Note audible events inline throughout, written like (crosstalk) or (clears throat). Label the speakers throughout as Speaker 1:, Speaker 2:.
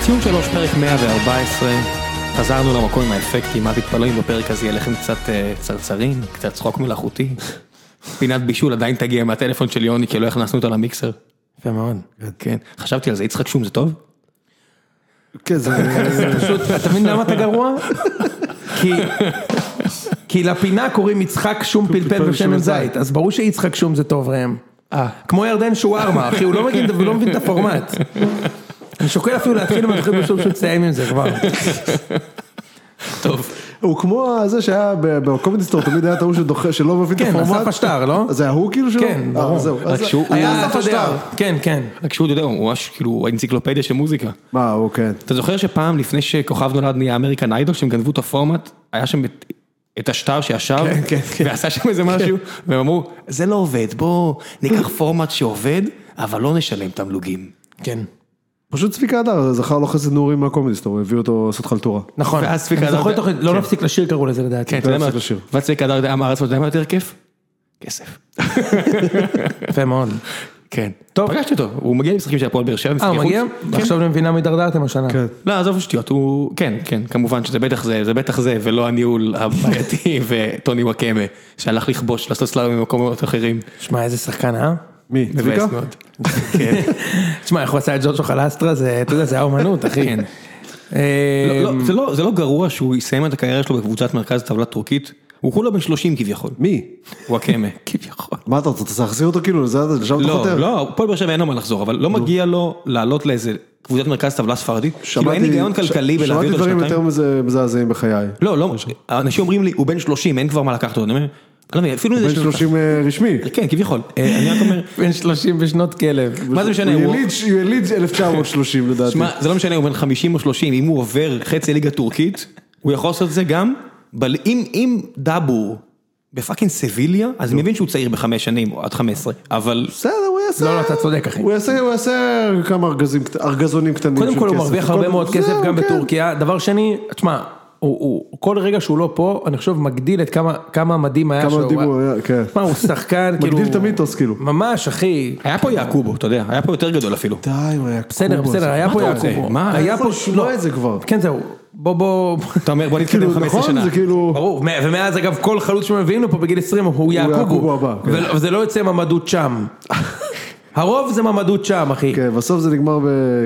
Speaker 1: ציון שלוש, פרק 114, חזרנו למקום עם האפקטים, אל תתפלאו אם בפרק הזה יהיה לכם קצת אה, צרצרים, קצת צחוק מלאכותי. פינת בישול עדיין תגיע מהטלפון של יוני, כי לא הכנסנו אותה למיקסר. יפה מאוד. כן, חשבתי על זה, יצחק שום זה טוב?
Speaker 2: כן, זה...
Speaker 1: (laughs)
Speaker 3: פשוט, אתה מבין למה אתה גרוע? כי... כי לפינה קוראים יצחק שום פלפל ושמן זית, אה. אז ברור שיצחק שום זה טוב ראם. כמו ירדן שווארמה, אחי, הוא לא מבין, הוא לא מבין את הפורמט. אני שוקל אפילו להתחיל עם התחיל בשום שהוא תסיים עם זה כבר.
Speaker 1: טוב.
Speaker 2: הוא כמו זה שהיה בקומדיסטור, תמיד היה את ההוא שדוחה, שלא מבין את
Speaker 3: כן,
Speaker 2: הפורמט.
Speaker 3: אסף אשטר, לא?
Speaker 2: זה היה הוא כאילו שלו?
Speaker 3: כן,
Speaker 2: אה,
Speaker 3: ברור.
Speaker 2: זהו.
Speaker 1: רק
Speaker 2: אז-
Speaker 1: שהוא-
Speaker 2: היה אסף
Speaker 3: אתה יודע,
Speaker 2: אשטר.
Speaker 3: כן, כן.
Speaker 1: רק שהוא, אתה יודע, הוא ממש כאילו האנציקלופדיה של מוזיקה.
Speaker 2: מה, הוא כן.
Speaker 1: אתה זוכר שפעם לפני שכוכב נולד נהיה אמריקן איידול, שהם גנבו את הפורמט, היה שם את, את השטר שישב,
Speaker 3: כן, כן, כן.
Speaker 1: ועשה שם איזה משהו, והם אמרו, זה לא עובד, בוא ניקח פורמט שעובד, אבל לא נשלם תמלוגים.
Speaker 3: כן.
Speaker 2: פשוט צביקה הדר זכר לו חסד נעורים מהקומדיסטור, הוא הביא אותו לעשות חלטורה.
Speaker 3: נכון.
Speaker 1: ואז צביקה
Speaker 3: אני זוכר
Speaker 1: אדרי-
Speaker 3: תוכנית, לא נפסיק לשיר קראו לזה לדעתי.
Speaker 1: כן, אתה יודע מה,
Speaker 2: להפסיק לשיר.
Speaker 1: וצביקה הדר אמר לעצמו, אתה יודע מה יותר כיף? כסף.
Speaker 3: יפה מאוד.
Speaker 1: כן.
Speaker 3: טוב.
Speaker 1: פגשתי אותו, הוא מגיע למשחקים של הפועל באר שבע,
Speaker 3: אה, הוא
Speaker 1: משחקי
Speaker 3: מגיע?
Speaker 1: חוץ. כן.
Speaker 3: עכשיו אני מבינה מה הידרדרתם השנה.
Speaker 2: כן.
Speaker 1: לא, עזוב שטויות, הוא, כן, כן, כמובן שזה בטח זה, זה בטח זה, ולא הניהול הבעייתי (laughs) וטוני וואקמה, שהלך לכבוש, לעשות סלאבים במקומות אחרים.
Speaker 3: שמע, איזה שחקן, אה?
Speaker 2: מי?
Speaker 1: מבאס
Speaker 2: צביקה?
Speaker 1: מאוד. כן.
Speaker 3: תשמע, איך הוא עשה את ג'ורג'ו חלסטרה, זה, אתה יודע, זה היה אומנות, אחי.
Speaker 1: כן.
Speaker 3: אה,
Speaker 1: לא,
Speaker 2: אמ,
Speaker 1: לא, זה לא- זה לא גרוע שהוא יסיים את הקריירה שלו בקבוצת מרכז טבלה טורקית, הוא כולה בן 30 כביכול,
Speaker 2: מי? (laughs)
Speaker 1: וואקמה, כביכול.
Speaker 2: מה אתה רוצה? אתה צריך להחזיר אותו כאילו לזה, לשם אתה
Speaker 1: לא,
Speaker 2: חותר?
Speaker 1: לא, הפועל באר שבע אין לו מה לחזור, אבל לא מגיע לו לעלות לאיזה קבוצת מרכז טבלה ספרדית, כאילו
Speaker 2: שמעתי-
Speaker 1: אין היגיון
Speaker 2: ש-
Speaker 1: כלכלי בלהביא אותו
Speaker 2: שמעתי דברים יותר
Speaker 1: לשנתיים.
Speaker 2: מזה- מזעזעים בחיי.
Speaker 1: לא, לא, אנשים אומרים לי, הוא בן 30, אין כבר מה לקחת אותו, אני אומר, אני לא מבין, אפילו
Speaker 2: בן
Speaker 1: איזה
Speaker 2: 30 אה, רשמי.
Speaker 1: כן, כביכול, אה, אני רק
Speaker 2: (laughs)
Speaker 1: אומר,
Speaker 3: בן 30 בשנות כלב.
Speaker 1: מה זה משנה,
Speaker 2: הוא
Speaker 1: הוא-
Speaker 2: יליד- הוא יליד 1930 לדעתי.
Speaker 1: שמע, זה לא משנה, הוא בן 50 או 30, אם הוא עובר חצי ליגה טורקית, הוא יכול לעשות את זה גם, אבל אם, אם דאבור בפאקינג סביליה, אז
Speaker 2: לא.
Speaker 1: אני מבין שהוא צעיר בחמש שנים, או עד 15, אבל
Speaker 2: בסדר, הוא יעשה...
Speaker 3: לא, לא, אתה צודק, אחי.
Speaker 2: הוא יעשה, הוא יעשה כמה ארגזים, קט- ארגזונים קטנים של
Speaker 3: קודם
Speaker 2: כסף.
Speaker 3: כל הוא מרוויח הרבה
Speaker 2: קודם-
Speaker 3: מאוד כסף
Speaker 2: זהו,
Speaker 3: גם
Speaker 2: כן.
Speaker 3: בטורקיה. דבר שני, תשמע, הוא- הוא כל רגע שהוא לא פה, אני חושב מגדיל את כמה- כמה מדהים היה
Speaker 2: כמה
Speaker 3: שהוא-
Speaker 2: מדהים הוא היה, כן.
Speaker 3: תשמע, הוא שחקן,
Speaker 2: (laughs) מגדיל
Speaker 3: כאילו...
Speaker 2: את המיתוס, כאילו.
Speaker 3: ממש, אחי.
Speaker 1: היה פה יעקובו, אתה יודע, היה פה יותר גדול אפילו.
Speaker 2: די, הוא היה...
Speaker 3: בסדר,
Speaker 2: קובה,
Speaker 3: בסדר,
Speaker 2: זה-
Speaker 3: היה
Speaker 1: מה
Speaker 3: פה
Speaker 1: אתה רוצה?
Speaker 3: יעקובו.
Speaker 1: מה?
Speaker 3: היה
Speaker 2: אני
Speaker 3: פה...
Speaker 2: יכול לשמוע
Speaker 3: לא.
Speaker 2: את זה כבר.
Speaker 3: כן, זהו. בוא, בוא...
Speaker 1: אתה אומר, בוא נתקדם
Speaker 2: כאילו,
Speaker 1: 15
Speaker 2: נכון,
Speaker 1: שנה.
Speaker 2: זה כאילו...
Speaker 3: (laughs) ברור, מ- ומאז אגב כל חלוץ שמביאים לפה בגיל 20 הוא
Speaker 2: יעקובו
Speaker 3: יעקובו,
Speaker 2: הבא, כן.
Speaker 3: ול- וזה לא יוצא ממדות
Speaker 2: (laughs)
Speaker 3: שם. הרוב זה ממדות שם אחי,
Speaker 2: כן, בסוף זה נגמר ב...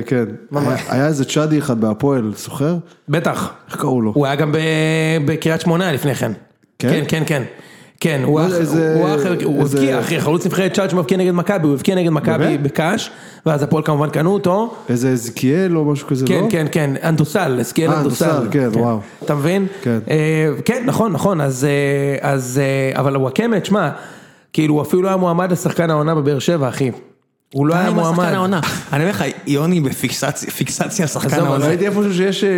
Speaker 2: כן. היה- היה איזה צ'אדי אחד בהפועל, זוכר?
Speaker 3: בטח.
Speaker 2: איך קראו לו?
Speaker 3: הוא היה גם ב- בקריית שמונה לפני כן.
Speaker 2: כן?
Speaker 3: כן, כן, כן. כן, הוא היה-
Speaker 2: איזה-
Speaker 3: הוא היה אחר- הוא
Speaker 2: איזה-
Speaker 3: הבקיע אחי, חלוץ נבחרת צ'אט שמבקיע נגד מכבי, הוא הבקיע נגד מכבי
Speaker 2: באמת? לא?
Speaker 3: בקאש, ואז הפועל כמובן קנו אותו.
Speaker 2: איזה עזקיאל או משהו כזה, לא?
Speaker 3: כן, כן, כן, אנדוסל, הסקיאל
Speaker 2: אה, אנדוסל,
Speaker 3: אנדוסל.
Speaker 2: כן, וואו.
Speaker 3: אתה מבין?
Speaker 2: כן.
Speaker 3: אה, כן, נכון, נכון, אז, אה, אז, אה, אבל וואקמה, תשמע, כאילו, הוא אפילו לא היה מועמד לשחקן העונה בבאר שבע, אחי. הוא
Speaker 2: "אה,
Speaker 3: לא היה
Speaker 1: אה, עם השחקן
Speaker 3: מועמד.
Speaker 1: העונה. אני אומר לך, יוני בפיקסציה, פיקסציה שחקן
Speaker 3: עזוב,
Speaker 1: העונה.
Speaker 3: עזוב.
Speaker 2: ראיתי איפשהו שיש... אה,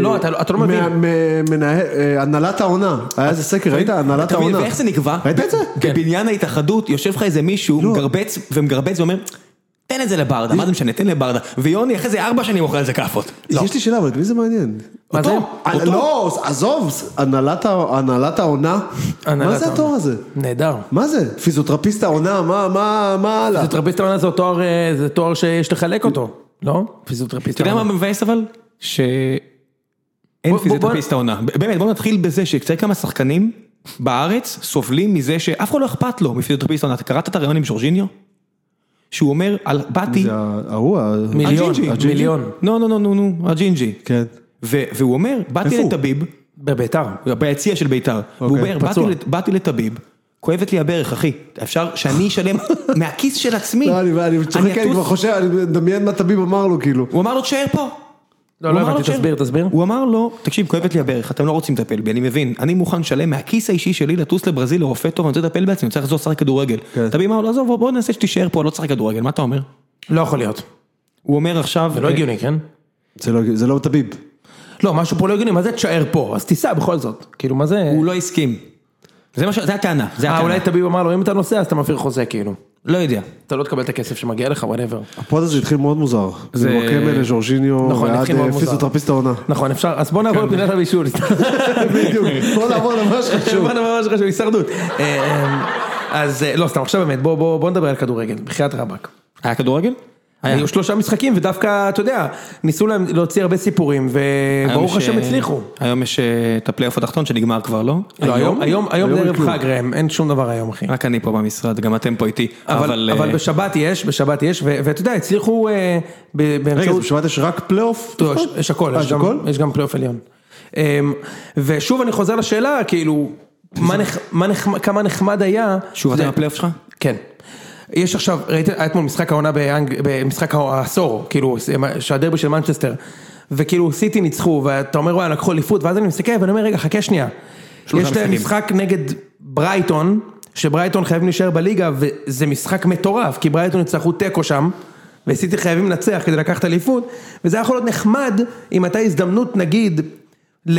Speaker 3: לא, אתה לא- אתה לא מבין.
Speaker 2: מה- מ- מנהל- אה, הנהלת העונה. היה איזה סקר, ראית? הנהלת
Speaker 1: אתה מבין,
Speaker 2: העונה.
Speaker 1: ואיך זה נקבע?
Speaker 2: ראית את זה? לא.
Speaker 1: בבניין ההתאחדות, יושב לך איזה מישהו, מגרבץ ומגרבץ ואומר, תן את זה לברדה, מה זה משנה, תן לברדה. ויוני אחרי זה ארבע שנים אוכל על זה כאפות. לא.
Speaker 2: יש לי שאלה, אבל את מי זה מעניין?
Speaker 3: מה זה?
Speaker 2: אה, לא, עזוב, הנהלת ה- הנהלת העונה.
Speaker 3: הנהלת
Speaker 2: מה זה
Speaker 3: העונה.
Speaker 2: התואר הזה?
Speaker 3: נהדר.
Speaker 2: מה זה? פיזיותרפיסט העונה, מה, מה, מה הלאה?
Speaker 3: פיזיותרפיסט העונה זה תואר, אה, זה תואר שיש לחלק אותו, לא? פיזיותרפיסט
Speaker 1: אתה יודע מה
Speaker 3: העונה.
Speaker 1: מבאס אבל? שאין
Speaker 3: בוא-
Speaker 1: פיזיותרפיסט העונה. באמת, בוא נתחיל בזה שקצת כמה שחקנים בארץ סובלים מזה שאף אחד לא אכפת לו מפיזיותרפיסט העונה. אתה קראת את הראיון עם ז'ורג'יניו? שהוא אומר, על- באתי,
Speaker 2: זה ה- ההוא, ה-
Speaker 3: מיליון,
Speaker 1: הג'ינג'י,
Speaker 2: הג'ינג'י?
Speaker 3: מיליון.
Speaker 1: נו נו נו לא, נו נו, הג'ינג'י.
Speaker 2: כן.
Speaker 1: ו- והוא אומר,
Speaker 2: איפה
Speaker 1: באתי
Speaker 2: הוא? אוקיי,
Speaker 1: לטביב,
Speaker 3: בביתר.
Speaker 1: ביציע של ביתר, והוא אומר, "באתי
Speaker 3: פצוע.
Speaker 1: לת- באתי לטביב, כואבת לי הברך, אחי, אפשר שאני
Speaker 2: (laughs)
Speaker 1: אשלם מהכיס של עצמי.
Speaker 2: לא, אני אני צוחק, אני
Speaker 1: אטוס."
Speaker 2: כבר חושב, אני מדמיין מה טביב אמר לו, כאילו.
Speaker 1: הוא אמר לו, תשאר פה.
Speaker 3: לא,
Speaker 1: הוא אמר
Speaker 3: לא
Speaker 1: לו,
Speaker 3: הבנתי,
Speaker 1: "תשאר."
Speaker 3: תסביר, תסביר.
Speaker 1: הוא אמר לו, תקשיב, כואבת לי הברך, אתם לא רוצים לטפל בי, אני מבין, אני מוכן לשלם מהכיס האישי שלי לטוס לברזיל לרופא טוב, אני רוצה לטפל בעצמי, אני צריך לחזור לשחק כדורגל.
Speaker 2: כן.
Speaker 1: תבין מה, עזוב, בוא- בוא נעשה שתישאר פה, אני לא צריך כדורגל, מה אתה אומר?
Speaker 3: לא יכול להיות.
Speaker 1: הוא אומר עכשיו,
Speaker 3: זה לא הגיוני, כן?
Speaker 2: זה לא- זה לא טביב.
Speaker 3: לא, משהו פה לא הגיוני, מה זה תשאר פה? אז תיסע בכל זאת. כאילו, מה זה...
Speaker 1: הוא לא הסכים. זה מה ש... זה הטענה, זה
Speaker 3: אה,
Speaker 1: הטענה.
Speaker 3: אולי תביב אמר לו, אם אתה נוסע אז אתה מפר חוזה, כאילו.
Speaker 1: לא יודע.
Speaker 3: אתה לא תקבל את הכסף שמגיע לך, וואטאבר.
Speaker 2: הפוד הזה התחיל מאוד מוזר.
Speaker 1: זה-
Speaker 2: זה וואקמה לז'ורג'יניו,
Speaker 3: נכון,
Speaker 2: ועד
Speaker 3: התחיל מאוד
Speaker 2: אה,
Speaker 3: מוזר.
Speaker 2: פיזיותרפיסט העונה.
Speaker 3: נכון, אפשר, אז בוא נעבור לפינת הבישול.
Speaker 2: (laughs) בדיוק, בוא נעבור למה שחשוב.
Speaker 3: (laughs) בוא נעבור למשהו חשוב, הישרדות. (laughs) אה, אה, אז אה, לא, סתם, עכשיו באמת, בוא- בוא בוא נדבר על כדורגל, בחייאת רבאק.
Speaker 1: היה כדורגל?
Speaker 3: היו שלושה משחקים ודווקא, אתה יודע, ניסו להם להוציא הרבה סיפורים,
Speaker 1: היום
Speaker 3: וברוך
Speaker 1: יש,
Speaker 3: השם
Speaker 1: אה,
Speaker 3: הצליחו.
Speaker 1: היום יש אה, את הפלייאוף התחתון שנגמר כבר, לא?
Speaker 3: לא, היום, היום, היום זה
Speaker 2: אין
Speaker 3: ערב
Speaker 2: כלום.
Speaker 3: חג ראם, אין שום דבר היום אחי.
Speaker 1: רק אני פה במשרד, גם אתם פה איתי.
Speaker 3: אבל,
Speaker 1: אה,
Speaker 3: אבל בשבת יש, בשבת יש, ו- ואתה יודע, הצליחו אה, ב-
Speaker 2: (laughs) רגע, אז
Speaker 3: באמצעות...
Speaker 2: בשבת יש רק פלייאוף?
Speaker 3: לא, יש- יש הכל,
Speaker 2: אה,
Speaker 3: יש
Speaker 2: יש
Speaker 3: גם-
Speaker 2: הכל?
Speaker 3: יש גם פלייאוף עליון. אמ, ושוב אני חוזר לשאלה, כאילו, מה נח- מה נחמד- כמה נחמד היה...
Speaker 1: שוב
Speaker 3: זה-
Speaker 1: אתם בפלייאוף שלך?
Speaker 3: כן. יש עכשיו, ראית, היה אתמול משחק העונה באנג... במשחק העשור, כאילו, שהדרבי של מנצ'סטר, וכאילו סיטי ניצחו, ואתה אומר וואלה לקחו אליפות, ואז אני מסתכל ואני אומר רגע חכה שנייה.
Speaker 1: שלושה
Speaker 3: יש להם
Speaker 1: משחקים.
Speaker 3: משחק נגד ברייטון, שברייטון חייבים להישאר בליגה, וזה משחק מטורף, כי ברייטון יצטרכו תיקו שם, וסיטי חייבים לנצח כדי לקחת אליפות, וזה היה יכול להיות נחמד אם הייתה הזדמנות נגיד... ל...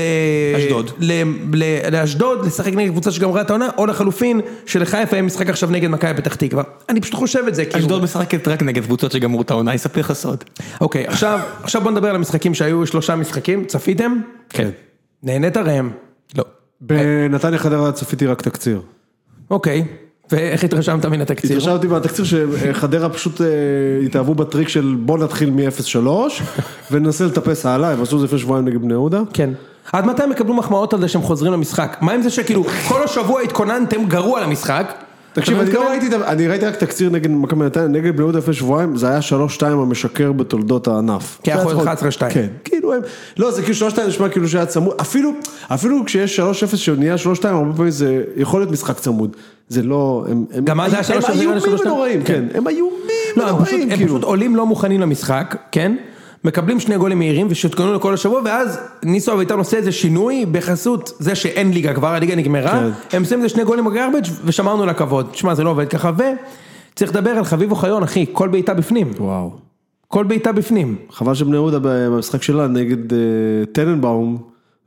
Speaker 1: אשדוד.
Speaker 3: ל- ל- לאשדוד, לשחק נגד קבוצה שגמרה את העונה, או לחלופין שלחיפה יהיה משחק עכשיו נגד מכבי פתח תקווה. אני פשוט חושב את זה, כאילו.
Speaker 1: אשדוד משחקת רק נגד קבוצות שגמרו את העונה, יספר לך סוד.
Speaker 3: אוקיי, עכשיו, עכשיו בוא נדבר על המשחקים שהיו, שלושה משחקים, צפיתם?
Speaker 1: כן.
Speaker 3: נהנית ראם.
Speaker 1: לא.
Speaker 2: בנתניה חדרה צפיתי רק תקציר.
Speaker 3: אוקיי, ואיך התרשמת מן התקציר?
Speaker 2: התרשמתי מהתקציר שחדרה פשוט אה, התאהבו בטריק של בוא נתחיל מ-0-3 וננסה לטפס הלאה, הם עשו את זה לפני שבועיים נגד בני יהודה.
Speaker 3: כן. עד מתי הם יקבלו מחמאות על זה שהם חוזרים למשחק? מה עם זה שכאילו כל השבוע התכוננתם גרוע למשחק?
Speaker 2: תקשיב,
Speaker 3: אתה
Speaker 2: אני
Speaker 3: מתכוון?
Speaker 2: לא ראיתי, את ה- אני ראיתי רק תקציר נגד מכבי נתניה, נגד בני יהודה לפני שבועיים, זה היה 3-2 המשקר בתולדות הענף.
Speaker 3: כי היה יכול להיות 11-2.
Speaker 2: כן, כאילו הם, לא, זה כאילו 3-2 נשמע כאילו שהיה צמוד, אפילו, אפילו כשיש 3-0 שנהיה 3-2, הרבה פעמים זה יכול להיות משחק צמוד. זה לא, הם, הם,
Speaker 3: גם אז זה היה 3-0
Speaker 2: הם
Speaker 3: ונהיה
Speaker 2: איומים
Speaker 3: 3-2.
Speaker 2: ונוראים, כן, הם איומים
Speaker 3: לא, הם פשוט,
Speaker 2: ונוראים,
Speaker 3: הם
Speaker 2: כאילו.
Speaker 3: פשוט עולים לא מוכנים למשחק, כן? מקבלים שני גולים מהירים ושותקנו לכל השבוע, ואז ניסו אביטן עושה איזה שינוי בחסות זה שאין ליגה כבר, הליגה נגמרה,
Speaker 2: כן.
Speaker 3: הם עושים איזה שני גולים בגרבג' ושמרנו לה כבוד. תשמע, זה לא עובד ככה, וצריך לדבר על חביב אוחיון, אחי, כל בעיטה בפנים.
Speaker 2: וואו.
Speaker 3: כל בעיטה בפנים.
Speaker 2: חבל שבני יהודה במשחק שלה נגד אה, טננבאום,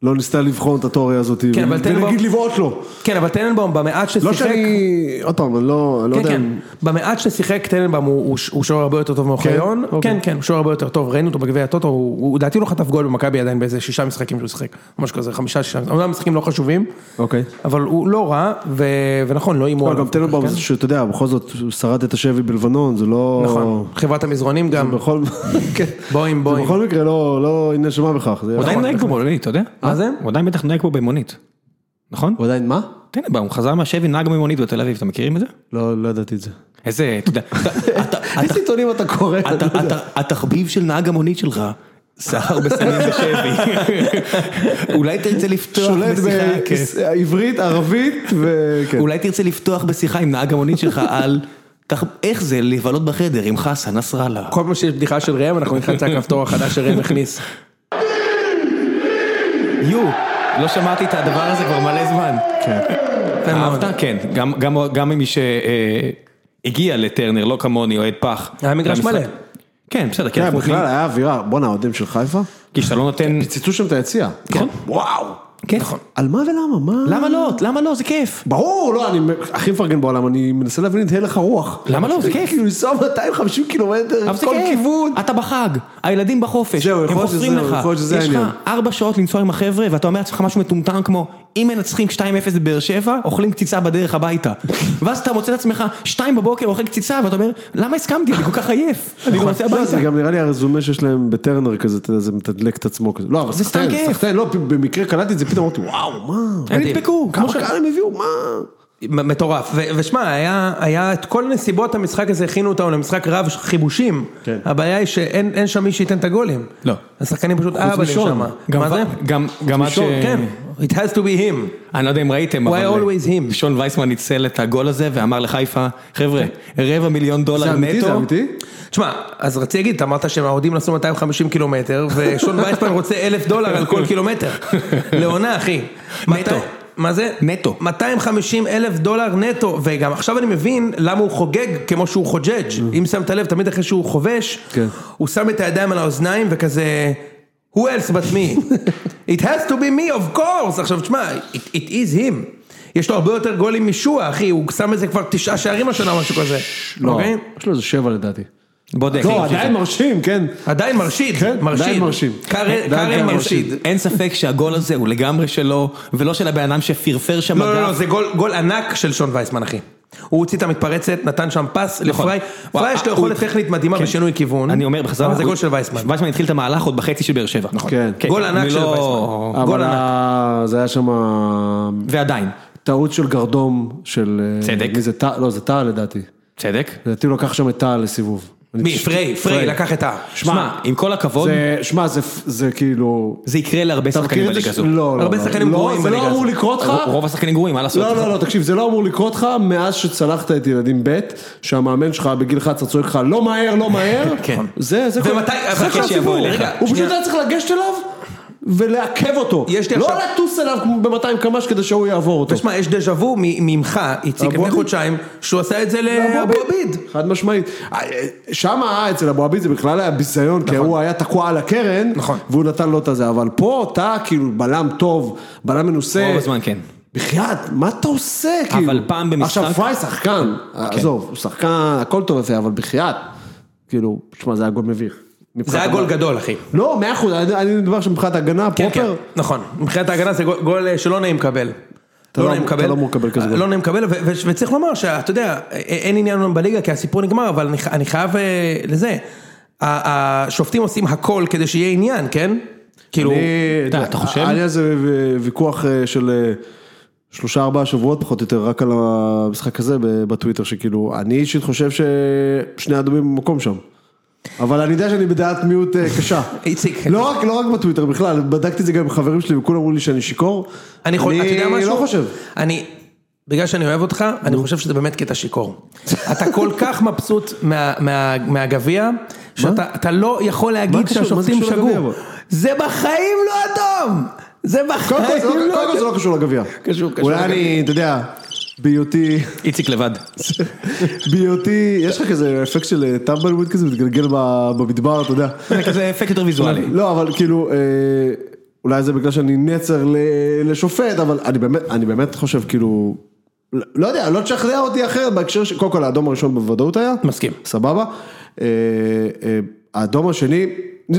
Speaker 2: לא ניסתה לבחון את התיאוריה הזאת,
Speaker 3: כן, אבל טננבאום-
Speaker 2: ונגיד לבעוט לו.
Speaker 3: כן, אבל טננבאום במעט ששיחק...
Speaker 2: לא שאני, עוד פעם, אני לא אני לא
Speaker 3: כן,
Speaker 2: יודע.
Speaker 3: כן.
Speaker 2: אם-
Speaker 3: במעט ששיחק טננבאום הוא, הוא, ש- הוא שוער הרבה יותר טוב מאוחיון. כן,
Speaker 2: אוקיי.
Speaker 3: כן, הוא שוער הרבה יותר טוב, ראינו אותו בגביע הטוטו, הוא הוא- לדעתי לא חטף גול במכבי עדיין באיזה שישה משחקים שהוא שיחק, משהו כזה, חמישה, שישה, אומנם משחקים לא חשובים,
Speaker 2: אוקיי.
Speaker 1: נכון,
Speaker 3: אבל הוא לא רע, ו... ונכון, לא הימור.
Speaker 2: אבל גם
Speaker 3: עליו.
Speaker 2: טננבאום, זה שאתה יודע, בכל זאת, הוא שרד את השבי בלבנון, זה לא...
Speaker 3: נכון, חברת המזרונים גם,
Speaker 2: בכל... כן.
Speaker 3: בואים
Speaker 2: זה
Speaker 3: בואים.
Speaker 2: בכל מקרה לא, לא עניין של מה בכך. זה-
Speaker 1: הוא עדיין נוהג כמו במונית, אתה יודע?
Speaker 3: מה זה?
Speaker 1: נכון. הוא עדיין בטח נוהג כמו במונית. נכון?
Speaker 2: הוא עדיין מה?
Speaker 1: טננבאום, הוא חזר מהשבי נהג במונית בתל אביב, אתם מכירים את זה?
Speaker 2: לא, לא ידעתי את זה.
Speaker 1: איזה, אתה יודע, אתה- אתה-
Speaker 2: איזה עיתונים אתה קורא?
Speaker 1: אתה- אתה- התחביב של נהג המונית שלך, סחר בסמים (laughs) ושבי. אולי תרצה לפתוח
Speaker 2: שולט
Speaker 1: בשיחה, כן.
Speaker 2: בעברית, ערבית כן. וכן.
Speaker 1: אולי תרצה לפתוח בשיחה עם נהג המונית שלך על תח- איך זה לבלות בחדר עם חסן נסראללה.
Speaker 3: כל פעם שיש בדיחה של ראם, אנחנו נלחץ על הכפתור החדש שראם הכניס.
Speaker 1: יו, לא שמעתי את הדבר הזה כבר מלא זמן.
Speaker 3: כן. יפה מאוד.
Speaker 1: אהבת? כן, גם- גם- גם ממי שהגיע אה, לטרנר, לא כמוני, אוהד פח.
Speaker 3: היה מגרש
Speaker 1: למשחק.
Speaker 3: מלא.
Speaker 1: כן, בסדר, כי
Speaker 2: כן,
Speaker 1: אנחנו
Speaker 2: בכלל
Speaker 1: נותנים-
Speaker 2: היה אווירה, בואנה, האוהדים של חיפה?
Speaker 1: כי שאתה לא נותן...
Speaker 2: פיצצו שם את היציע.
Speaker 1: נכון.
Speaker 2: וואו.
Speaker 1: כן.
Speaker 3: נכון.
Speaker 2: על מה ולמה? מה?
Speaker 1: למה לא? למה לא? זה כיף.
Speaker 2: ברור, לא, אני הכי מפרגן בעולם, אני מנסה להבין את הלך הרוח.
Speaker 1: למה לא? זה כיף.
Speaker 2: כאילו לנסוע 250 קילומטר,
Speaker 1: אבל זה
Speaker 2: כל
Speaker 1: כיף,
Speaker 2: כיוון.
Speaker 1: אתה בחג, הילדים בחופש,
Speaker 2: זהו, יכול
Speaker 1: הם
Speaker 2: להיות
Speaker 1: חופרים
Speaker 2: שזהו,
Speaker 1: לך,
Speaker 2: יכול להיות שזה
Speaker 1: יש לך
Speaker 2: העניין.
Speaker 1: ארבע שעות לנסוע עם החבר'ה ואתה אומר לעצמך משהו מטומטם כמו אם מנצחים 2-0 בבאר שבע, אוכלים קציצה בדרך הביתה. (laughs) ואז אתה מוצא את עצמך 2 בבוקר אוכל קציצה ואתה אומר למה הסכמתי, אני כל כך עייף, (laughs) אני רוצה
Speaker 2: לא,
Speaker 1: הביתה.
Speaker 2: זה גם נראה לי הרזומה שיש להם בטרנר כזה, אתה יודע, זה מתדלק את עצמו כזה. לא, אבל
Speaker 1: זה סתם
Speaker 2: סחטיין,
Speaker 1: כיף.
Speaker 2: סחטיין, לא, במקרה קלטתי את זה, פתאום אמרתי, וואו, מה?
Speaker 1: הם נדפקו, כמו
Speaker 2: כמה
Speaker 1: ש...
Speaker 2: קהל הם הביאו, מה?
Speaker 3: מ- מטורף, ו- ושמע, היה, היה את כל נסיבות המשחק הזה, הכינו אותנו למשחק רב חיבושים,
Speaker 2: כן.
Speaker 3: הבעיה היא שאין אין שם מי שייתן את הגולים.
Speaker 1: לא.
Speaker 3: השחקנים פשוט אבלים
Speaker 2: משון.
Speaker 3: שם.
Speaker 1: גם
Speaker 3: מה זה?
Speaker 1: גם- גם עד ש...
Speaker 3: שון, כן, it has to be him.
Speaker 1: אני לא יודע אם ראיתם,
Speaker 3: Why
Speaker 1: אבל
Speaker 3: always him?
Speaker 1: שון וייסמן ניצל את הגול הזה ואמר לחיפה, חבר'ה, רבע מיליון דולר
Speaker 2: זה
Speaker 1: נטו.
Speaker 2: אמיתי, זה אמיתי?
Speaker 3: תשמע, אז רציתי להגיד, אתה אמרת שהאוהדים נסעו 250 קילומטר, ושון וייסמן רוצה אלף דולר על כל קילומטר. לעונה, אחי.
Speaker 1: (laughs) נטו.
Speaker 3: מתי- מה זה?
Speaker 1: נטו.
Speaker 3: 250 אלף דולר נטו, וגם עכשיו אני מבין למה הוא חוגג כמו שהוא חוג'ג'. אם שמת לב, תמיד אחרי שהוא חובש,
Speaker 2: כן.
Speaker 3: הוא שם את הידיים על האוזניים וכזה, who else but
Speaker 1: (laughs)
Speaker 3: me? it has to be me of course! עכשיו תשמע, it, it is him. יש לו הרבה יותר גולים משועה, אחי, הוא שם איזה כבר תשעה שערים השנה או משהו כזה.
Speaker 1: לא.
Speaker 3: אוקיי?
Speaker 2: יש לו איזה שבע לדעתי.
Speaker 1: בודק.
Speaker 2: לא, עדיין מרשים, כן.
Speaker 3: עדיין מרשיד,
Speaker 2: כן,
Speaker 3: מרשיד,
Speaker 2: עדיין מרשים.
Speaker 3: קארן
Speaker 2: עדיין
Speaker 3: קארן
Speaker 2: קארן
Speaker 3: מרשיד.
Speaker 1: אין ספק שהגול הזה הוא לגמרי שלו, ולא של הבן אדם שפרפר שם
Speaker 3: לא, לא, לא,
Speaker 1: אגב.
Speaker 3: זה גול, גול ענק של שון וייסמן אחי. הוא הוציא את המתפרצת, נתן שם פס
Speaker 1: נכון.
Speaker 3: לפריי, פריי יש לו יכולת טכנית מדהימה בשינוי כיוון.
Speaker 1: אה, כן. אני אומר בחזרה,
Speaker 3: אבל זה גול אה, של וייסמן.
Speaker 1: וייסמן התחיל את המהלך עוד בחצי של באר שבע. נכון.
Speaker 2: כן.
Speaker 3: גול ענק של וייסמן.
Speaker 2: אבל
Speaker 3: גול
Speaker 2: ה- זה היה שם אה,
Speaker 1: ועדיין,
Speaker 2: טעות של גרדום, של... אה,
Speaker 1: צדק.
Speaker 2: מי זה טל? לא, זה טל לדעתי.
Speaker 1: צדק.
Speaker 2: לדעתי הוא לקח שם את טל לסיבוב.
Speaker 3: מי? פריי, פריי לקח את ה...
Speaker 1: שמע, עם כל הכבוד,
Speaker 2: זה, שמע, זה, זה כאילו...
Speaker 1: זה יקרה להרבה
Speaker 2: אתה
Speaker 1: שחקנים
Speaker 2: מכיר את זה?
Speaker 1: בליגה
Speaker 2: ש-
Speaker 1: הזו.
Speaker 2: לא, לא.
Speaker 3: הרבה
Speaker 2: לא.
Speaker 3: שחקנים
Speaker 2: לא,
Speaker 3: גרועים
Speaker 2: זה
Speaker 3: בליגה
Speaker 2: לא אמור
Speaker 3: הזו.
Speaker 2: לקרות לך.
Speaker 1: רוב השחקנים גרועים, מה לעשות?
Speaker 2: לא, לא, לא, תקשיב, זה לא אמור לקרות לך מאז שצלחת את ילדים ב', שהמאמן שלך בגיל 11 צועק לך לא מהר, לא
Speaker 3: (laughs)
Speaker 2: מהר.
Speaker 1: כן.
Speaker 2: זה, זה
Speaker 3: ומתי- אבל
Speaker 2: זה כל
Speaker 1: חכה שיבוא
Speaker 2: הסיפור.
Speaker 1: אליך.
Speaker 2: הוא פשוט
Speaker 3: שנייה.
Speaker 2: היה צריך לגשת אליו ולעכב אותו.
Speaker 3: יש לי
Speaker 2: לא
Speaker 3: עכשיו-
Speaker 2: לטוס אליו כמו ב-200 קמ"ש כדי שהוא יעבור אותו.
Speaker 3: תשמע, יש דז'ה וו מ- ממך, איציק, לפני
Speaker 2: אבו-אביד.
Speaker 3: חודשיים, שהוא עשה את זה לאבו עביד.
Speaker 2: חד משמעית. אה, שם אצל אבו עביד זה בכלל היה ביזיון, כי הוא היה תקוע על הקרן,
Speaker 3: נכון.
Speaker 2: והוא נתן לו את הזה, אבל פה אתה כאילו בלם טוב, בלם מנוסה.
Speaker 1: רוב הזמן כן.
Speaker 2: בחייאת, מה אתה עושה כאילו?
Speaker 1: אבל פעם במשחק-
Speaker 2: עכשיו פריי שחקן, עזוב, הוא שחקן, הכל טוב וזה, אבל בחייאת. כאילו, תשמע, זה היה גול מביך.
Speaker 3: זה
Speaker 1: נכון.
Speaker 3: היה גול גדול, אחי.
Speaker 2: לא, מאה אחוז, אני אני מדבר עכשיו מבחינת הגנה
Speaker 3: כן, כן,
Speaker 2: פרופר.
Speaker 3: נכון. מבחינת ההגנה זה גול- גול אה, שלא נעים לקבל.
Speaker 2: אתה לא- אתה לא אמור לקבל כזה גול.
Speaker 3: לא נעים לקבל, ו- ו- וצריך לומר שאתה יודע, א- אין עניין לנו בליגה כי הסיפור נגמר, אבל אני ח- אני חייב אה, לזה. ה- השופטים עושים הכל כדי שיהיה עניין, כן? כאילו,
Speaker 2: אני-
Speaker 1: אתה- אתה חושב?
Speaker 2: היה איזה ו- ויכוח אה, של אה, שלושה ארבעה שבועות פחות או יותר, רק על המשחק הזה ב- בטוויטר, שכאילו, אני אישית חושב ששני האדומים במקום שם. אבל אני יודע שאני בדעת מיעוט אה, קשה.
Speaker 3: (laughs) איציק.
Speaker 2: לא רק, לא רק בטוויטר בכלל, בדקתי את זה גם עם חברים שלי וכולם אמרו לי שאני שיכור.
Speaker 3: אני חושב, אתה יודע משהו?
Speaker 2: לא חושב.
Speaker 3: אני, בגלל שאני אוהב אותך, אני חושב שזה באמת קטע שיכור.
Speaker 2: (laughs)
Speaker 3: אתה כל כך מבסוט מה- מה- מהגביע, שאתה אתה לא יכול להגיד
Speaker 2: קשור? מה זה
Speaker 3: שהשופטים
Speaker 2: קשור לגביע,
Speaker 3: שגו.
Speaker 2: אבל?
Speaker 3: זה בחיים לא אדום! זה
Speaker 2: קודם כל
Speaker 3: בחיים
Speaker 2: זה לא-
Speaker 3: לא
Speaker 2: קודם כל זה
Speaker 3: אדום!
Speaker 2: לא קשור לגביע.
Speaker 3: קשור, קשור
Speaker 2: אולי
Speaker 3: לגביע.
Speaker 2: אני, אתה יודע, בהיותי, (laughs)
Speaker 1: איציק לבד.
Speaker 2: בהיותי, יש לך כזה אפקט של אה, טמבלוויד כזה מתגלגל ב- במדבר, אתה יודע.
Speaker 1: זה כזה אפקט יותר ויזואלי.
Speaker 2: לא, אבל כאילו, אה, אולי זה בגלל שאני נצר ל- לשופט, אבל אני באמת, אני באמת חושב, כאילו, לא- לא יודע, לא תשכנע אותי אחרת בהקשר ש... קודם כל, האדום הראשון בוודאות היה.
Speaker 3: מסכים.
Speaker 2: סבבה. אה, אה, האדום השני,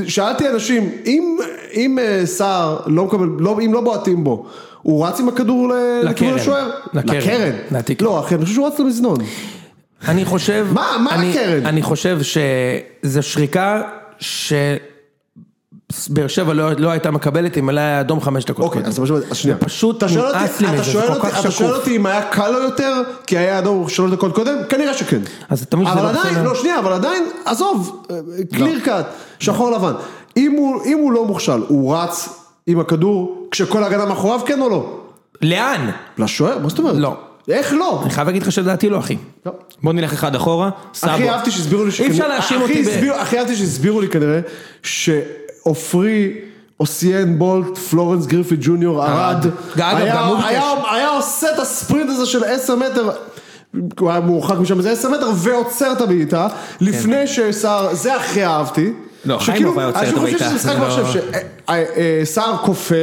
Speaker 2: שאלתי אנשים, אם, אם אה, סער לא מקבל, לא, אם לא בועטים בו, הוא רץ עם הכדור ל-
Speaker 3: לקרן.
Speaker 2: לכיוון השוער?
Speaker 3: לקרן. כן. אוקיי. לתקרה.
Speaker 2: לא, אחי, אני חושב שהוא רץ למזנון.
Speaker 3: אני חושב...
Speaker 2: מה- מה
Speaker 3: אני-
Speaker 2: הקרן?
Speaker 3: אני חושב שזו שריקה שבאר שבע לא לא הייתה מקבלת אם עליה היה אדום חמש דקות.
Speaker 2: אוקיי,
Speaker 3: קודם.
Speaker 2: אז משמעות, אז שנייה.
Speaker 3: זה פשוט
Speaker 2: אתה שואל אותי-
Speaker 3: נמאס לי
Speaker 2: אתה
Speaker 3: מזה, זה
Speaker 2: שואל
Speaker 3: כל
Speaker 2: אותי-
Speaker 3: כך
Speaker 2: אתה שואל
Speaker 3: שקוף.
Speaker 2: אותי אם היה קל לו יותר, כי היה אדום שלוש דקות קודם? כנראה שכן.
Speaker 3: אז אתה מבין שזה
Speaker 2: אבל
Speaker 3: לא
Speaker 2: עדיין,
Speaker 3: בסדר?
Speaker 2: לא, שנייה, אבל עדיין, עזוב, קליר קאט, שחור לבן. אם הוא- אם הוא לא מוכשל, הוא רץ עם הכדור כשכל ההגנה מאחוריו, כן או לא?
Speaker 1: אה,
Speaker 3: לאן?
Speaker 2: לשוער? מה זאת אומרת?
Speaker 3: לא.
Speaker 2: איך לא?
Speaker 3: אני חייב להגיד לך שלדעתי לא, אחי.
Speaker 2: לא.
Speaker 1: בוא נלך אחד אחורה, סאבו.
Speaker 2: הכי אהבתי שהסבירו לי שכנראה-
Speaker 3: אפשר להאשים
Speaker 2: הכי
Speaker 3: אותי ב-
Speaker 2: הסבירו- הכי אהבתי שהסבירו לי כנראה שעופרי, אוסיאן בולט, פלורנס גריפי ג'וניור, ארד,
Speaker 3: אגב,
Speaker 2: היה-
Speaker 3: גם הוא ביקש.
Speaker 2: היה- היה עושה את הספרינט הזה של 10 מטר. הוא היה מורחק משם איזה 10 מטר ועוצר את הבעיטה לפני שסער, זה הכי אהבתי.
Speaker 1: כן. לא,
Speaker 2: שכאילו,
Speaker 1: חיימוב היה עוצר את
Speaker 2: אנשים
Speaker 1: הבעיטה,
Speaker 2: חושבים שזה משחק
Speaker 1: זה
Speaker 2: מחשב
Speaker 1: לא-
Speaker 2: שסער כופה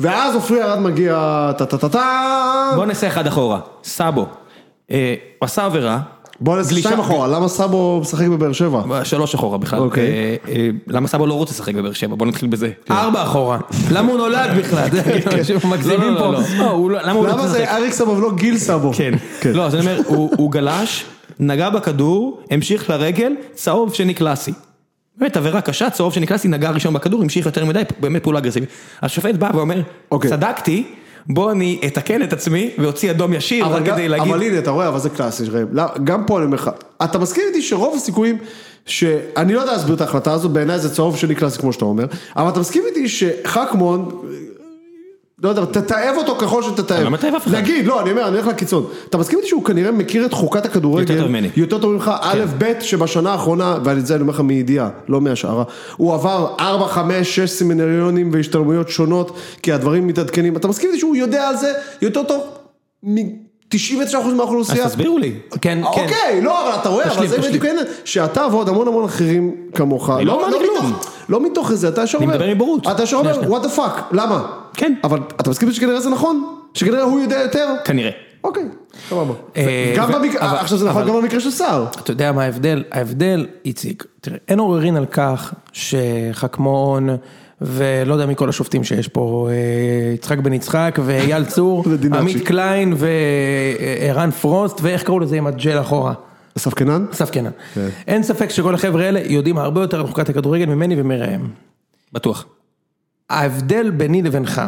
Speaker 2: ואז עופרי ארד מגיע טה טה טה טה.
Speaker 1: בוא נעשה אחד אחורה, סאבו. אה, הוא עשה עבירה.
Speaker 2: בוא נעשה
Speaker 1: גלישה-
Speaker 2: שתיים אחורה, למה סאבו משחק בבאר שבע?
Speaker 1: שלוש אחורה בכלל.
Speaker 2: אוקיי. כן.
Speaker 1: אה, אה, למה סאבו לא רוצה לשחק בבאר שבע? בוא נתחיל בזה.
Speaker 3: ארבע אחורה. למה הוא נולד בכלל? זה
Speaker 1: (laughs)
Speaker 3: כאילו, מגזימים
Speaker 1: לא,
Speaker 3: פה.
Speaker 1: לא, לא, לא. לא, הוא לא- למה הוא לא
Speaker 2: למה
Speaker 1: רוצה לשחק?
Speaker 2: זה אריק סבו ולא גיל סבו?
Speaker 1: כן. לא, אז אני אומר, הוא הוא גלש, נגע בכדור, המשיך לרגל, צהוב שני קלאסי. באמת עבירה קשה, צהוב שני קלאסי, נגע ראשון בכדור, המשיך יותר מדי, באמת פעולה אגרסיבית. השופט בא ואומר,
Speaker 2: אוקיי.
Speaker 1: צדקתי, בוא אני אתקן את עצמי ואוציא אדום ישיר,
Speaker 2: אבל
Speaker 1: רק
Speaker 2: גם-
Speaker 1: כדי להגיד,
Speaker 2: אבל הנה, אתה רואה, אבל זה קלאסי, ראם. לא, גם פה אני אומר לך, אתה מסכים איתי שרוב הסיכויים, שאני לא יודע להסביר את ההחלטה הזו, בעיניי זה צהוב שני קלאסי כמו שאתה אומר, אבל אתה מסכים איתי שחכמון, לא יודע, תתעב אותו ככל שתתעב.
Speaker 1: אני לא מתעב אף אחד.
Speaker 2: נגיד, לא, אני אומר, אני הולך לקיצון. אתה מסכים איתי שהוא כנראה מכיר את חוקת הכדורגל,
Speaker 1: יותר טוב ממני.
Speaker 2: יותר טוב ממך, א', ב', שבשנה האחרונה, ועל זה אני אומר לך מידיעה, לא מהשערה, הוא עבר 4, 5, 6 סמינריונים והשתלמויות שונות, כי הדברים מתעדכנים, אתה מסכים איתי שהוא יודע על זה יותר טוב מ-99%
Speaker 1: אז
Speaker 2: מהאוכלוסייה?
Speaker 1: תסבירו לי.
Speaker 3: כן, כן.
Speaker 2: אוקיי, לא, אבל אתה רואה, אבל
Speaker 3: תשלים,
Speaker 2: זה
Speaker 3: תשלים.
Speaker 2: בדיוק העניין, שאתה ועוד המון המון אחרים כמוך,
Speaker 1: לא אמרתי כלום.
Speaker 2: מתוך- לא מתוך איזה, אתה ישר אומר,
Speaker 1: מדבר מבורות.
Speaker 2: אתה ישר
Speaker 1: שנייה,
Speaker 2: אומר, וואט דה פאק, למה?
Speaker 1: כן.
Speaker 2: אבל אתה מסכים שכנראה זה נכון? שכנראה הוא יודע יותר?
Speaker 1: כנראה.
Speaker 2: אוקיי, סבבה.
Speaker 3: אה,
Speaker 2: גם
Speaker 3: ו- אבל-
Speaker 2: במקרה, עכשיו זה נכון
Speaker 3: אבל-
Speaker 2: גם במקרה של סער.
Speaker 3: אתה יודע מה ההבדל? ההבדל, איציק, תראה, אין עוררין על כך שחכמון ולא יודע מי כל השופטים שיש פה, אה, יצחק בן יצחק ואייל צור,
Speaker 2: ודינצ'י.
Speaker 3: עמית קליין וערן פרוסט, ואיך קראו לזה עם הג'ל אחורה?
Speaker 2: אסף קנן?
Speaker 3: אסף קנן. אין ספק שכל החבר'ה האלה יודעים הרבה יותר על חוקת הכדורגל ממני ומראם.
Speaker 1: בטוח.
Speaker 3: ההבדל ביני לבינך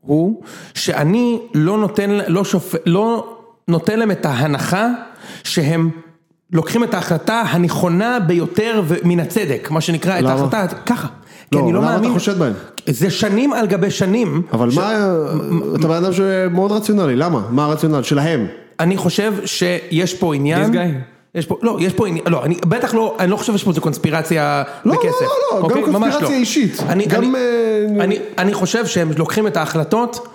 Speaker 3: הוא שאני לא נותן, לא, שופ... לא נותן להם את ההנחה שהם לוקחים את ההחלטה הנכונה ביותר ו- מן הצדק, מה שנקרא את
Speaker 2: למה?
Speaker 3: ההחלטה, ככה. כי
Speaker 2: לא,
Speaker 3: אני לא
Speaker 2: למה אתה
Speaker 3: מאמין.
Speaker 2: חושד בהם?
Speaker 3: זה שנים על גבי שנים.
Speaker 2: אבל מה, אה, אתה בן אדם שמאוד רציונלי, למה? מה הרציונל? שלהם.
Speaker 3: אני חושב שיש פה עניין.
Speaker 1: This guy?
Speaker 3: יש פה, לא, יש פה עניין, לא, אני בטח לא, אני לא חושב שיש פה איזה קונספירציה
Speaker 2: לא,
Speaker 3: בכסף.
Speaker 2: לא, לא, גם
Speaker 3: אוקיי? ממש
Speaker 2: קונספירציה אישית.
Speaker 3: אני,
Speaker 2: גם,
Speaker 3: אני,
Speaker 2: אה,
Speaker 3: אני, אני חושב שהם לוקחים את ההחלטות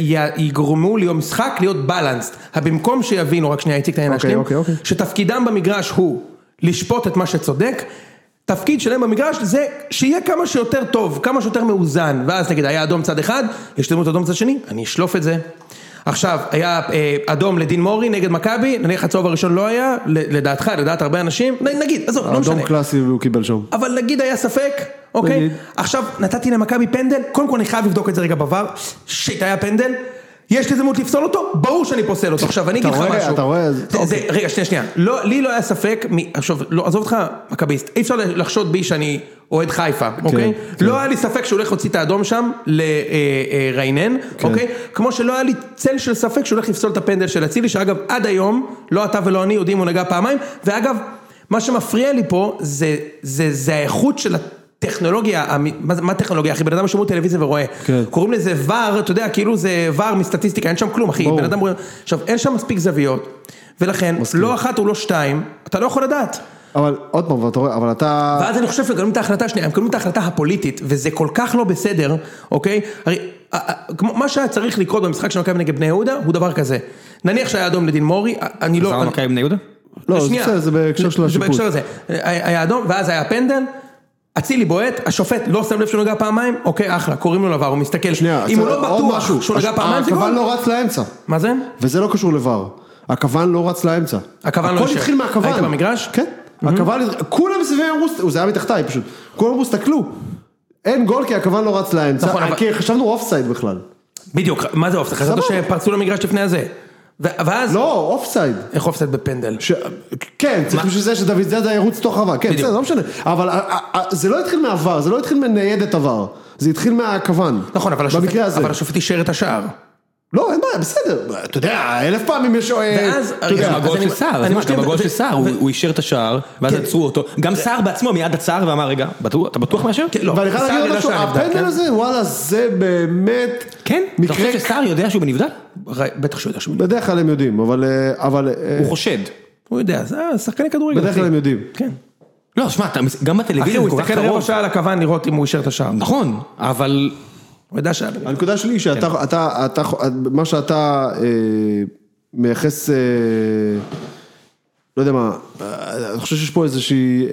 Speaker 3: שיגרמו ליום משחק להיות בלנסט. במקום שיבינו, רק שנייה, איציק, תן לי
Speaker 2: אוקיי,
Speaker 3: להשלים,
Speaker 2: אוקיי, אוקיי.
Speaker 3: שתפקידם במגרש הוא לשפוט את מה שצודק. תפקיד שלהם במגרש זה שיהיה כמה שיותר טוב, כמה שיותר מאוזן, ואז נגיד היה אדום צד אחד, השתלמות אדום צד שני, אני אשלוף את זה. עכשיו, היה אה, אדום לדין מורי נגד מכבי, נניח הצהוב הראשון לא היה, ל- לדעתך, לדעת הרבה אנשים, נ- נגיד, עזוב, לא משנה.
Speaker 2: אדום קלאסי והוא קיבל שם.
Speaker 3: אבל נגיד היה ספק, אוקיי?
Speaker 2: נגיד.
Speaker 3: עכשיו נתתי למכבי פנדל, קודם כל אני חייב לבדוק את זה רגע בVAR, שיט היה פנדל, יש לי הזדמנות לפסול אותו, ברור שאני פוסל אותו. עכשיו אני
Speaker 2: אתה
Speaker 3: אגיד לך
Speaker 2: רואה,
Speaker 3: משהו.
Speaker 2: אתה רואה, זה-
Speaker 3: זה- זה- רגע, שנייה, שנייה. לא, לי לא היה ספק, מ- עכשיו, לא, עזוב אותך, מכביסט, אי אפשר לחשוד בי שאני אוהד חיפה, אוקיי?
Speaker 2: כן.
Speaker 3: לא היה לי ספק שהוא הולך להוציא את האדום שם לריינן,
Speaker 2: כן.
Speaker 3: אוקיי? כמו שלא היה לי צל של ספק שהוא הולך לפסול את הפנדל של אצילי, שאגב, עד היום, לא אתה ולא אני יודעים אם הוא נגע פעמיים, ואגב, מה שמפריע לי פה זה, זה, זה האיכות של הטכנולוגיה, המ- מה, זה- מה הטכנולוגיה, אחי? בן אדם שומע טלוויזיה ורואה.
Speaker 2: כן.
Speaker 3: קוראים לזה ור, אתה יודע, כאילו זה ור מסטטיסטיקה, אין שם כלום, אחי.
Speaker 2: ברור.
Speaker 3: בן אדם רואה... עכשיו, אין שם מספיק זוויות, ולכן, לא אחת ולא שתיים, אתה לא יכול לדעת.
Speaker 2: אבל עוד פעם, אתה רואה, אבל אתה...
Speaker 3: ואז אני חושב שמקבלים את ההחלטה השנייה, הם מקבלים את ההחלטה הפוליטית, וזה כל כך לא בסדר, אוקיי? הרי אה, אה, כמו- מה שהיה צריך לקרות במשחק של מכבי נגד בני יהודה, הוא דבר כזה. נניח שהיה אדום לדין מורי, אה, אני לא...
Speaker 1: חזר
Speaker 3: אני-
Speaker 1: מכבי בני יהודה?
Speaker 2: לא, זה
Speaker 3: שנייה.
Speaker 2: בסדר, זה בהקשר של
Speaker 3: זה
Speaker 2: השיפוט.
Speaker 3: בהקשר הזה. היה היה אדום, ואז היה פנדל. אצילי בועט, השופט לא שם לב שהוא נגע פעמיים, אוקיי אחלה, קוראים לו לבר, הוא מסתכל,
Speaker 2: שנייה,
Speaker 3: אם הוא לא
Speaker 2: עוד
Speaker 3: בטוח
Speaker 2: משהו.
Speaker 3: שהוא נגע
Speaker 2: הש-
Speaker 3: פעמיים זה
Speaker 2: הכוון
Speaker 3: גול,
Speaker 2: לא רץ לאמצע,
Speaker 3: מה זה?
Speaker 2: וזה לא קשור לבר. הכוון לא רץ לאמצע.
Speaker 3: הכוון לא
Speaker 2: הכל
Speaker 3: יושב.
Speaker 2: התחיל מהכוון.
Speaker 3: היית במגרש?
Speaker 2: כן. הכוון, כולם סביבי אמרו, זה היה מתחתיי פשוט. כולם אמרו, סתכלו. אין גול כי הכוון לא רץ
Speaker 3: נכון, אבל-
Speaker 2: לאמצע. כי חשבנו אופסייד בכלל.
Speaker 3: בדיוק, מה זה אופסייד? חשבתי
Speaker 2: סבבה.
Speaker 3: שפרצו למגרש לפני הזה, ו- ואז,
Speaker 2: לא, אופסייד.
Speaker 3: איך אופסייד בפנדל?
Speaker 2: ש... כן, צריך בשביל זה שדוד זאדה ירוץ לתוך הרחבה, כן,
Speaker 3: בדיוק.
Speaker 2: בסדר, לא משנה. אבל אה, אה, זה לא התחיל מהעבר, זה לא התחיל מניידת עבר, זה התחיל מהכוון.
Speaker 3: נכון, אבל השופט-
Speaker 2: במקרה הזה.
Speaker 3: אבל השופט אישר את השער.
Speaker 2: לא, אין בעיה, בסדר, אתה יודע, אלף פעמים יש... אה,
Speaker 3: ואז-
Speaker 2: אתה יודע,
Speaker 3: רגע,
Speaker 1: גם
Speaker 3: כן, אז
Speaker 1: הגול
Speaker 3: אני-
Speaker 1: של סער,
Speaker 3: אני
Speaker 1: אז מה,
Speaker 3: משלים,
Speaker 1: גם הגול
Speaker 3: ו-
Speaker 1: של סער, הוא הוא אישר את השער, ואז
Speaker 3: כן.
Speaker 1: עצרו אותו, גם סער בעצמו מיד עצר ואמר רגע, בטוח- אתה בטוח מאשר?
Speaker 3: כן, לא,
Speaker 2: ואני חייב
Speaker 3: סער
Speaker 2: להגיד עוד
Speaker 3: יודע
Speaker 2: משהו,
Speaker 3: שהיה נבדל, כן?
Speaker 2: הפנדל הזה, וואלה, זה באמת...
Speaker 1: כן? אתה
Speaker 2: מקרה...
Speaker 1: חושב שסער יודע שהוא בנבדל?
Speaker 3: ר- בטח שהוא יודע שהוא...
Speaker 2: בדרך כלל הם יודעים, אבל... אה, אבל... אה,
Speaker 1: הוא חושד.
Speaker 3: הוא יודע, זה שחקני כדורגל.
Speaker 2: בדרך
Speaker 3: אחי.
Speaker 2: כלל הם יודעים.
Speaker 3: כן.
Speaker 1: לא, שמע, אתה מס- גם
Speaker 3: אחי,
Speaker 1: בטלוויזיה
Speaker 3: הוא
Speaker 1: הוא כל כך
Speaker 3: הסתכל רבע
Speaker 1: קרוב.
Speaker 3: שעה על הכוון לראות אם הוא אישר את השער.
Speaker 1: נכון, אבל
Speaker 3: הוא יודע שהיה... בנבדל.
Speaker 2: הנקודה שלי היא שאתה,
Speaker 1: כן.
Speaker 2: אתה, אתה, מה שאתה אה, מייחס, אה, לא יודע מה, אה, אני חושב שיש פה איזושהי, אה,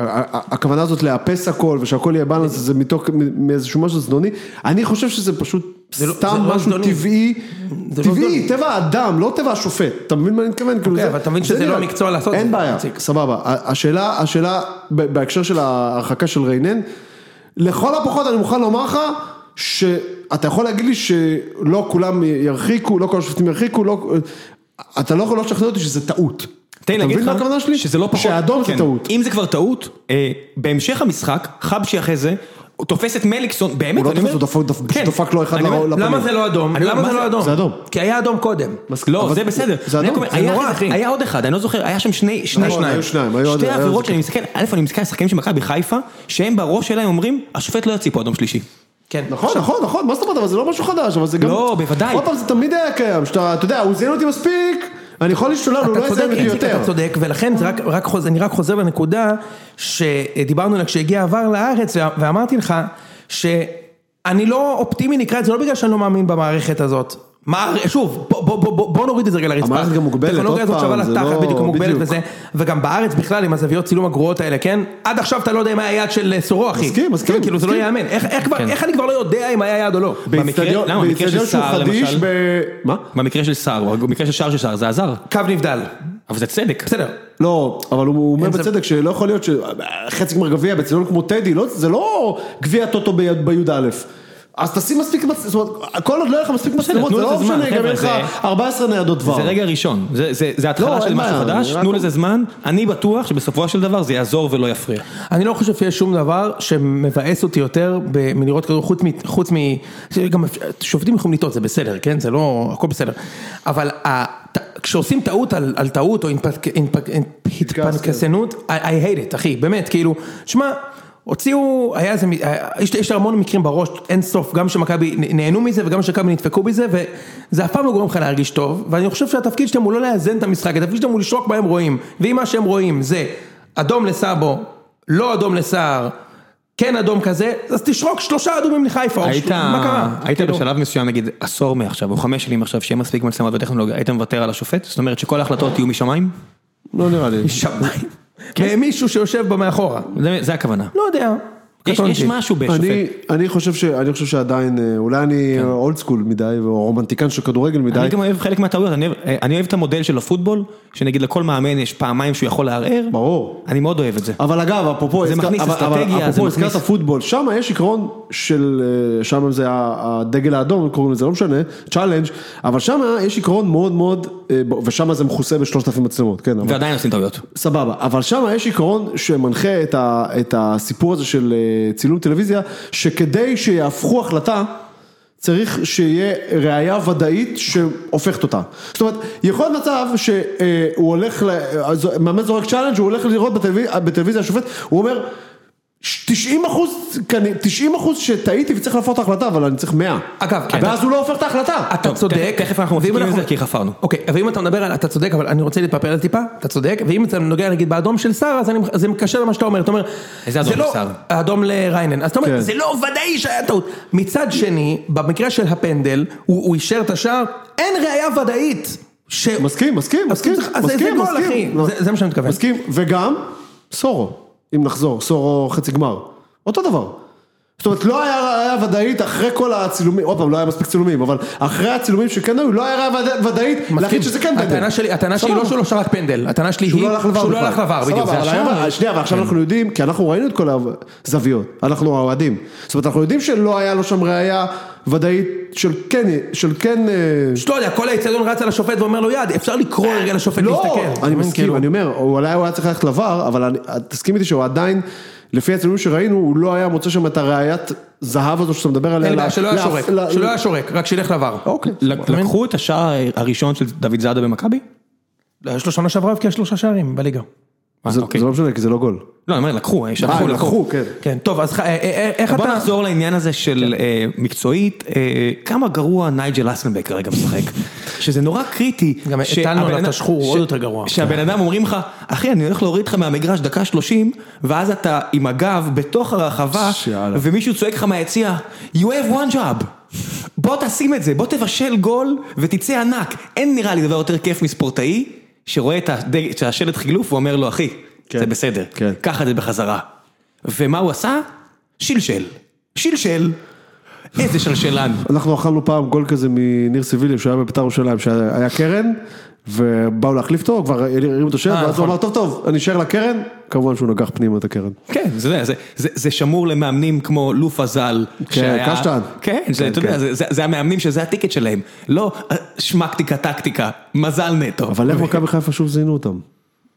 Speaker 2: ה- ה- הכוונה הזאת לאפס הכל ושהכל יהיה בלנס, זה מתוך, מ- מאיזשהו משהו זדוני, אני חושב שזה פשוט
Speaker 3: זה לא- זה
Speaker 2: סתם
Speaker 3: לא
Speaker 2: משהו
Speaker 3: זדוני.
Speaker 2: טבעי,
Speaker 3: זה לא
Speaker 2: טבעי,
Speaker 3: זדוני.
Speaker 2: טבע האדם, לא טבע השופט, אתה מבין מה אני מתכוון? כאילו זה-
Speaker 3: אבל אתה מבין שזה
Speaker 2: זה
Speaker 3: לא
Speaker 2: נראה-
Speaker 3: המקצוע לעשות את
Speaker 2: אין
Speaker 3: זה,
Speaker 2: בעיה,
Speaker 3: איציק.
Speaker 2: סבבה, ה- השאלה, השאלה ב- בהקשר של ההרחקה של ריינן, לכל הפחות אני מוכן לומר לך שאתה יכול להגיד לי שלא כולם ירחיקו, לא כל השופטים ירחיקו, לא... אתה לא יכול לא לשכנע אותי שזה טעות.
Speaker 1: תן לי להגיד
Speaker 2: אתה מבין מה הכוונה
Speaker 1: לך
Speaker 2: שלי?
Speaker 1: שזה לא פחות,
Speaker 2: שהאדום זה
Speaker 1: כן.
Speaker 2: טעות.
Speaker 1: אם זה כבר טעות, אה, בהמשך המשחק, חבשי אחרי זה, הוא תופס את מליקסון, באמת,
Speaker 2: לא
Speaker 1: אני
Speaker 2: תופס,
Speaker 1: אומר-
Speaker 2: הוא דפק- דפק-
Speaker 1: כן.
Speaker 2: דפק לו אחד
Speaker 1: אני אומר-
Speaker 2: לרעול. לפנים.
Speaker 3: למה זה לא אדום?
Speaker 1: אני אומר,
Speaker 3: למה
Speaker 1: מה
Speaker 3: זה
Speaker 1: זה-
Speaker 3: לא אדום?
Speaker 2: זה אדום.
Speaker 3: כי היה אדום קודם.
Speaker 1: לא,
Speaker 2: אבל-
Speaker 1: זה בסדר.
Speaker 2: זה
Speaker 1: אני רק
Speaker 2: אדום,
Speaker 1: אומר,
Speaker 2: זה
Speaker 1: היה
Speaker 2: נורא,
Speaker 1: אחד-
Speaker 3: אחי.
Speaker 1: היה עוד אחד, אני לא זוכר, היה שם שני, שני,
Speaker 2: נכון, היו שניים, היו עוד-
Speaker 1: שתי
Speaker 2: היו עוד
Speaker 1: עבירות
Speaker 2: זה
Speaker 1: שאני מסתכל, א', אני מסתכל על שחקנים של מכבי חיפה, שהם בראש שלהם אומרים, השופט לא יוציא פה אדום שלישי.
Speaker 3: כן.
Speaker 2: נכון, נכון, נכון, מה זאת אומרת, אבל זה לא משהו חדש, אבל זה גם...
Speaker 1: לא, בוודאי.
Speaker 2: עוד פעם, זה תמיד היה קיים, שאתה, אתה יודע, הוא זיין אותי מספיק, אני יכול להשתולל, הוא לא
Speaker 3: אתה צודק,
Speaker 2: יזיין אותי
Speaker 3: איציק,
Speaker 2: יותר.
Speaker 3: אתה צודק, ולכן זה רק, רק חוזר, אני רק חוזר לנקודה שדיברנו עליה כשהגיע עבר לארץ, וה- ואמרתי לך שאני לא אופטימי נקרא את זה, לא בגלל שאני לא מאמין במערכת הזאת. מה, שוב, בוא, בוא, בוא, בוא, בוא נוריד את זה רגע לרצפה.
Speaker 2: המערכת גם מוגבלת,
Speaker 3: הטכנולוגיה
Speaker 2: עוד
Speaker 3: הזאת שווה
Speaker 2: פעם, זה
Speaker 3: לתחת,
Speaker 2: לא-
Speaker 3: בדיוק, היא מוגבלת
Speaker 2: בדיוק.
Speaker 3: וזה, וגם בארץ בכלל עם הזוויות צילום הגרועות האלה, כן? עד עכשיו אתה לא יודע אם היה יד של סורו, אחי.
Speaker 2: מסכים, מסכים,
Speaker 3: כן, כאילו זה לא
Speaker 2: מסכים. כן.
Speaker 3: ייאמן. איך, איך, כבר- איך אני כבר לא יודע אם היה יד או לא?
Speaker 1: במקרה- למה? במקרה של
Speaker 2: באיצטדיון שהוא
Speaker 1: סער,
Speaker 2: חדיש,
Speaker 1: למשל?
Speaker 2: ב... מה?
Speaker 1: במקרה של סער, או במקרה של שער של סער, זה עזר.
Speaker 3: קו נבדל.
Speaker 1: אבל זה צדק.
Speaker 3: בסדר,
Speaker 2: לא, אבל הוא הוא אומר
Speaker 3: אין ספק.
Speaker 2: בצדק שלא יכול להיות שחצי גמר גביע בצדון כמו טדי, לא- זה לא גביע טוטו ביד- בי"א. אז תשים מספיק מצלמות, זאת אומרת, כל עוד לא יהיה לך מספיק מצלמות,
Speaker 1: תנו
Speaker 2: זה לא
Speaker 1: לזה זמן,
Speaker 2: משנה, גם
Speaker 1: חבר'ה,
Speaker 2: יהיה לך
Speaker 1: זה-
Speaker 2: 14 ניידות דבר.
Speaker 1: זה רגע ראשון, זה- זה זה
Speaker 2: לא,
Speaker 1: התחלה של
Speaker 2: אין
Speaker 1: משהו
Speaker 2: בעיה,
Speaker 1: חדש,
Speaker 2: אני רק-
Speaker 1: תנו לזה זמן, אני בטוח שבסופו של דבר זה יעזור ולא יפריע.
Speaker 3: אני לא חושב שיש שום דבר שמבאס אותי יותר ב- מלראות כדור, חוץ מ... חוץ מ... גם אפ- שופטים יכולים לטעות, זה בסדר, כן? זה לא... הכל בסדר. אבל ה... ת- כשעושים טעות על, על טעות או התפק- התפק- התפנקסנות, I, I hate it, אחי, באמת, כאילו, שמע... הוציאו, היה איזה, מ- היה- יש, יש המון מקרים בראש, אין סוף, גם שמכבי נ- נהנו מזה וגם שמכבי נדפקו מזה וזה אף פעם לא גורם לך להרגיש טוב ואני חושב שהתפקיד שלהם הוא לא לאזן את המשחק, התפקיד שלהם הוא לשרוק מה הם רואים ואם מה שהם רואים זה אדום לסאבו, לא אדום לסער, כן אדום כזה, אז תשרוק שלושה אדומים לחיפה, או
Speaker 1: היית,
Speaker 3: של- מה קרה?
Speaker 1: היית
Speaker 3: כאילו,
Speaker 1: בשלב מסוים נגיד עשור מעכשיו או חמש שנים עכשיו שיהיה מספיק מצלמות וטכנולוגיה, היית מוותר על השופט? זאת אומרת שכל ההחלטות יהיו משמיים?
Speaker 2: לא נראה לי.
Speaker 3: שמיים. (laughs) מישהו שיושב בה מאחורה,
Speaker 1: זה- זה הכוונה.
Speaker 3: לא יודע.
Speaker 1: יש
Speaker 3: קטונתי.
Speaker 1: יש משהו בשופט. כן.
Speaker 2: אני, אני, חושב ש, אני חושב שעדיין, אה, אולי אני אולד סקול מדי, או רומנטיקן של כדורגל מדי.
Speaker 1: אני גם אוהב חלק מהטעויות, אני, אוהב- אני אוהב את המודל של הפוטבול, שנגיד לכל מאמן יש פעמיים שהוא יכול לערער.
Speaker 2: ברור.
Speaker 1: אני מאוד אוהב את זה.
Speaker 2: אבל אגב, אפרופו,
Speaker 1: זה
Speaker 2: הזכ-
Speaker 1: מכניס
Speaker 2: אבל- אבל
Speaker 1: אסטרטגיה, זה
Speaker 2: אפרופו
Speaker 1: מכניס-
Speaker 2: הזכרת פוטבול, שם יש עיקרון של, אה, שם זה ה- הדגל האדום, קוראים לזה, לא משנה, צ'אלנג', אבל שם יש עיקרון מאוד מאוד, אה, ב- ושם זה מכוסה בשלושת אלפים מצלמות, כן, אבל-
Speaker 1: ועדיין עושים טעויות.
Speaker 2: סבבה, אבל שם יש עיקרון שמנחה את, ה, את הסיפור הזה של אה, צילום טלוויזיה, שכדי שיהפכו החלטה, צריך שיהיה ראייה ודאית שהופכת אותה. זאת אומרת, יכול להיות מצב שהוא הולך, ל- אה, זו- מאמן זורק צ'אלנג', הוא הולך לראות בטלוויזיה, בטלוויזיה השופט, הוא אומר, 90 אחוז, 90 אחוז שטעיתי וצריך להפוך את ההחלטה, אבל אני צריך 100.
Speaker 3: אגב, כן.
Speaker 2: ואז הוא לא הופך את ההחלטה.
Speaker 3: אתה
Speaker 1: טוב,
Speaker 3: צודק,
Speaker 1: תכף- תכף אנחנו
Speaker 3: ואם
Speaker 1: מפסיקים עם זה, כי חפרנו.
Speaker 3: אוקיי, ואם אתה מדבר על, אתה צודק, אבל אני רוצה להתפרפר על טיפה, אתה צודק, ואם אתה נוגע נגיד באדום של סער, אז אני, זה מקשר למה שאתה אומר, אתה אומר,
Speaker 1: איזה אדום
Speaker 3: זה לא,
Speaker 1: של סער?
Speaker 3: האדום לריינן, אז אתה אומר,
Speaker 2: כן.
Speaker 3: זה לא ודאי שהיה טעות. מצד שני, במקרה של הפנדל, הוא, הוא אישר את השער, אין ראייה ודאית. ש...
Speaker 2: מסכים, מסכים,
Speaker 3: אז
Speaker 2: מסכים,
Speaker 3: צריך- אז זה-
Speaker 2: מסכים,
Speaker 3: זה גול,
Speaker 2: מסכים.
Speaker 3: אחי.
Speaker 2: לא.
Speaker 3: זה- זה מה שאני מתכוון.
Speaker 2: מסכים, וגם סורו, אם נחזור, סורו חצי גמר, אותו דבר. זאת אומרת, לא היה ראייה ודאית אחרי כל הצילומים, עוד פעם, לא היה מספיק צילומים, אבל אחרי הצילומים שכן היו, לא היה ראייה וד- ודאית להחליט שזה כן פנדל.
Speaker 3: הטענה שלי, הטענה שלי לא
Speaker 2: סבבה.
Speaker 3: שהוא לא שרק פנדל, הטענה שלי
Speaker 2: שהוא
Speaker 3: היא
Speaker 2: לא הלך לבר
Speaker 3: שהוא לא
Speaker 2: בכלל.
Speaker 3: הלך לבר, בדיוק,
Speaker 2: סבבה,
Speaker 3: זה כן.
Speaker 2: אבל
Speaker 3: השער.
Speaker 2: היה- שנייה, ועכשיו אנחנו יודעים, כי אנחנו ראינו את כל הזוויות, אנחנו האוהדים. זאת אומרת, אנחנו יודעים שלא היה לו שם ראייה ודאית של כן, של כן... אה,
Speaker 3: פשוט לא יודע, כל האיצטדיון רץ על השופט ואומר לו יד, אפשר לקרוא רגע לשופט להסתכל. כאילו,
Speaker 2: לא, אני מסכים, אני אומר, הוא אולי הוא היה צריך ללכת לבר, אבל אני- תסכים איתי שהוא עדיין, לפי הצילומים שראינו, הוא לא היה מוצא שם את הראיית זהב הזו שאתה מדבר עליה.
Speaker 3: אין לי בעיה, לא,
Speaker 2: ל-
Speaker 3: שלא היה
Speaker 2: ל-
Speaker 3: שורק,
Speaker 2: ל-
Speaker 3: שלא היה שורק, רק שילך לבר.
Speaker 2: אוקיי.
Speaker 1: לק- לקחו את השער הראשון של דוד זאדה במכבי?
Speaker 3: לא, יש לו שנה שעברה הבקיע שלושה שערים בליגה.
Speaker 1: אה,
Speaker 2: זה
Speaker 1: אוקיי.
Speaker 2: זה לא משנה, כי זה לא גול.
Speaker 1: לא, אני אומר, לקחו, אה,
Speaker 2: אה,
Speaker 1: שלחו, לקחו.
Speaker 2: כן.
Speaker 3: כן, טוב, אז ח- אה, אה, איך
Speaker 1: בוא
Speaker 3: אתה...
Speaker 1: נחזור לעניין הזה של
Speaker 3: כן.
Speaker 1: אה, מקצועית, אה, כמה גרוע נייג'ל אסנבק כרגע משחק, שזה נורא קריטי.
Speaker 3: גם
Speaker 1: שהבן
Speaker 3: הטלנו עליו
Speaker 1: אדם-
Speaker 3: את השחור, הוא
Speaker 1: ש-
Speaker 3: עוד יותר גרוע. כן.
Speaker 1: שהבן אדם אומרים לך, אחי אני הולך להוריד אותך מהמגרש דקה שלושים, ואז אתה עם הגב בתוך הרחבה,
Speaker 2: יאללה.
Speaker 1: ומישהו צועק לך מהיציע, you have one job. בוא תשים את זה, בוא תבשל גול ותצא ענק. אין נראה לי דבר יותר כיף מספורטאי, שרואה את הדג- את השלט חילוף ואומר לו, אחי,
Speaker 2: כן.
Speaker 1: זה בסדר,
Speaker 2: כן.
Speaker 1: קח את זה בחזרה. ומה הוא עשה? שלשל. שלשל. איזה שלשלן.
Speaker 2: אנחנו אכלנו פעם גול כזה מניר סיביליו שהיה בביתר ירושלים, שהיה קרן, ובאו להחליף אותו, כבר הרימו את השם,
Speaker 3: אה,
Speaker 2: ואז הוא
Speaker 3: נכון.
Speaker 2: אמר, טוב, טוב, אני אשאר לקרן, כמובן שהוא נגח פנימה את הקרן.
Speaker 1: כן, זה, זה, זה, זה שמור למאמנים כמו לופה ז"ל.
Speaker 2: קשטן.
Speaker 1: כן, זה,
Speaker 2: כן,
Speaker 1: אתה יודע,
Speaker 2: כן.
Speaker 1: זה, זה, זה המאמנים שזה הטיקט שלהם. לא אה, שמקטיקה, טקטיקה, מזל נטו.
Speaker 2: אבל איך
Speaker 3: אוקיי.
Speaker 2: מכבי חיפה שוב זיהינו אותם?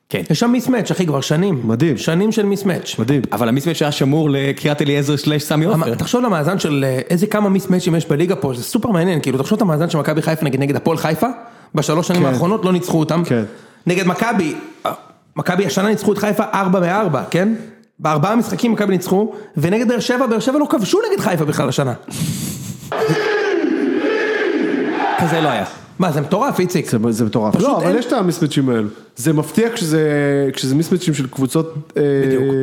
Speaker 1: כן.
Speaker 3: יש שם מיסמץ', אחי, כבר שנים.
Speaker 2: מדהים.
Speaker 3: שנים של מיסמץ'.
Speaker 2: מדהים.
Speaker 1: אבל המיסמץ' היה שמור לקריית אליעזר סלאש סמי עופר.
Speaker 3: המ- תחשוב למאזן של אה, איזה כמה מיסמצ'ים יש בליגה פה, זה סופר מעניין, כאילו תחשוב את המאזן של מכבי חיפה נגיד נגד הפועל חיפה, בשלוש שנים
Speaker 2: כן.
Speaker 3: האחרונות לא ניצחו אותם,
Speaker 2: כן.
Speaker 3: נגד מכבי, אה, מכבי השנה ניצחו את חיפה 4 מ-4, כן? בארבעה משחקים מכבי ניצחו, ונגד באר שבע, באר שבע לא כבשו נגד חיפה בכלל השנה.
Speaker 1: כזה לא
Speaker 2: כן.
Speaker 1: היה.
Speaker 3: מה זה מטורף איציק,
Speaker 2: זה, זה מטורף.
Speaker 3: פשוט
Speaker 2: לא, אבל
Speaker 3: אין-
Speaker 2: יש את המיסמצ'ים האלו. זה מפתיע כשזה, כשזה מיסמצ'ים של קבוצות אה,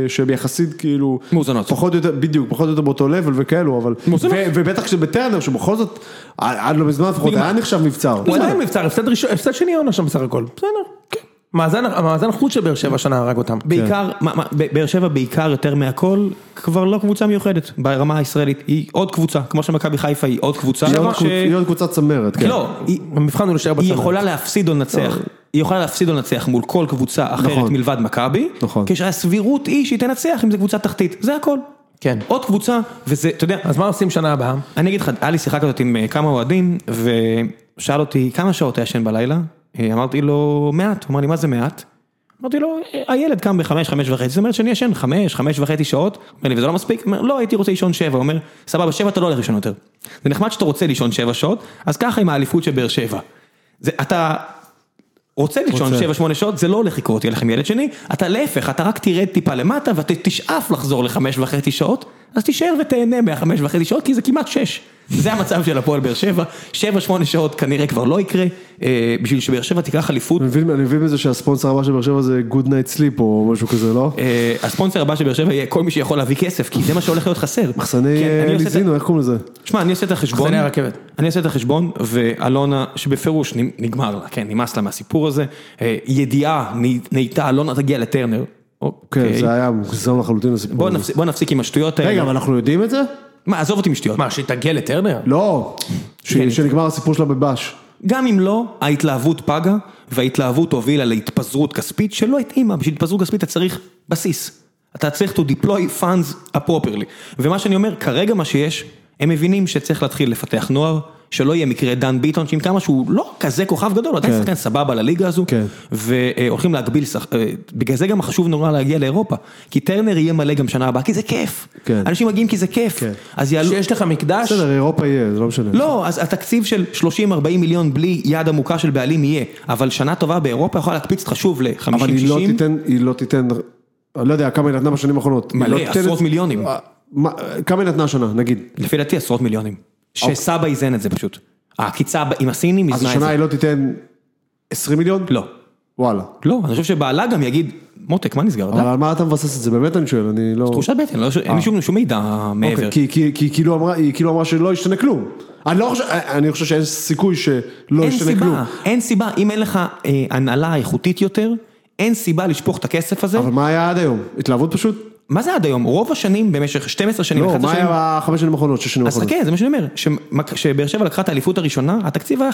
Speaker 2: שהן יחסית כאילו...
Speaker 1: מאוזנות.
Speaker 2: פחות או יותר, בדיוק, פחות או יותר באותו לבל וכאלו, אבל...
Speaker 1: מאוזנות.
Speaker 2: ו- ובטח כשבטרנר, שבכל זאת, עד עד לא מזמן לפחות,
Speaker 1: נגמר.
Speaker 2: היה נחשב מבצר.
Speaker 3: הוא עדיין מבצר, הפסד ראשון- הפסד שני העונה שם בסך הכל, בסדר, כן. מאזן- המאזן חוץ של באר שבע השנה הרג אותם.
Speaker 1: בעיקר, מה- מה- ב- באר שבע בעיקר יותר מהכל, כבר לא קבוצה מיוחדת ברמה הישראלית. היא עוד קבוצה, כמו שמכבי חיפה היא עוד קבוצה.
Speaker 2: היא עוד
Speaker 1: ש-
Speaker 2: קבוצ- היא עוד קבוצת צמרת, כן. לא.
Speaker 1: לא, היא-
Speaker 3: המבחן הוא להישאר בצד.
Speaker 1: היא יכולה להפסיד או לנצח. היא יכולה להפסיד או לנצח מול כל קבוצה אחרת
Speaker 2: נכון.
Speaker 1: מלבד מכבי,
Speaker 2: נכון.
Speaker 1: כשהסבירות היא שהיא תנצח אם זו קבוצה תחתית, זה הכל.
Speaker 3: כן.
Speaker 1: עוד קבוצה, וזה, אתה יודע,
Speaker 3: אז מה עושים שנה הבאה?
Speaker 1: אני אגיד לך, היה לי שיחה כזאת עם אה, כמה אוהדים, ושאל אותי כמה שעות אתה ישן בלילה, אה, אמרתי לו מעט, הוא אמר לי מה זה מעט? אמרתי לו, "אה, הילד קם בחמש, חמש וחצי, זאת אומרת שאני ישן חמש, חמש וחצי שעות, הוא אומר לי וזה לא מספיק? הוא אומר, לא, הייתי רוצה לישון שבע, הוא אומר, סבבה, שבע אתה לא הולך לישון יותר. זה נחמד שאתה רוצה לישון שבע שעות, אז ככה עם האליפות של באר שבע. זה, אתה רוצה לישון
Speaker 2: רוצה.
Speaker 1: שבע, שמונה שעות, זה לא הולך לקרות, יהיה לכם ילד שני, אתה להפך, אתה רק תרד טיפה למטה ואתה תשאף לחזור לחמש וחצי שעות, אז תישאר ותהנה מהחמש וחצי שעות, כי זה כמעט שש. זה המצב של הפועל באר שבע, שבע, שמונה שעות כנראה כבר לא יקרה, אה, בשביל שבאר שבע תיקח אליפות.
Speaker 2: אני מבין- אני מבין מזה שהספונסר הבא של באר שבע זה Good Night Sleep או משהו כזה, לא?
Speaker 1: אה, הספונסר הבא של באר שבע יהיה כל מי שיכול להביא כסף, כי זה מה שהולך להיות חסר.
Speaker 2: מחסני
Speaker 1: כן,
Speaker 2: אה,
Speaker 1: אני עושה את ה-
Speaker 2: ליזינו, איך קוראים לזה?
Speaker 1: שמע, אני עושה את החשבון.
Speaker 3: מחסני הרכבת.
Speaker 1: אני עושה את החשבון, ואלונה, שבפירוש נ- נגמר לה, כן, נמאס לה מהסיפור הזה. אה, ידיעה נ- נהייתה, אלונה תגיע לטרנר. אוקיי.
Speaker 2: כן, זה היה מוגזם לחלוטין הסיפור
Speaker 1: בוא
Speaker 2: הזה.
Speaker 1: נפסיק- בוא נפסיק עם השטויות האלה.
Speaker 2: רגע, אבל אנחנו יודעים את זה?
Speaker 1: מה, עזוב אותי עם שטויות.
Speaker 3: מה, שהיא תגיע לטרנר?
Speaker 2: לא. ש-
Speaker 1: כן.
Speaker 2: שנגמר הסיפור שלה בבש.
Speaker 1: גם אם לא, ההתלהבות פגה, וההתלהבות הובילה להתפזרות כספית שלא התאימה, בשביל התפזרות כספית אתה צריך בסיס. אתה צריך to deploy funds appropriately. ומה שאני אומר, כרגע מה שיש, הם מבינים שצריך להתחיל לפתח נוער, שלא יהיה מקרה דן ביטון, שעם כמה שהוא לא כזה כוכב גדול, הוא עדיין
Speaker 2: כן.
Speaker 1: שחקן סבבה לליגה הזו,
Speaker 2: כן.
Speaker 1: והולכים להגביל, שח- אה, בגלל זה גם חשוב נורא להגיע לאירופה, כי טרנר יהיה מלא גם שנה הבאה, כי זה כיף.
Speaker 2: כן.
Speaker 1: אנשים מגיעים כי זה כיף.
Speaker 2: כן.
Speaker 1: אז יעלו...
Speaker 3: שיש לך מקדש?
Speaker 2: בסדר, אירופה יהיה, זה לא משנה.
Speaker 1: לא, אז התקציב של 30-40 מיליון בלי יד עמוקה של בעלים יהיה, אבל שנה טובה באירופה יכולה להקפיץ אותך שוב
Speaker 2: אבל היא לא
Speaker 1: ל-50-60,
Speaker 2: תיתן, היא לא תיתן, אני לא יודע כמה היא נתנה בשנים האחרונות. היא
Speaker 1: מלא,
Speaker 2: לא תיתן
Speaker 1: עשרות
Speaker 2: את זה-
Speaker 1: מיליונים.
Speaker 2: אה, מה- כמה היא נתנה השנה, נגיד?
Speaker 1: לפי דעתי עשרות מיליונים. שסבא איזן את זה פשוט. העקיצה ב- עם הסינים
Speaker 2: אוקיי. אז
Speaker 1: איזנה את
Speaker 2: השנה
Speaker 1: זה.
Speaker 2: היא לא תיתן 20 מיליון?
Speaker 1: לא.
Speaker 2: וואלה.
Speaker 1: לא, אני חושב שבעלה גם יגיד, מוטק, מה נסגר?
Speaker 2: אבל על מה אתה מבסס את זה? באמת אני שואל, אני לא...
Speaker 1: תחושת בטן, לא- אין לי שום שום מידע מעבר.
Speaker 2: אוקיי, כי- כי- כי כאילו אמרה- היא כאילו אמרה שלא ישתנה כלום. אני לא חושב, אני חושב שאין סיכוי כאילו שלא
Speaker 1: אין
Speaker 2: ישתנה כלום.
Speaker 1: סיבה, אין סיבה, אם אין לך אה, הנהלה איכותית יותר, אין סיבה לשפוך את הכסף הזה.
Speaker 2: אבל מה היה עד היום? התלהבות פשוט?
Speaker 1: מה זה עד היום? רוב השנים, במשך 12 שנים,
Speaker 2: לא,
Speaker 1: 11
Speaker 2: מה
Speaker 1: שנים,
Speaker 2: היה בחמש שנים האחרונות, שש שנים
Speaker 1: אז
Speaker 2: האחרונות?
Speaker 1: חכה, זה מה שאני אומר, שמק- שבאר שבע לקחה את האליפות הראשונה, התקציב היה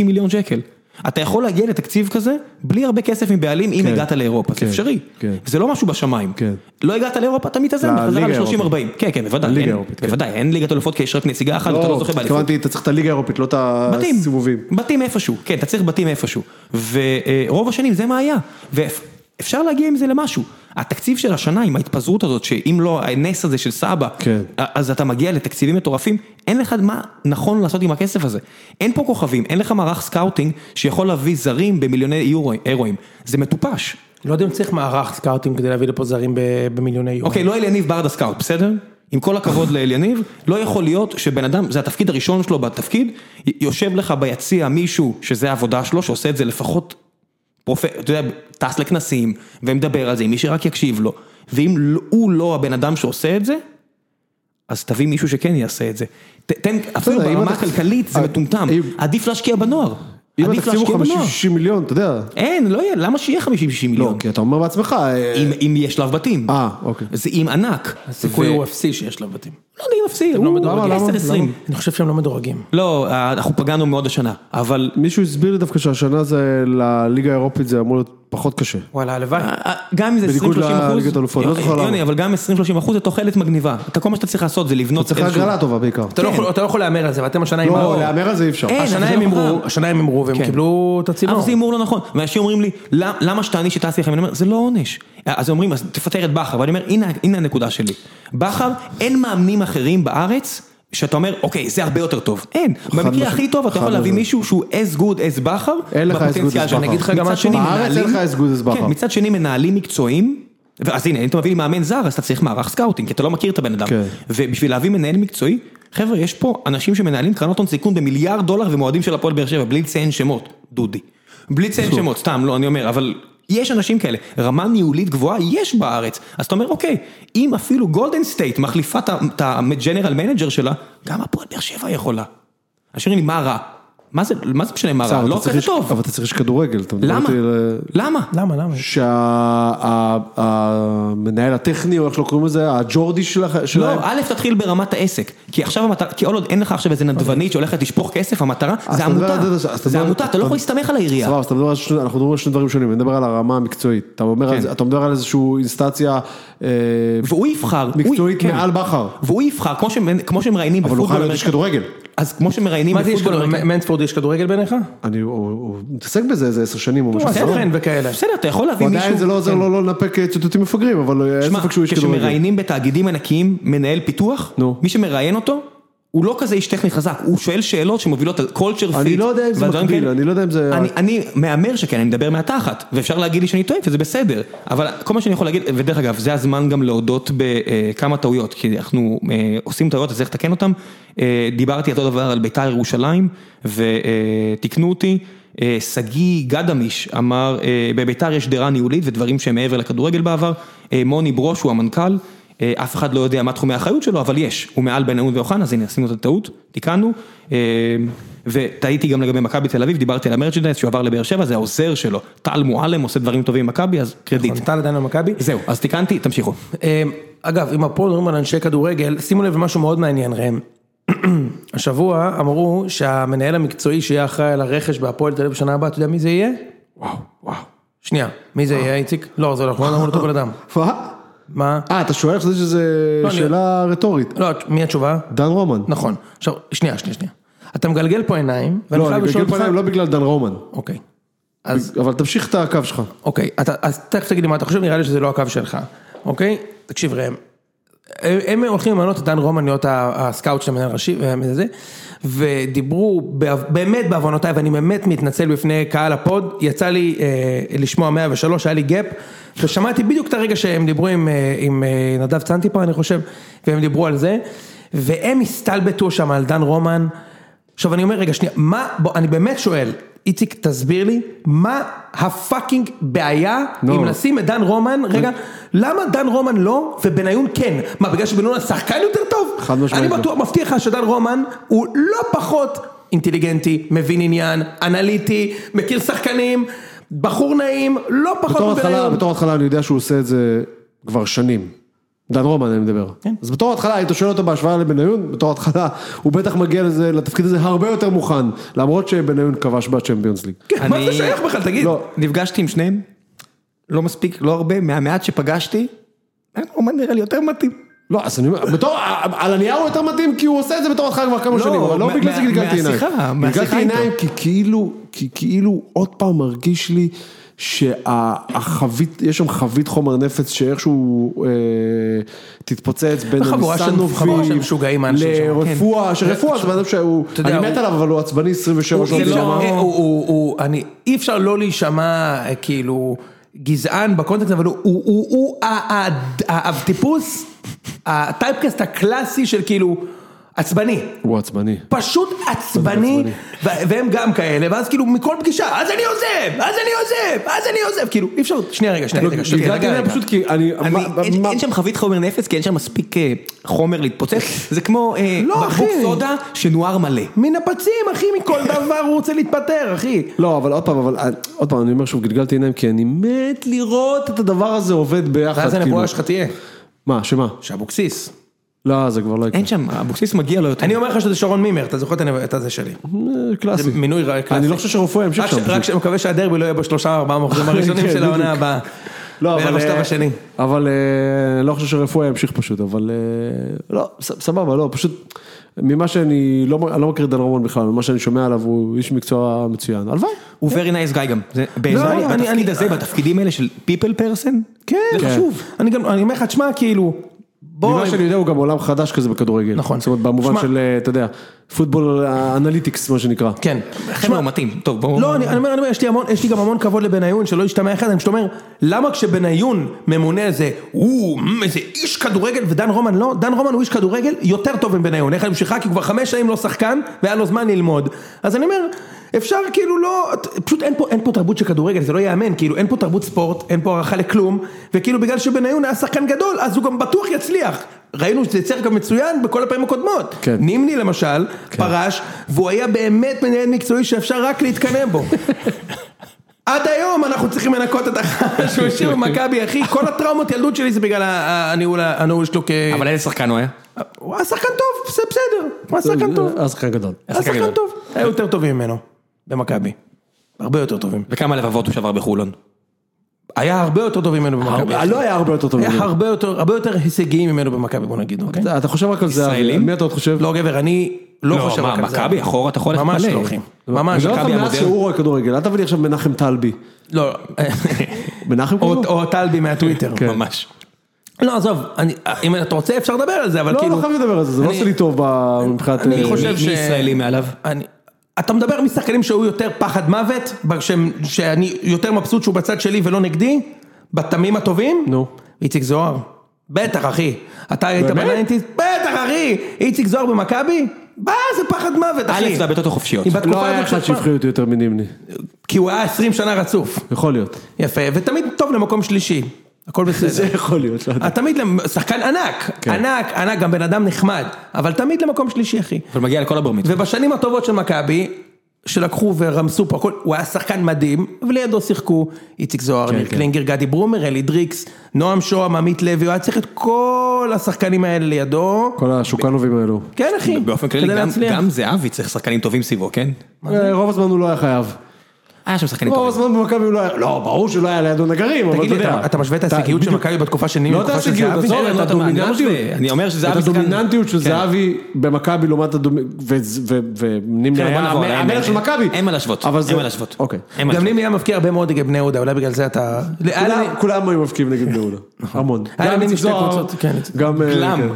Speaker 1: 50-60 מיליון שקל. אתה יכול להגיע לתקציב כזה בלי הרבה כסף מבעלים אם
Speaker 2: כן.
Speaker 1: הגעת לאירופה, זה
Speaker 2: כן,
Speaker 1: אפשרי.
Speaker 2: כן.
Speaker 1: זה לא משהו בשמיים.
Speaker 2: כן.
Speaker 1: לא הגעת לאירופה, אתה מתאזן
Speaker 2: לליגה
Speaker 1: בחזרה ל-30-40.
Speaker 2: האירופית.
Speaker 1: כן, כן, בוודאי.
Speaker 2: לליגה
Speaker 1: אין-
Speaker 2: האירופית, כן.
Speaker 1: בוודאי, אין ליגת אלופות כי יש רק נציגה אחת, אתה לא
Speaker 2: לא,
Speaker 1: זוכה באליפות.
Speaker 2: התכוונתי, אתה צריך את הליגה האירופית, לא את
Speaker 1: בתים,
Speaker 2: הסיבובים.
Speaker 1: בתים איפשהו, כן, אתה צריך בתים איפשהו. ורוב השנים זה מה היה, ואפשר להגיע עם זה למשהו. התקציב של השנה עם ההתפזרות הזאת, שאם לא הנס הזה של סבא,
Speaker 2: כן.
Speaker 1: אז אתה מגיע לתקציבים מטורפים, אין לך מה נכון לעשות עם הכסף הזה. אין פה כוכבים, אין לך מערך סקאוטינג שיכול להביא זרים במיליוני יורו- אירואים, זה מטופש.
Speaker 3: לא יודע אם צריך מערך סקאוטים כדי להביא לפה זרים ב- במיליוני יורו.
Speaker 1: אוקיי, לא אליניב ברדה סקאוט, בסדר? עם כל הכבוד לאליניב, לא יכול להיות שבן אדם, זה התפקיד הראשון שלו בתפקיד, י- יושב לך ביציע מישהו שזה העבודה שלו, שעושה את זה לפחות, פרופ... אתה יודע, טס לכנסים, ומדבר על זה, עם מי שרק יקשיב לו. ואם לא- הוא לא הבן אדם שעושה את זה, אז תביא מישהו שכן יעשה את זה. ת, תן, אפילו
Speaker 2: בסדר, אם
Speaker 1: ברמה
Speaker 2: התקציב-
Speaker 1: הכלכלית זה
Speaker 2: אה,
Speaker 1: מטומטם,
Speaker 2: אם-
Speaker 1: עדיף להשקיע בנוער.
Speaker 2: אם
Speaker 1: עדיף
Speaker 2: התקציב
Speaker 1: להשקיע
Speaker 2: הוא
Speaker 1: בנוער.
Speaker 2: 50-60 מיליון, אתה יודע.
Speaker 1: אין, לא יהיה, למה שיהיה 50-60
Speaker 2: לא,
Speaker 1: מיליון?
Speaker 2: כי אתה אומר בעצמך, אה,
Speaker 1: אם, אם יהיה שלב בתים.
Speaker 2: אה, אוקיי.
Speaker 1: זה עם ענק.
Speaker 3: הסיכוי
Speaker 1: ו-
Speaker 3: הוא אפסי שיש לה בתים.
Speaker 1: לא יודע אם אפסי,
Speaker 3: לא
Speaker 1: הוא
Speaker 3: מדורגים.
Speaker 2: למה, למה?
Speaker 1: 10-20.
Speaker 3: אני חושב שהם לא מדורגים.
Speaker 1: לא, אה, אנחנו פגענו מאוד השנה, אבל...
Speaker 2: מישהו הסביר לי דווקא שהשנה זה, לליגה האירופית זה אמור להיות פחות קשה.
Speaker 3: וואלה, הלוואי.
Speaker 1: אה, אה, גם אם זה 20-30 אחוז, אה,
Speaker 2: בניגוד לליגת האלופות, לא זוכר למה.
Speaker 1: יוני, אבל גם 20-30 אחוז זה תוחלת מגניבה. אתה כל מה שאתה צריך לעשות זה לבנות
Speaker 2: צריך הגרלה טובה בעיקר.
Speaker 3: אתה לא
Speaker 1: כן.
Speaker 3: יכול- אתה לא יכול להמר על זה, ואתם השנה
Speaker 2: לא,
Speaker 3: הימרו.
Speaker 2: להמר על זה אי אפשר.
Speaker 1: אין,
Speaker 3: השנה
Speaker 1: אבל זה
Speaker 3: הם
Speaker 1: לא
Speaker 3: הימרו,
Speaker 1: חכם.
Speaker 3: השנה הם הימרו והם
Speaker 1: כן.
Speaker 3: קיבלו את
Speaker 1: אבל
Speaker 3: הצינור.
Speaker 1: זה הימור לא נכון, ואנשים אומרים לי, "למ- למה שתעניש את אסי לכם? אני אומר, זה לא עונש. אז אומרים, אז תפטר את בכר, ואני אומר, הנה, הנה הנקודה שלי. בכר, אין מאמנים אחרים בארץ, שאתה אומר, אוקיי, זה הרבה יותר טוב. אין. במקרה
Speaker 2: משמעית.
Speaker 1: הכי טוב, אתה
Speaker 2: חד
Speaker 1: יכול להביא
Speaker 2: משמעית.
Speaker 1: מישהו שהוא as good as בכר,
Speaker 2: אין לך as good
Speaker 1: בפוטנציאל
Speaker 2: as
Speaker 1: שלו. אני
Speaker 2: בכר.
Speaker 1: אגיד לך גם
Speaker 2: מצד
Speaker 1: משהו,
Speaker 2: שני, בארץ אין לך as good as בכר.
Speaker 1: כן, מצד שני, מנהלים מקצועיים. ואז הנה, אם אתה מביא לי מאמן זר, אז אתה צריך מערך סקאוטינג, כי אתה לא מכיר את הבן אדם.
Speaker 2: כן.
Speaker 1: ובשביל להביא מנהל מקצועי, חבר'ה, יש פה אנשים שמנהלים קרנות הון סיכון במיליארד דולר ומועדים של הפועל באר שבע, בלי לציין שמות, דודי. בלי
Speaker 2: (laughs)
Speaker 1: לציין שמות, סתם, לא, אני אומר, אבל יש אנשים כאלה. רמה ניהולית גבוהה יש בארץ. אז אתה אומר, אוקיי, אם אפילו גולדן סטייט מחליפה את ה- את הג'נרל מנג'ר שלה, גם הפועל באר שבע יכולה. אנשים אומרים לי, מה רע? מה זה, מה זה משנה מה רע?
Speaker 2: אבל
Speaker 1: לא
Speaker 2: אתה צריך
Speaker 1: כזה
Speaker 2: איש-
Speaker 1: טוב.
Speaker 2: אבל אתה צריך איש כדורגל. אתה מדבר
Speaker 1: למה?
Speaker 2: איתי על- אה,
Speaker 1: למה?
Speaker 3: למה, למה?
Speaker 2: שהמנהל הטכני, או איך לא קוראים לזה, הג'ורדי שלך-
Speaker 1: לא,
Speaker 2: שלהם.
Speaker 1: א' תתחיל ברמת העסק, כי עכשיו המטרה, כי כל עוד אין לך עכשיו איזה נדבנית שהולכת לשפוך כסף, המטרה
Speaker 2: אוקיי. אז
Speaker 1: זה
Speaker 2: אתה מדבר
Speaker 1: עמותה,
Speaker 2: על אז אתה אה,
Speaker 1: זה
Speaker 2: מדבר-
Speaker 1: עמותה, אתה לא יכול להסתמך על העירייה.
Speaker 2: סבבה, אז אתה מדבר על שני- אנחנו מדברים על שני דברים שונים, אני מדבר על הרמה המקצועית. אתה אומר על
Speaker 1: כן.
Speaker 2: זה- אתה מדבר על איזושהי אינסטנציה אה,
Speaker 1: והוא יבחר, הוא-
Speaker 2: מקצועית
Speaker 1: כן.
Speaker 2: מעל בכר.
Speaker 1: והוא יבחר, כמו שמ- כמו שמראיינים
Speaker 2: אבל הוא חייב
Speaker 1: בפוטבול
Speaker 2: להיות איש
Speaker 1: אמריקאי,
Speaker 2: כדורגל.
Speaker 1: אז כמו שמראיינים
Speaker 3: מה זה יש
Speaker 1: בפוטבול
Speaker 3: כדורגל?
Speaker 1: אמריקאי,
Speaker 3: מנספורד יש כדורגל בעיניך?
Speaker 2: אני, הוא הוא מתעסק בזה איזה עשר שנים או
Speaker 1: לא,
Speaker 2: משהו
Speaker 3: בסדר.
Speaker 2: כזה.
Speaker 3: סוכן וכאלה.
Speaker 1: בסדר, אתה יכול להביא מישהו, כן.
Speaker 2: עדיין זה לא עוזר לו לא לנפק אה, ציטוטים מפגרים, אבל אין
Speaker 1: שמע,
Speaker 2: ספק שהוא איש כדורגל.
Speaker 1: כשמראיינים בתאגידים ענקיים מנהל פיתוח,
Speaker 2: נו.
Speaker 1: מי שמראיין אותו, הוא לא כזה איש טכני חזק, הוא שואל שאלות שמובילות על culture fit.
Speaker 2: אני לא יודע אם זה
Speaker 1: והדברים
Speaker 2: מקביל,
Speaker 1: כאלה.
Speaker 2: אני לא יודע אם זה-
Speaker 1: אני- אני מהמר שכן, אני מדבר מהתחת, ואפשר להגיד לי שאני טועה, וזה בסדר, אבל כל מה שאני יכול להגיד, ודרך אגב, זה הזמן גם להודות בכמה טעויות, כי אנחנו אה, עושים טעויות, אז צריך לתקן אותן. אה, דיברתי אותו דבר על בית"ר ירושלים, ותיקנו אותי. אה, שגיא גדמיש אמר, אה, בביתר יש דרה ניהולית ודברים שהם מעבר לכדורגל בעבר, אה, מוני ברוש הוא המנכ"ל, אה, אף אחד לא יודע מה תחומי האחריות שלו, אבל יש, הוא מעל בן אהוד ואוחנה, אז הנה עשינו את הטעות, תיקנו, אה, וטעיתי גם לגבי מכבי תל אביב, דיברתי על המרצ'נדייז שהוא עבר לבאר שבע, זה העוזר שלו, טל מועלם עושה דברים טובים עם מכבי, אז קרדיט.
Speaker 3: נתן עדיין למכבי?
Speaker 1: זהו, אז תיקנתי, תמשיכו.
Speaker 3: אמ, אגב, אם פה מדברים על אנשי כדורגל, שימו לב למשהו מאוד מעניין ראם. (clears throat) השבוע אמרו שהמנהל המקצועי שיהיה אחראי על הרכש בהפועל תל אביב בשנה הבאה, אתה יודע מי זה יהיה?
Speaker 2: וואו, וואו. אה.
Speaker 3: שנייה, מי זה יהיה איציק? לא, זה לא, אנחנו לא אמרנו אותו
Speaker 2: (laughs)
Speaker 3: בן אדם.
Speaker 2: מה?
Speaker 3: מה?
Speaker 2: אה, אתה שואל חושב שזו
Speaker 3: לא, אני-
Speaker 2: שאלה רטורית.
Speaker 3: לא, מי התשובה?
Speaker 2: דן רומן.
Speaker 3: נכון. עכשיו, שנייה, שנייה, שנייה. אתה מגלגל פה עיניים,
Speaker 2: לא, אני בגיל פנים לא בגלל דן רומן.
Speaker 3: אוקיי. אז
Speaker 2: אבל תמשיך את הקו שלך.
Speaker 3: אוקיי, אתה, אז תכף תגיד לי מה אתה חושב, נראה לי שזה לא הקו שלך, אוקיי? תקשיב ראם, הם, הם הולכים למנות את דן רומן להיות ה- הסקאוט של המנהל הראשי, והם זה, ודיברו בעו- באמת בעוונותיי, ואני באמת מתנצל בפני קהל הפוד, יצא לי אה, לשמוע 103, היה לי גאפ, ושמעתי בדיוק את הרגע שהם דיברו עם, אה, עם אה, נדב צנטיפר, אני חושב, והם דיברו על זה, והם הסתלבטו שם על דן רומן. עכשיו אני אומר, רגע, שנייה, מה, בוא, אני באמת שואל, איציק, תסביר לי, מה הפאקינג בעיה
Speaker 2: לא.
Speaker 3: עם לשים את דן רומן, רגע, למה דן רומן לא ובניון כן? מה, בגלל שבניון השחקן יותר טוב?
Speaker 2: חד משמעית
Speaker 3: אני
Speaker 2: לא.
Speaker 3: בטוח, מבטיח לך שדן רומן הוא לא פחות אינטליגנטי, מבין עניין, אנליטי, מכיר שחקנים, בחור נעים, לא פחות
Speaker 2: בתור התחלה,
Speaker 3: מבניון.
Speaker 2: בתור התחלה אני יודע שהוא עושה את זה כבר שנים. דן רומן אני מדבר.
Speaker 3: כן.
Speaker 2: אז בתור התחלה, היית שואל אותו בהשוואה לבניון, בתור התחלה, הוא בטח מגיע לזה, לתפקיד הזה הרבה יותר מוכן, למרות שבניון כבש בצ'מפיונס ליג.
Speaker 3: כן, מה
Speaker 1: אני-
Speaker 3: זה שייך בכלל, תגיד?
Speaker 2: לא.
Speaker 1: נפגשתי עם שניהם, לא מספיק, לא הרבה, מהמעט שפגשתי, רומן נראה לי יותר מתאים.
Speaker 2: לא, אז אני אומר, בתור, על הנייר הוא יותר מתאים, כי הוא עושה את זה בתור התחלה כבר כמה
Speaker 1: לא,
Speaker 2: שנים, אבל לא
Speaker 1: מה-
Speaker 2: בגלל זה
Speaker 1: מה-
Speaker 2: גלגלתי עיניים.
Speaker 1: מהשיחה,
Speaker 2: גלגלתי
Speaker 1: מהשיחה איתו.
Speaker 2: עיניים כי כאילו, כי כאילו עוד פעם מרגיש לי שהחבית, יש שם חבית חומר נפץ שאיכשהו אה, תתפוצץ בין
Speaker 3: חבורה של- חבורה של משוגעים, האנשים שם, כן.
Speaker 2: לרפואה, שרפואה זה בן אדם שהוא,
Speaker 3: אתה יודע,
Speaker 2: אני מת
Speaker 3: הוא-
Speaker 2: עליו, אבל הוא עצבני 27
Speaker 3: הוא
Speaker 2: שעות
Speaker 3: כאילו,
Speaker 2: ביממה.
Speaker 3: אה, הוא- הוא- הוא- אני, אי אפשר לא להישמע אה, כאילו גזען בקונטקסט, אבל הוא- הוא- הוא הוא ה- ה- האבטיפוס, הטייפקסט הקלאסי של כאילו עצבני.
Speaker 2: הוא עצבני.
Speaker 3: פשוט עצבני, ו- והם גם כאלה, ואז כאילו מכל פגישה, אז אני עוזב, אז אני עוזב, אז אני עוזב, כאילו, אי אפשר, שנייה רגע, שנייה רגע, שנייה
Speaker 2: גלגלתי
Speaker 3: רגע,
Speaker 2: עיניים
Speaker 3: רגע.
Speaker 2: לא, פשוט כי אני,
Speaker 1: אני,
Speaker 2: מה-
Speaker 1: אין,
Speaker 2: מה-
Speaker 1: אין שם חבית חומר נפץ כי אין שם מספיק אה, חומר
Speaker 3: (laughs)
Speaker 1: להתפוצץ, זה כמו אה,
Speaker 3: לא,
Speaker 1: בקבוק
Speaker 3: אחי.
Speaker 1: סודה שנואר מלא.
Speaker 3: מנפצים, אחי, מכל דבר הוא רוצה להתפטר, אחי.
Speaker 2: לא, אבל עוד פעם, אבל עוד פעם, אני אומר שוב, גלגלתי עיניים, כי אני מת לראות את הדבר הזה עובד ביחד.
Speaker 3: ואז
Speaker 2: כאילו.
Speaker 3: הנבואה שלך תהיה,
Speaker 2: מה, שמה?
Speaker 3: שאבוקסיס.
Speaker 2: לא, זה
Speaker 3: אה,
Speaker 2: כבר לא יקרה.
Speaker 1: אין שם, אבוקסיס מגיע לו יותר.
Speaker 3: אני אומר לך שזה שרון מימר, אתה זוכר את הנבואה- את הזה שלי.
Speaker 2: אה, קלאסי.
Speaker 3: זה מינוי רע- קלאסי.
Speaker 2: אני לא חושב שרפואה ימשיך
Speaker 3: רק
Speaker 2: שם.
Speaker 3: ש- רק שאני מקווה שהדרבי לא יהיה בשלושה ארבעה מחזורים הראשונים
Speaker 2: כן,
Speaker 3: (laughs) של העונה
Speaker 2: בדיוק.
Speaker 3: הבאה.
Speaker 2: לא,
Speaker 3: בין
Speaker 2: אבל...
Speaker 3: המחזור
Speaker 2: אה,
Speaker 3: השני.
Speaker 2: אבל אה, לא חושב שרפואה ימשיך פשוט, אבל... אה, לא, ס- סבבה, לא, פשוט... ממה שאני לא, אני לא מכיר את דן רומן בכלל, ממה שאני שומע עליו הוא איש מקצוע מצוין, הלוואי.
Speaker 1: הוא very nice guy גם. זה- בעיניי,
Speaker 3: לא. אני-
Speaker 1: בתפקיד
Speaker 3: אני-
Speaker 1: הזה, בתפקידים האלה של people person,
Speaker 3: כן,
Speaker 1: זה חשוב.
Speaker 3: אני גם, אני אומר לך, תשמע, כאילו, בוא,
Speaker 2: ממה שאני יודע הוא גם עולם חדש כזה בכדורגל.
Speaker 3: נכון.
Speaker 2: זאת אומרת, במובן
Speaker 3: שמע-
Speaker 2: של, אה, אתה יודע, פוטבול אנליטיקס, מה שנקרא.
Speaker 3: כן.
Speaker 1: חבר'ה, הוא מתאים. טוב, בואו...
Speaker 3: לא, אני אני אומר, אני אומר, יש לי המון, יש לי גם המון כבוד לבניון, שלא ישתמע אחד, אני פשוט אומר, למה כשבניון ממונה איזה, או, מ, איזה איש כדורגל, ודן רומן לא, דן רומן הוא איש כדורגל יותר טוב מבניון, איך אני בשבילך, כי הוא כבר חמש שנים לא שחקן, והיה לו זמן ללמוד. אז אני אומר, אפשר כאילו לא, פשוט אין פה, אין פה תרבות של כדורגל, זה לא ייאמן, כאילו אין פה תרבות ספורט, אין פה הערכה לכלום, וכאילו בגלל שבניון היה שחקן גדול, אז הוא גם בטוח יצליח. ראינו שזה יצליח גם מצוין בכל הפעמים הקודמות.
Speaker 4: כן.
Speaker 3: נימני למשל, פרש, והוא היה באמת מנהל מקצועי שאפשר רק להתקנא בו. עד היום אנחנו צריכים לנקות את החש שהוא השאיר במכבי, אחי, כל הטראומות ילדות שלי זה בגלל ה- ה- הניהול ה- הניהול שלו כ...
Speaker 1: אבל איזה שחקן הוא היה?
Speaker 3: הוא היה שחקן טוב, זה בסדר, הוא היה שחקן טוב.
Speaker 2: אז שחקן גדול.
Speaker 3: היה
Speaker 1: שחקן
Speaker 3: שחקן
Speaker 1: גדול.
Speaker 3: טוב. היו יותר טובים ממנו, במכבי. הרבה יותר טובים.
Speaker 1: וכמה לבבות הוא שבר בחולון?
Speaker 3: היה הרבה יותר טובים ממנו במכבי.
Speaker 2: לא היה הרבה יותר טוב.
Speaker 3: היה הרבה יותר, הרבה יותר הישגיים ממנו במכבי, בוא נגיד, אוקיי?
Speaker 2: אתה חושב רק על זה,
Speaker 1: ישראלים?
Speaker 2: על מי אתה עוד חושב?
Speaker 3: לא גבר, אני לא חושב
Speaker 1: מה,
Speaker 3: רק על זה.
Speaker 1: מכבי אחורה אתה יכול ללכת
Speaker 3: ממש
Speaker 1: מלא.
Speaker 3: לא, אחי. ממש,
Speaker 2: אני אומר לך מאז
Speaker 3: מכבי המודרנית.
Speaker 2: שהוא רואה כדורגל, אל תביא לי עכשיו מנחם טלבי.
Speaker 3: לא, לא. (laughs)
Speaker 2: מנחם כאילו-
Speaker 3: או-
Speaker 2: קוראים לו?
Speaker 3: או טלבי מהטוויטר.
Speaker 2: כן.
Speaker 1: ממש.
Speaker 3: לא, עזוב, אני- אם אתה רוצה אפשר לדבר על זה, אבל
Speaker 2: לא,
Speaker 3: כאילו...
Speaker 2: לא חייב לדבר על זה, זה לא
Speaker 3: אני-
Speaker 2: עושה לי טוב ב- מבחינת...
Speaker 3: אני
Speaker 2: אה,
Speaker 3: חושב
Speaker 1: מי-
Speaker 3: ש-
Speaker 1: מי ישראלי מעליו?
Speaker 3: אני... אתה מדבר משחקנים שהוא יותר פחד מוות, שהם, שאני יותר מבסוט שהוא בצד שלי ולא נגדי, בתמים הטובים?
Speaker 2: נו.
Speaker 3: איציק זוהר. בטח אחי. אתה היית
Speaker 2: באמת?
Speaker 3: בניינטיז? בטח אחי! איציק זוהר במכבי? מה זה פחד מוות אחי.
Speaker 1: אלכס והבעיטות החופשיות.
Speaker 3: אם בתקופה
Speaker 2: לא היה
Speaker 3: הזאת
Speaker 2: אחד
Speaker 3: של פעם-
Speaker 2: שהבחיר אותי יותר מנימני.
Speaker 3: כי הוא היה 20 שנה רצוף.
Speaker 2: יכול להיות.
Speaker 3: יפה, ותמיד טוב למקום שלישי. הכל
Speaker 2: זה
Speaker 3: בסדר.
Speaker 2: יכול להיות, לא יודע.
Speaker 3: אתה אה, תמיד למ- שחקן ענק,
Speaker 2: כן.
Speaker 3: ענק, ענק, גם בן אדם נחמד, אבל תמיד למקום שלישי אחי.
Speaker 1: אבל מגיע לכל הבר מצווה.
Speaker 3: ובשנים הטובות של מכבי, שלקחו ורמסו פה הכל, הוא היה שחקן מדהים, ולידו שיחקו איציק זוהר, ניר
Speaker 2: כן.
Speaker 3: קלינגר, גדי ברומר, אלי דריקס, נועם שוהם, עמית לוי, הוא היה צריך את כל השחקנים האלה לידו.
Speaker 2: כל השוקנובים האלו.
Speaker 3: כן אחי,
Speaker 1: באופן כללי
Speaker 3: כדי
Speaker 1: גם-
Speaker 3: להצליח.
Speaker 1: גם זהבי צריך שחקנים טובים סביבו, כן?
Speaker 2: אה, רוב הזמן הוא לא היה חייב.
Speaker 1: היה שם שחקנים
Speaker 2: רוב
Speaker 1: טובים.
Speaker 2: הזמן במכבי הוא לא היה... לא, ברור שלא היה לידו נגרים, אבל
Speaker 3: תגיד
Speaker 2: אתה
Speaker 3: לי,
Speaker 2: יודע.
Speaker 3: אתה- אתה משווה את ההישגיות של
Speaker 2: בדיוק.
Speaker 3: מכבי בתקופה של נימי,
Speaker 2: לא את
Speaker 3: בתקופה של
Speaker 2: ההישגיות,
Speaker 3: זהבי?
Speaker 2: עזוב,
Speaker 1: אין,
Speaker 2: את
Speaker 1: לא, אתה מעניין
Speaker 2: הדומיננטיות.
Speaker 1: אותי. אני אומר שזהבי
Speaker 2: את
Speaker 1: שחקן-
Speaker 2: הדומיננטיות של
Speaker 1: כן.
Speaker 2: זהבי במכבי לעומת הדומיננטיות, ונמני
Speaker 1: כן, בוא
Speaker 2: היה
Speaker 1: נעבור
Speaker 2: המ-
Speaker 1: עליהם, אין-
Speaker 2: המלך של מכבי.
Speaker 1: אין מה להשוות,
Speaker 2: אבל
Speaker 1: אין
Speaker 2: זה-
Speaker 1: מה להשוות.
Speaker 2: אוקיי.
Speaker 1: אין מה
Speaker 3: גם
Speaker 1: לעשות.
Speaker 3: נימי היה מבקיע הרבה מאוד נגד בני יהודה, אולי בגלל זה אתה... היה לי-
Speaker 2: כולם- כולם היו מבקיעים נגד בני
Speaker 1: (laughs)
Speaker 2: יהודה, המון.
Speaker 3: היה
Speaker 2: גם
Speaker 3: לי
Speaker 2: איציק
Speaker 3: משתי
Speaker 2: זוהר,
Speaker 3: קבוצות, כן, איציק.
Speaker 2: גם... אה, כן.
Speaker 1: גלם.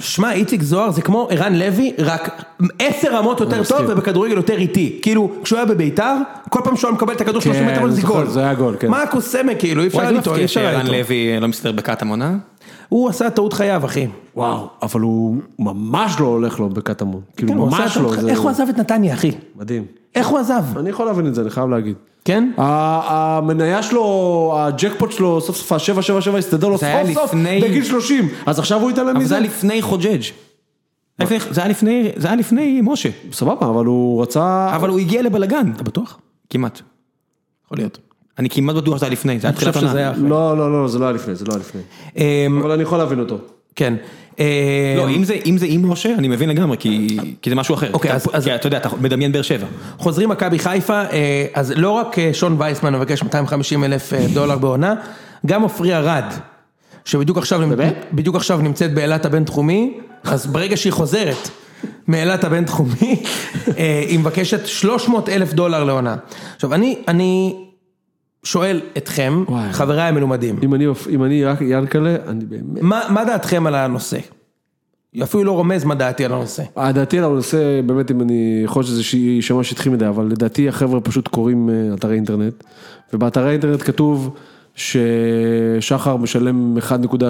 Speaker 3: שמע, איציק זוהר זה כמו ערן לוי, רק עשר רמות יותר טוב
Speaker 2: מסכים.
Speaker 3: ובכדורגל יותר איטי. כאילו, כשהוא היה בביתר, כל פעם שהוא היה מקבל את הכדור 30
Speaker 2: כן,
Speaker 3: מטר אבל
Speaker 2: אני
Speaker 3: זה
Speaker 2: זוכר,
Speaker 3: גול.
Speaker 2: זה היה גול, כן.
Speaker 3: מה הקוסמה כאילו, אי
Speaker 1: הוא
Speaker 3: אפשר
Speaker 1: הייתי
Speaker 3: לטעון, אי
Speaker 1: מפתיע
Speaker 3: אפשר היה
Speaker 1: שערן
Speaker 3: לטעון.
Speaker 1: לוי לא מסתדר בקעת המונה.
Speaker 3: הוא עשה טעות חייו, אחי.
Speaker 2: וואו, אבל הוא ממש לא הולך לו בקטמון. כאילו,
Speaker 3: כן, הוא עשה
Speaker 2: ממש
Speaker 3: טעות
Speaker 2: לא.
Speaker 3: חי-
Speaker 2: זה- כן?
Speaker 3: איך הוא עזב את נתניה, אחי?
Speaker 2: מדהים.
Speaker 3: איך הוא עזב?
Speaker 2: אני יכול להבין את זה, אני חייב להגיד.
Speaker 3: כן?
Speaker 2: ה- המניה שלו, הג'קפוט שלו, סוף סוף ה-777 הסתדר לו סוף
Speaker 1: היה
Speaker 2: סוף
Speaker 1: לפני-
Speaker 2: בגיל 30. אז עכשיו הוא יתעלם
Speaker 1: אבל זה
Speaker 2: מזה?
Speaker 1: היה לפני חוג'ג'. לפני- זה היה לפני- זה היה לפני משה.
Speaker 2: סבבה, אבל הוא רצה...
Speaker 1: אבל הוא הגיע לבלגן. אתה בטוח? כמעט.
Speaker 3: יכול להיות.
Speaker 1: אני כמעט בטוח שזה היה לפני, זה היה
Speaker 3: חושב
Speaker 1: תחילת עונה.
Speaker 3: שזה היה-
Speaker 2: לא, לא, לא, זה לא היה לפני, זה לא היה לפני.
Speaker 3: אמ,
Speaker 2: אבל אני יכול להבין אותו.
Speaker 3: כן. אמ,
Speaker 1: לא, אם זה- אם זה עם משה, אני מבין לגמרי, כי כי זה משהו אחר.
Speaker 3: אוקיי,
Speaker 1: אתה-
Speaker 3: אז- אז-
Speaker 1: כי אתה יודע, אתה מדמיין באר שבע.
Speaker 3: חוזרים מכבי חיפה, אה, אז לא רק אה, שון וייסמן מבקש 250 אלף אה, דולר בעונה, גם עפרי ארד, שבדיוק עכשיו, בדיוק עכשיו נמצאת באילת הבינתחומי, אז ברגע שהיא חוזרת מאילת הבינתחומי, (laughs) אה, היא מבקשת 300 אלף דולר לעונה. עכשיו אני, אני שואל אתכם,
Speaker 2: וואי.
Speaker 3: חבריי המלומדים,
Speaker 2: אם אני, אם אני רק ינקלה, אני באמת...
Speaker 3: מה, מה דעתכם על הנושא? אפילו לא רומז מה דעתי על הנושא.
Speaker 2: דעתי על הנושא, באמת אם אני, יכול להיות שזה ש- יישמע שטחי מדי, אבל לדעתי החבר'ה פשוט קוראים אה, אתרי אינטרנט, ובאתרי אינטרנט כתוב ששחר משלם 1.6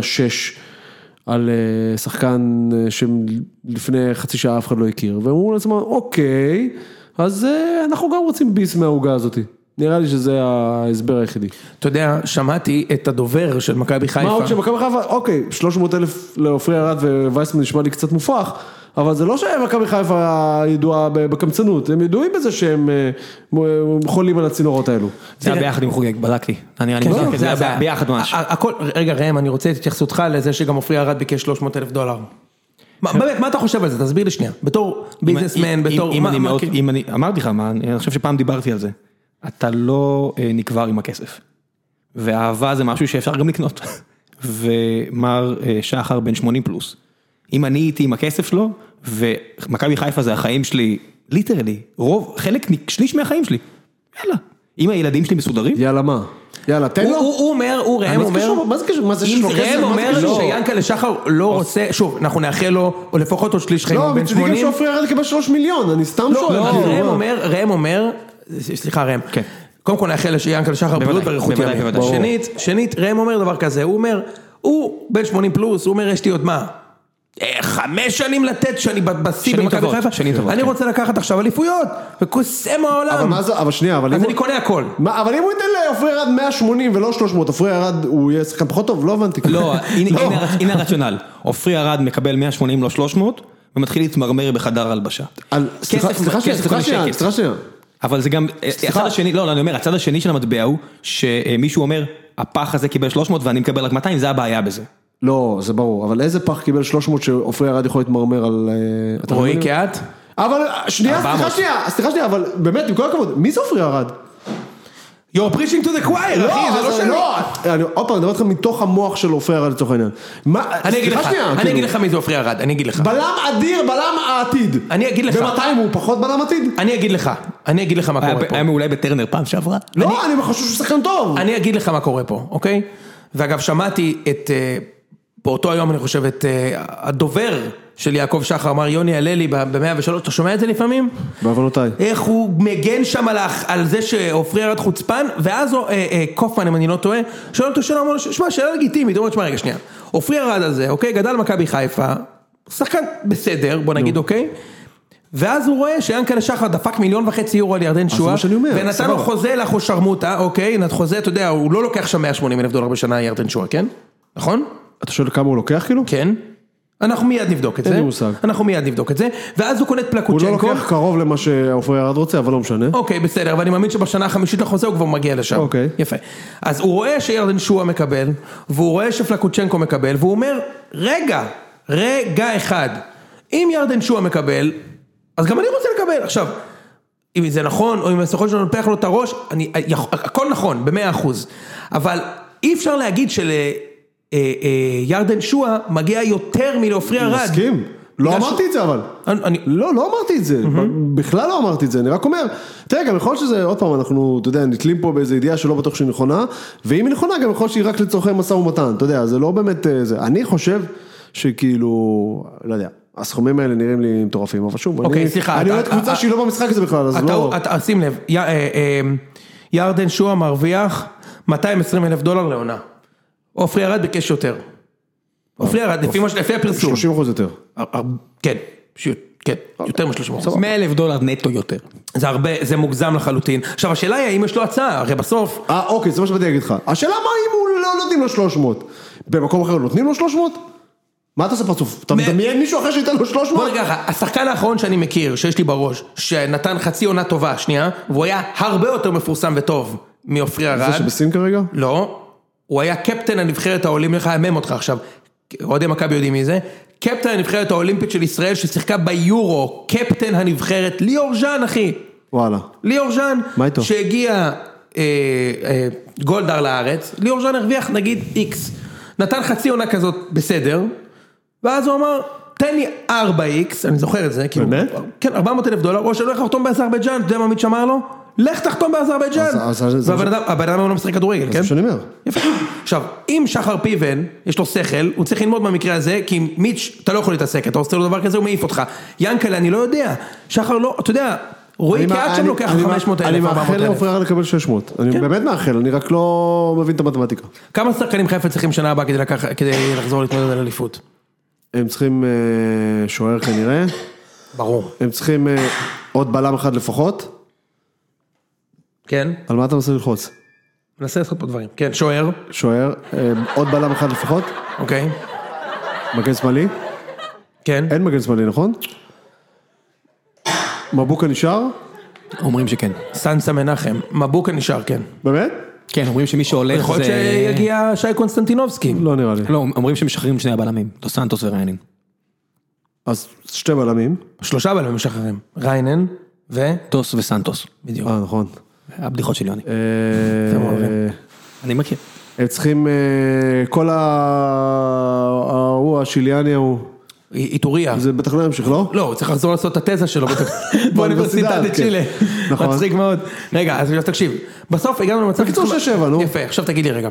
Speaker 2: על אה, שחקן אה, שלפני חצי שעה אף אחד לא הכיר, והם אומרים לעצמם, אוקיי, אז אה, אנחנו גם רוצים ביס מהעוגה הזאת. נראה לי שזה ההסבר היחידי.
Speaker 3: אתה יודע, שמעתי את הדובר של מכבי חיפה.
Speaker 2: מה עוד שמכבי חיפה, אוקיי, 300 אלף לעופרי ארד ווייסמן נשמע לי קצת מופרך, אבל זה לא שמכבי חיפה ידועה ב- בקמצנות, הם ידועים בזה שהם אה, מ- חולים על הצינורות האלו.
Speaker 1: זה היה ביחד עם חוגג, בדקתי. היה נראה לי
Speaker 3: כן,
Speaker 1: מוזר,
Speaker 3: כן,
Speaker 1: כי זה אה, היה
Speaker 3: הבעיה.
Speaker 1: לא, ב- ביחד ממש.
Speaker 3: ה- ה- הכל, רגע ראם, אני רוצה את התייחסותך לזה שגם עופרי ארד ביקש 300 אלף דולר. מה- באמת, מה אתה חושב על זה? תסביר לי שנייה. בתור ביזנסמן,
Speaker 1: אם- אם-
Speaker 3: בתור...
Speaker 1: אם
Speaker 3: מה-
Speaker 1: אני
Speaker 3: מה-
Speaker 1: מאוד,
Speaker 3: כאילו-
Speaker 1: אם אני, אמרתי לך, מה, אני חושב שפעם דיברתי על זה. אתה לא אה, נקבר עם הכסף. ואהבה זה משהו שאפשר גם לקנות. (laughs) ומר אה, שחר בן 80 פלוס. אם אני הייתי עם הכסף שלו, ומכבי חיפה זה החיים שלי, ליטרלי, רוב, חלק, מ- שליש מהחיים שלי. יאללה. אם הילדים שלי מסודרים,
Speaker 2: יאללה מה? יאללה, תן
Speaker 3: הוא-
Speaker 2: לו.
Speaker 3: הוא הוא אומר, הוא ראם
Speaker 1: לא
Speaker 2: מה זה
Speaker 3: אומר...
Speaker 2: קשור? מה זה קשור? מה זה
Speaker 3: אם
Speaker 2: שיש לו כסף?
Speaker 3: ראם
Speaker 2: מה זה
Speaker 3: אומר
Speaker 2: קשור?
Speaker 3: שיענקלה שחר לא רוצה, שוב, אנחנו נאחל לו, או לפחות עוד שליש חיים, הוא
Speaker 2: לא,
Speaker 3: בן
Speaker 2: מצידי גם
Speaker 3: 80.
Speaker 2: שעופרי ארד קיבל 3 מיליון, אני סתם
Speaker 3: לא,
Speaker 2: שואל.
Speaker 3: לא,
Speaker 2: כאילו,
Speaker 3: ראם
Speaker 2: מה?
Speaker 3: אומר, ראם אומר, ס- סליחה ראם,
Speaker 1: כן.
Speaker 3: קודם כל נאחל שיענקל שחר
Speaker 1: בוודאי,
Speaker 3: בריאות ואריכות
Speaker 1: בוודאי,
Speaker 3: ימים,
Speaker 1: בוודאי.
Speaker 3: שנית, שנית, ראם אומר דבר כזה, הוא אומר, הוא בן 80 פלוס, הוא אומר יש לי עוד מה, אה, חמש שנים לתת שאני ב- בשיא
Speaker 1: שנים
Speaker 3: במכבי
Speaker 1: טובות,
Speaker 3: חיפה,
Speaker 1: שנים טובות,
Speaker 3: אני
Speaker 1: כן.
Speaker 3: רוצה לקחת עכשיו אליפויות, וקוסם העולם.
Speaker 2: אבל מה זה, אבל שנייה, אבל אם
Speaker 3: אז
Speaker 2: הוא-
Speaker 3: אני קונה הכל.
Speaker 2: מה, אבל אם הוא ייתן לעופרי ארד 180 ולא 300, עופרי ארד הוא יהיה שחקן פחות טוב? לא הבנתי.
Speaker 1: לא, הנה- הנה הר- הנה הרציונל. עופרי ארד מקבל 180 לא 300, ומתחיל להתמרמר בחדר ההלבשה.
Speaker 2: על-
Speaker 3: כן,
Speaker 2: סליחה
Speaker 1: כסף-
Speaker 2: סליחה שנייה,
Speaker 1: כסף
Speaker 2: סליחה
Speaker 1: קונה
Speaker 2: שנייה,
Speaker 1: שקט.
Speaker 2: סליחה שנייה.
Speaker 1: אבל זה גם, אה, הצד השני, לא, לא, אני אומר, הצד השני של המטבע הוא, שמישהו אומר, הפח הזה קיבל 300 ואני מקבל רק 200, זה הבעיה בזה.
Speaker 2: לא, זה ברור, אבל איזה פח קיבל 300 שעופרי ארד יכול להתמרמר על... אה, אתה
Speaker 3: רועי כן.
Speaker 2: מבין?
Speaker 3: קהת?
Speaker 2: אבל אה, שנייה, סליחה
Speaker 1: 400.
Speaker 2: שנייה, סליחה שנייה, אבל באמת, עם כל הכבוד, מי זה עופרי ארד?
Speaker 3: You're preaching to the choir, אחי, זה לא שלי.
Speaker 2: אני עוד פעם, אני מדבר איתך מתוך המוח של עופרי ארד לצורך העניין. מה,
Speaker 3: אני אגיד
Speaker 2: סליחה
Speaker 3: לך,
Speaker 2: שנייה,
Speaker 3: אני
Speaker 2: כאילו,
Speaker 3: אגיד לך מי זה עופרי ארד, אני אגיד לך.
Speaker 2: בלם אדיר, בלם העתיד.
Speaker 3: אני אגיד לך.
Speaker 2: ומתי הוא פחות בלם עתיד?
Speaker 3: אני אגיד לך, אני אגיד לך מה
Speaker 1: היה
Speaker 3: קורה פה.
Speaker 1: היה מעולה בטרנר פעם שעברה.
Speaker 2: לא, אני חושב שהוא שחקן טוב.
Speaker 3: אני אגיד לך מה קורה פה, אוקיי? ואגב, שמעתי את, אה, באותו היום אני חושב, את אה, הדובר של יעקב שחר, מר יוני הללי ב-103, אתה שומע את זה לפעמים?
Speaker 2: בעוונותיי.
Speaker 3: איך הוא מגן שם על, ה- על זה שעופרי ירד חוצפן, ואז אה, אה, קופמן, אם אני לא טועה, שואל אותו שאלה, אמר לו, שמע, שאלה לגיטימית, הוא אומר, שמע, רגע, שנייה. עופרי ירד הזה, אוקיי? גדל מכבי חיפה, שחקן בסדר, בוא נגיד, אוקיי? ואז הוא רואה שיענקלה שחר דפק מיליון וחצי יורו על ירדן שואה,
Speaker 2: מה שאני אומר,
Speaker 3: ונתן לו
Speaker 2: סבבה.
Speaker 3: חוזה לאחושרמוטה, אוקיי? נת- חוזה, אתה יודע, הוא לא לוקח שם 180 אלף דולר בשנה ירדן שואה, כן? נכון?
Speaker 2: אתה שואל כמה הוא לוקח כאילו?
Speaker 3: כן. אנחנו מיד נבדוק את זה.
Speaker 2: לי מושג.
Speaker 3: אנחנו מיד נבדוק את זה. ואז הוא קונה את
Speaker 2: הוא לא
Speaker 3: פלקוצ'נקו.
Speaker 2: לוקח קרוב למה שעופרי ארד רוצה, אבל לא משנה.
Speaker 3: אוקיי, בסדר, אבל אני מאמין שבשנה החמישית לחוזה הוא כבר מגיע לשם.
Speaker 2: אוקיי.
Speaker 3: יפה. אז הוא רואה שירדן שואה מקבל, והוא רואה שפלקוצ'נקו מקבל, והוא אומר, רגע, רגע אחד, אם ירדן שואה מקבל, אז גם אני רוצה לקבל. עכשיו, אם זה נכון, או אם הסוכן שלנו נפח לו את הראש, אני, יכ- הכל נכון, במאה אחוז. אבל אי אפשר להגיד של... אה, אה, ירדן שואה מגיע יותר מלעופרי ארד.
Speaker 2: מסכים. לא
Speaker 3: בגלל ש-
Speaker 2: אמרתי את זה אבל.
Speaker 3: אני- אני-
Speaker 2: לא, לא אמרתי את זה, בכלל לא אמרתי את זה, אני רק אומר, תראה, גם יכול להיות שזה, עוד פעם, אנחנו, אתה יודע, נתלים פה באיזו ידיעה שלא בטוח שהיא נכונה, ואם היא נכונה, גם יכול להיות שהיא רק לצורכי משא ומתן, אתה יודע, זה לא באמת אה, זה. אני חושב שכאילו, לא יודע, הסכומים האלה נראים לי מטורפים, אבל שוב,
Speaker 3: אוקיי,
Speaker 2: אני-
Speaker 3: סליחה,
Speaker 2: אני
Speaker 3: אתה-
Speaker 2: אוהד קבוצה
Speaker 3: אה,
Speaker 2: שהיא לא במשחק הזה בכלל, אז
Speaker 3: אתה,
Speaker 2: לא...
Speaker 3: אתה, שים לב, י, אה, אה, ירדן שואה מרוויח 220 אלף דולר לעונה. עופרי ארד ביקש יותר. עופרי ארד, לפי, מה ש- לפי הפרסום.
Speaker 2: 30 אחוז יותר.
Speaker 3: הר- הר- כן, ש- כן,
Speaker 2: אוקיי.
Speaker 3: יותר מ-30 אחוז.
Speaker 1: 100 אלף דולר נטו יותר.
Speaker 3: זה הרבה, זה מוגזם לחלוטין. עכשיו השאלה היא האם יש לו הצעה, הרי בסוף,
Speaker 2: אה, אוקיי, זה מה שבאתי להגיד לך. השאלה מה אם הוא לא נותנים לו 300? במקום אחר נותנים לו 300? מה אתה עושה פרצוף? אתה
Speaker 3: מ-
Speaker 2: מדמיין מישהו אחר שייתן לו 300?
Speaker 3: בוא נגיד ככה, השחקן האחרון שאני מכיר, שיש לי בראש, שנתן חצי עונה טובה, שנייה, והוא היה הרבה יותר מפורסם וטוב מעופרי ארד.
Speaker 2: זה שבסין כרגע?
Speaker 3: לא, הוא היה קפטן הנבחרת האולימפית, אני מהמם אותך עכשיו, אוהדי מכבי יודעים מי זה, קפטן הנבחרת האולימפית של ישראל ששיחקה ביורו, קפטן הנבחרת, ליאור ז'אן אחי,
Speaker 2: וואלה.
Speaker 3: ליאור ז'אן,
Speaker 2: מה איתו?
Speaker 3: שהגיע אה, אה, גולדהר לארץ, ליאור ז'אן הרוויח נגיד איקס, נתן חצי עונה כזאת בסדר, ואז הוא אמר, תן לי 4x, אני זוכר את זה, כאילו,
Speaker 2: באמת?
Speaker 3: כן, 400 אלף דולר, או שלא יחתום באזרבייג'אן, אתה יודע מה עמית שמר לו? לך תחתום באזרבייג'אן,
Speaker 2: אז- אז- אז-
Speaker 3: והבן אדם- הבן אדם לא משחק כדורגל,
Speaker 2: זה
Speaker 3: כן?
Speaker 2: מה שאני אומר.
Speaker 3: יפה. עכשיו, אם שחר פיבן, יש לו שכל, הוא צריך ללמוד מהמקרה הזה, כי עם מיץ' אתה לא יכול להתעסק, אתה עושה לו דבר כזה, הוא מעיף אותך. ינקלה, אני לא יודע. שחר לא, אתה יודע, רועי
Speaker 2: אני-
Speaker 3: קהת שם
Speaker 2: אני-
Speaker 3: לוקח
Speaker 2: אני-
Speaker 3: 500
Speaker 2: אני
Speaker 3: אלף, 400
Speaker 2: מאחל
Speaker 3: אלף. כן.
Speaker 2: לעופרי ארד לקבל 600. אני באמת מאחל, אני רק לא מבין את המתמטיקה.
Speaker 3: כמה שחקנים חיפה צריכים שנה הבאה כדי לקח- כדי לחזור להתמודד על אליפות?
Speaker 2: הם צריכים אה, שוער כנראה,
Speaker 3: ברור.
Speaker 2: הם צריכים אה, עוד בלם אחד לפחות.
Speaker 3: כן?
Speaker 2: על מה אתה מנסה ללחוץ?
Speaker 3: מנסה לעשות פה דברים. כן, שוער,
Speaker 2: שוער, אה, עוד בלם אחד לפחות,
Speaker 3: אוקיי.
Speaker 2: מגן שמאלי.
Speaker 3: כן.
Speaker 2: אין מגן שמאלי, נכון? מבוקה נשאר?
Speaker 1: אומרים שכן.
Speaker 3: סנסה מנחם. מבוקה נשאר, כן.
Speaker 2: באמת?
Speaker 1: כן, אומרים שמי שהולך
Speaker 3: יכול להיות
Speaker 1: זה...
Speaker 3: שיגיע שי קונסטנטינובסקי.
Speaker 2: לא נראה לי.
Speaker 1: לא, אומרים שמשחררים שני הבלמים, דו סנטוס וריינין.
Speaker 2: אז שתי בלמים.
Speaker 3: שלושה בלמים משחררים. ריינן, ו...
Speaker 1: דוס וסנטוס, בדיוק.
Speaker 2: אה, נכון.
Speaker 1: הבדיחות של יוני.
Speaker 2: אה,
Speaker 1: אני מכיר.
Speaker 2: הם צריכים, אה, כל ה... ההוא, השיליאני ההוא.
Speaker 3: איטוריה.
Speaker 2: זה בטח לא ימשיך, לא?
Speaker 3: לא, הוא צריך לחזור לעשות את התזה שלו
Speaker 2: (laughs)
Speaker 3: בת- באוניברסיטת
Speaker 2: כן.
Speaker 3: צ'ילה.
Speaker 2: נכון.
Speaker 3: מצחיק מאוד. רגע, אז עכשיו תקשיב. בסוף הגענו למצב...
Speaker 2: בקיצור,
Speaker 3: שכבר-
Speaker 2: שש, שבע, נו.
Speaker 3: יפה, עכשיו תגיד לי רגע.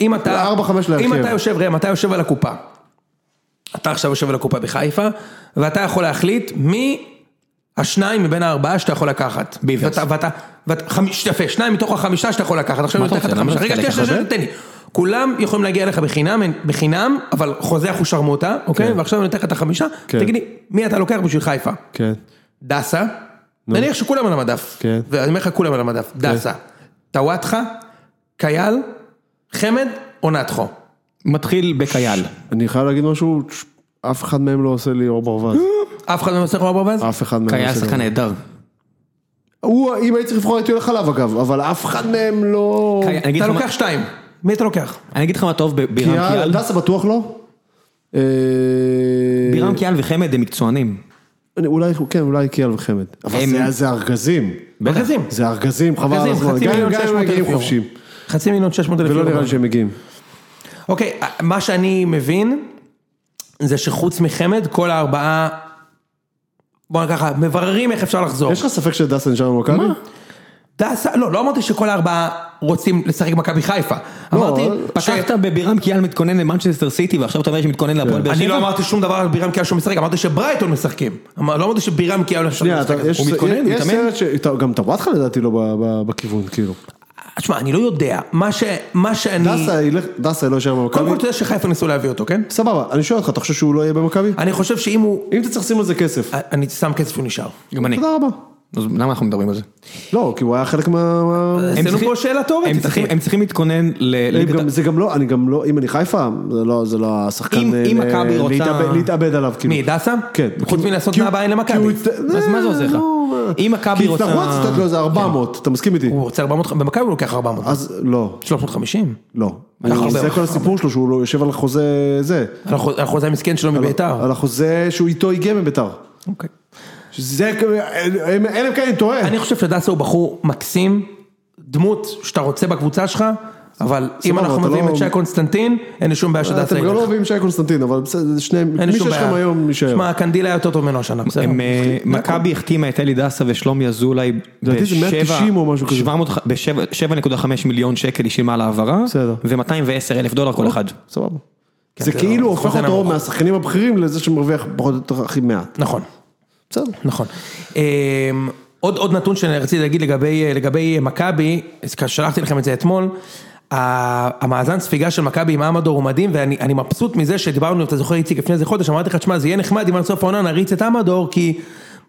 Speaker 3: אם אתה...
Speaker 2: ארבע, חמש
Speaker 3: אם
Speaker 2: להרכב.
Speaker 3: אתה יושב, ראם, אתה יושב על הקופה. אתה עכשיו יושב על הקופה בחיפה, ואתה יכול להחליט מי השניים מבין הארבעה שאתה יכול לקחת.
Speaker 1: ביברס.
Speaker 3: ואתה, ואתה, ואתה, חמיש, יפה, שניים מתוך החמישה שאתה יכול לקחת. עכשיו
Speaker 1: מה
Speaker 3: אני נותן לך
Speaker 1: אתה
Speaker 3: את
Speaker 1: רוצה? למה
Speaker 3: החמישה. רגע,
Speaker 1: אתה
Speaker 3: שנייה,
Speaker 1: רוצה
Speaker 3: שנייה,
Speaker 1: לקחת?
Speaker 3: תן לי. כולם יכולים להגיע אליך בחינם, אין- בחינם, אבל חוזה אחושרמוטה, אוקיי? ועכשיו אני נותן לך את החמישה,
Speaker 2: כן.
Speaker 3: תגיד לי, מי אתה לוקח בשביל חיפה?
Speaker 2: כן.
Speaker 3: דסה, נניח שכולם על המדף,
Speaker 2: כן.
Speaker 3: ואני אומר לך כולם על
Speaker 1: כן.
Speaker 3: המדף, דסה, טוואטחה, קייל, חמד או נתחו.
Speaker 1: מתחיל בקייל.
Speaker 2: אני חייב להגיד משהו, ש- אף אחד מהם לא עושה לי אור ברווז.
Speaker 3: (gasps) אף אחד לא מצליח לומר ברווז?
Speaker 1: אה,
Speaker 2: אף אחד מהם לא
Speaker 1: קייל
Speaker 2: עושה לי
Speaker 1: שחקן
Speaker 2: אור
Speaker 1: נהדר.
Speaker 2: הוא, אם הייתי צריך לבחור הייתי הולך עליו אגב, אבל אף אחד מהם לא...
Speaker 1: קייל, אני אגיד
Speaker 3: אתה
Speaker 1: לך מה-
Speaker 3: לוקח שתיים, מי אתה לוקח?
Speaker 1: אני אגיד לך מה טוב ב- בירם
Speaker 2: קייל,
Speaker 1: קייל.
Speaker 2: דסה בטוח לא? אה,
Speaker 1: בירם קייל וחמד הם מקצוענים.
Speaker 2: אני- אולי, כן, אולי קייל וחמד. אבל
Speaker 1: הם-
Speaker 2: זה- זה ארגזים.
Speaker 3: ארגזים.
Speaker 2: זה ארגזים, חבל על
Speaker 3: ארגזים,
Speaker 2: הזמן.
Speaker 3: חצי
Speaker 2: גם
Speaker 3: מיליון
Speaker 2: אם- גם אם
Speaker 3: 600,000
Speaker 2: הם מגיעים
Speaker 3: יורו.
Speaker 2: חופשיים.
Speaker 3: חצי מיליון 600 אלף
Speaker 2: ולא נראה לי שהם מגיעים.
Speaker 3: אוקיי, מה שאני מבין, זה שחוץ מחמד, כל הארבעה, בוא נגיד ככה, מבררים איך אפשר לחזור.
Speaker 2: יש לך ספק שדסה נשאר במכבי?
Speaker 3: דסה, לא, לא אמרתי שכל הארבעה רוצים לשחק במכבי חיפה.
Speaker 2: לא,
Speaker 3: אמרתי,
Speaker 2: אה,
Speaker 3: ש-
Speaker 1: פתחת בבירם קייל מתכונן למנצ'סטר סיטי ועכשיו אתה אומר שמתכונן להפועל באר
Speaker 3: אני לא
Speaker 1: שבע?
Speaker 3: אמרתי שום דבר על בירם קיאל שהוא משחק, אמרתי שברייטון משחקים. אמר- לא אמרתי שבירם קיאל משחק
Speaker 2: שנייה,
Speaker 3: במשחק
Speaker 2: אתה-
Speaker 3: הזה.
Speaker 2: יש-
Speaker 1: הוא מתכונן, הוא
Speaker 2: יש
Speaker 1: מתאמן.
Speaker 2: סרט ש... אתה- גם טוואטחה לדעתי לא ב- ב- בכיוון, כאילו.
Speaker 3: תשמע, אני לא יודע, מה ש- מה שאני...
Speaker 2: דסה ילך, דסה לא יישאר
Speaker 3: קודם
Speaker 2: במכבי.
Speaker 3: כל אתה יודע שחיפה ניסו להביא אותו, כן?
Speaker 2: סבבה, אני שואל אותך, אתה חושב שהוא לא יהיה במכבי?
Speaker 3: אני חושב שאם הוא... אה,
Speaker 2: אם אתה צריך לשים על זה כסף,
Speaker 3: אני שם כסף שהוא נשאר.
Speaker 1: גם אה, אני.
Speaker 2: תודה רבה.
Speaker 1: אז למה אנחנו מדברים על זה?
Speaker 2: לא, כי הוא היה חלק מה...
Speaker 1: אה,
Speaker 2: מה-
Speaker 3: עשינו
Speaker 1: צריכים-
Speaker 3: פה שאלה
Speaker 1: הם
Speaker 3: תיאורטית.
Speaker 1: צריכים- הם צריכים להתכונן ל...
Speaker 2: הם
Speaker 1: ליגת
Speaker 2: גם- זה גם לא, אני גם לא, אם אני חיפה, זה לא- זה לא השחקן...
Speaker 1: אם-
Speaker 2: אה,
Speaker 1: אם
Speaker 2: ל-
Speaker 1: מכבי רוצה-
Speaker 2: להתאבד- להתאבד עליו, כאילו.
Speaker 3: מי, דסה?
Speaker 2: כן.
Speaker 3: חוץ מלעשות
Speaker 2: כי הוא-
Speaker 3: מהבעין
Speaker 2: כי הוא
Speaker 3: למכבי.
Speaker 2: יצט-
Speaker 1: אז מה זה עוזר לך?
Speaker 2: לא, מה-
Speaker 1: אם מכבי רוצה- כן.
Speaker 2: כי לא, יצטרכו אז לתת לו איזה 400, אתה מסכים איתי?
Speaker 3: הוא רוצה 400, במכבי הוא לוקח 400.
Speaker 2: אז לא,
Speaker 3: 350?
Speaker 2: לא.
Speaker 3: אני
Speaker 2: הוא-
Speaker 3: חוזר.
Speaker 2: זה כל הסיפור שלו, שהוא לא יושב על החוזה זה.
Speaker 3: על החוז- על החוזה המסכן שלו מביתר.
Speaker 2: על החוזה שהוא איתו הגיע מביתר.
Speaker 3: אוקיי.
Speaker 2: שזה, הם- אלא אם כן אני טועה.
Speaker 3: אני חושב שדסה הוא בחור מקסים, דמות שאתה רוצה בקבוצה שלך, אבל אם
Speaker 2: סבבה,
Speaker 3: אנחנו
Speaker 2: אתה
Speaker 3: מביאים
Speaker 2: לא-
Speaker 3: את שי קונסטנטין, אין לי שום בעיה שדסה
Speaker 2: אתם גם לא
Speaker 3: ילך.
Speaker 2: מביאים שי קונסטנטין, אבל בסדר, זה שניהם,
Speaker 3: אין
Speaker 2: מי
Speaker 3: לי שום
Speaker 2: שיש
Speaker 3: בעיה.
Speaker 2: לכם היום נשאר.
Speaker 3: שמע, קנדיל היה יותר טוב ממנו השנה, בסדר? נכון.
Speaker 1: הם, אה, מכבי החתימה את אלי דסה ושלומי אזולאי
Speaker 2: לדעתי זה 190 או משהו כזה.
Speaker 1: כזה. ב-7.5 מיליון שקל היא שילמה על העברה,
Speaker 2: בסדר.
Speaker 1: ו-210 אלף דולר כל אחד.
Speaker 2: סבבה. זה
Speaker 3: זה
Speaker 2: כאילו
Speaker 3: לא-
Speaker 2: הופך
Speaker 3: זה
Speaker 2: אותו
Speaker 3: נמוך.
Speaker 2: מהשחקנים הבכירים לזה שמרוויח פחות או יותר הכי מעט.
Speaker 3: נכון,
Speaker 2: בסדר.
Speaker 3: נכון. אמ, עוד עוד נתון שרציתי להגיד לגבי לגבי מכבי, אז כש- שלחתי לכם את זה אתמול. ה- המאזן ספיגה של מכבי עם אמדור הוא מדהים ואני אני מבסוט מזה שדיברנו, אתה זוכר איציק לפני איזה חודש, אמרתי לך, תשמע זה יהיה נחמד אם עד סוף העונה נריץ את אמדור כי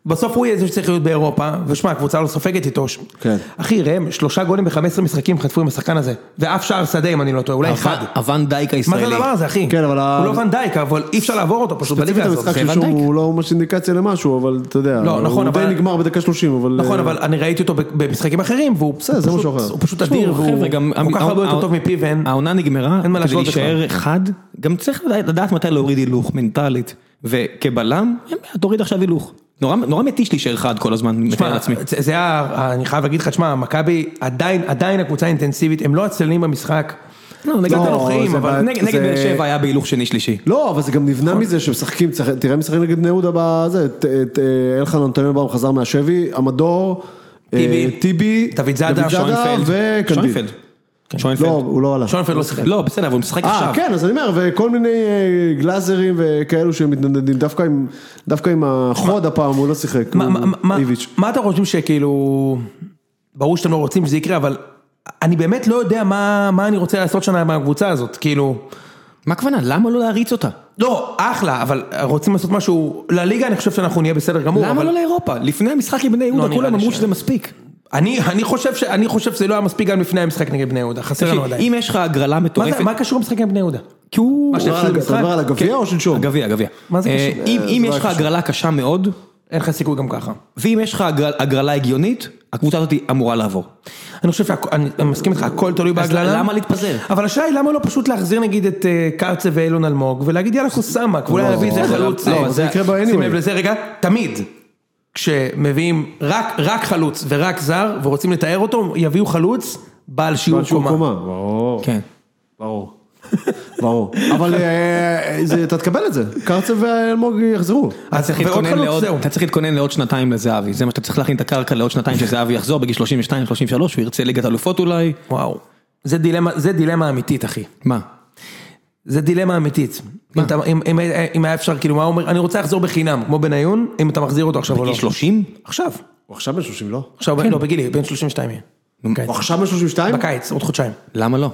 Speaker 3: בסוף הוא יהיה זה שצריך להיות באירופה, ושמע הקבוצה לא סופגת איתו.
Speaker 2: כן.
Speaker 3: אחי ראם, שלושה גולים ב-15 משחקים חטפו עם השחקן הזה, ואף שער שדה אם אני לא טועה, אולי אחד.
Speaker 1: הוון דייק
Speaker 3: מה זה
Speaker 1: הישראלי.
Speaker 3: הדבר הזה אחי?
Speaker 2: כן, אבל ה-
Speaker 3: הוא לא ונדייק אבל אי אפשר לעבור אותו פשוט
Speaker 2: ספציפית
Speaker 3: בליגה הזאת.
Speaker 2: המשחק
Speaker 1: זה
Speaker 2: שלשום
Speaker 1: ון דייק.
Speaker 2: הוא לא ממש אינדיקציה למשהו, אבל אתה יודע,
Speaker 3: לא, נכון,
Speaker 2: הוא
Speaker 3: אבל-
Speaker 2: די נגמר בדקה 30, אבל...
Speaker 3: נכון,
Speaker 2: אה,
Speaker 3: אבל אני ראיתי אותו במשחקים אחרים, והוא
Speaker 2: בסדר, זה
Speaker 3: פשוט-
Speaker 2: משהו אחר.
Speaker 3: הוא פשוט
Speaker 1: תשמעו,
Speaker 3: אדיר, והוא
Speaker 1: חבר'ה, גם-
Speaker 3: כל כך הרבה יותר טוב מפיו, ואין...
Speaker 1: העונה נגמרה,
Speaker 3: אין מה
Speaker 1: כדי
Speaker 3: להשוות בכלל.
Speaker 1: להישאר חד, גם צריך לדעת- לדעת מתי להוריד הילוך מנטלית, וכבלם, אין בעיה, תוריד עכשיו הילוך. נורא- נורא מתיש להישאר חד כל הזמן, מתאר
Speaker 3: תשמע,
Speaker 1: לעצמי.
Speaker 3: זה זה היה, אני חייב להגיד לך, שמע, מכבי עדיין, עדיין הקבוצה האינטנסיבית, הם לא עצלנים במשחק.
Speaker 1: לא, נגד
Speaker 3: קצת
Speaker 2: לא,
Speaker 3: הנוכחיים,
Speaker 2: זה
Speaker 3: אבל...
Speaker 2: בעיה.
Speaker 1: נגד נגד
Speaker 2: זה-
Speaker 1: באר שבע היה בהילוך שני שלישי.
Speaker 2: לא, אבל זה גם נבנה
Speaker 3: נכון.
Speaker 2: מזה שמשחקים, צח- תראה משחק נגד בני יהודה בזה, ת- ת- אלחנן אנטוניו חזר מהשבי, עמדור, אה,
Speaker 3: טיבי,
Speaker 2: טיבי,
Speaker 3: דוד זאדה,
Speaker 1: שוינפלד.
Speaker 2: וקנדיל.
Speaker 1: שוינפלד. שוינפלד.
Speaker 2: לא, הוא לא עלה.
Speaker 3: שונפלד כן. לא שיחק.
Speaker 1: לא, בסדר, אבל הוא משחק
Speaker 2: אה,
Speaker 1: עכשיו.
Speaker 2: כן, אז אני אומר, וכל מיני אה, גלאזרים וכאלו שמתנדנדים, דווקא עם- דווקא עם החוד הפעם הוא לא שיחק,
Speaker 3: מה-
Speaker 2: הוא-
Speaker 3: מה- מה-
Speaker 2: איביץ'.
Speaker 3: מה אתם חושבים שכאילו... ברור שאתם לא רוצים שזה יקרה, אבל אני באמת לא יודע מה מה אני רוצה לעשות שנה מהקבוצה הזאת, כאילו...
Speaker 1: מה הכוונה? למה לא להריץ אותה?
Speaker 3: לא, אחלה, אבל רוצים לעשות משהו... לליגה אני חושב שאנחנו נהיה בסדר גמור,
Speaker 1: למה
Speaker 3: אבל...
Speaker 1: לא לאירופה? לפני המשחק עם בני
Speaker 3: לא,
Speaker 1: יהודה
Speaker 3: נראה
Speaker 1: כולם
Speaker 3: לי
Speaker 1: אמרו
Speaker 3: ש-
Speaker 1: שזה מספיק.
Speaker 3: אני, אני, חושב ש, אני חושב שזה לא היה מספיק גם לפני המשחק נגד בני יהודה, חסר לנו
Speaker 1: תקשיב,
Speaker 3: עדיין.
Speaker 1: אם יש לך הגרלה
Speaker 3: מה, זה,
Speaker 1: מטורפת,
Speaker 3: מה קשור המשחק נגד בני יהודה?
Speaker 1: כי הוא... כן,
Speaker 3: מה
Speaker 2: אתה מדבר
Speaker 3: שהפסיד
Speaker 2: על- אתה
Speaker 3: במשחק?
Speaker 2: מדבר על הגביע או שלשום?
Speaker 1: הגביע, הגביע.
Speaker 3: מה זה
Speaker 1: אה,
Speaker 3: קשור?
Speaker 1: אם
Speaker 2: אה,
Speaker 1: אם
Speaker 2: זה
Speaker 1: יש
Speaker 2: לא
Speaker 1: לך
Speaker 2: היה
Speaker 1: הגרלה קשה מאוד,
Speaker 3: אין לך סיכוי גם ככה.
Speaker 1: ואם יש לך הגרל- הגרלה הגיונית, הקבוצה הזאת אמורה לעבור.
Speaker 3: אני חושב שאני מסכים איתך, הכל תלוי
Speaker 1: אז
Speaker 3: בהגללה.
Speaker 1: למה להתפזר?
Speaker 3: אבל השאלה היא למה לא פשוט להחזיר נגיד את אה, קרצה ואילון אלמוג, ולהגיד יאללה קוסאמה, ואולי להביא איזה
Speaker 1: זה לא-
Speaker 3: חלוץ.
Speaker 1: לא,
Speaker 3: אה,
Speaker 1: אבל זה
Speaker 2: יקרה ב- anyway.
Speaker 3: שים לב לזה רגע, תמיד. כשמביאים רק, רק חלוץ ורק זר, ורוצים לתאר אותו, יביאו חלוץ בעל שיעור
Speaker 2: בעל שהוא
Speaker 3: קומה.
Speaker 2: קומה, ברור,
Speaker 1: כאילו, כן.
Speaker 2: ברור. (laughs) ברור. אבל אה, זה- אתה תקבל את זה, קרצב ואלמוג יחזרו.
Speaker 1: אתה צריך
Speaker 3: ועוד
Speaker 1: להתכונן
Speaker 3: חלוץ,
Speaker 1: לעוד-
Speaker 3: זהו.
Speaker 1: אתה צריך להתכונן לעוד שנתיים לזהבי, זה מה שאתה צריך להכין את הקרקע לעוד שנתיים שזהבי יחזור בגיל 32, 33, הוא ירצה ליגת אלופות אולי,
Speaker 3: וואו. זה דילמה, זה דילמה אמיתית, אחי.
Speaker 1: מה?
Speaker 3: זה דילמה אמיתית. אם, אתה, אם, אם, אם היה אפשר, כאילו, מה הוא אומר, אני רוצה לחזור בחינם, כמו בניון, אם אתה מחזיר אותו עכשיו או לא.
Speaker 1: בגיל 30?
Speaker 3: עכשיו. כן.
Speaker 2: הוא עכשיו בן 30,
Speaker 1: כן.
Speaker 2: לא?
Speaker 3: עכשיו, לא, בגילי, בן 32 יהיה. בקיץ.
Speaker 2: הוא עכשיו בן 32?
Speaker 3: בקיץ, עוד חודשיים.
Speaker 1: למה לא?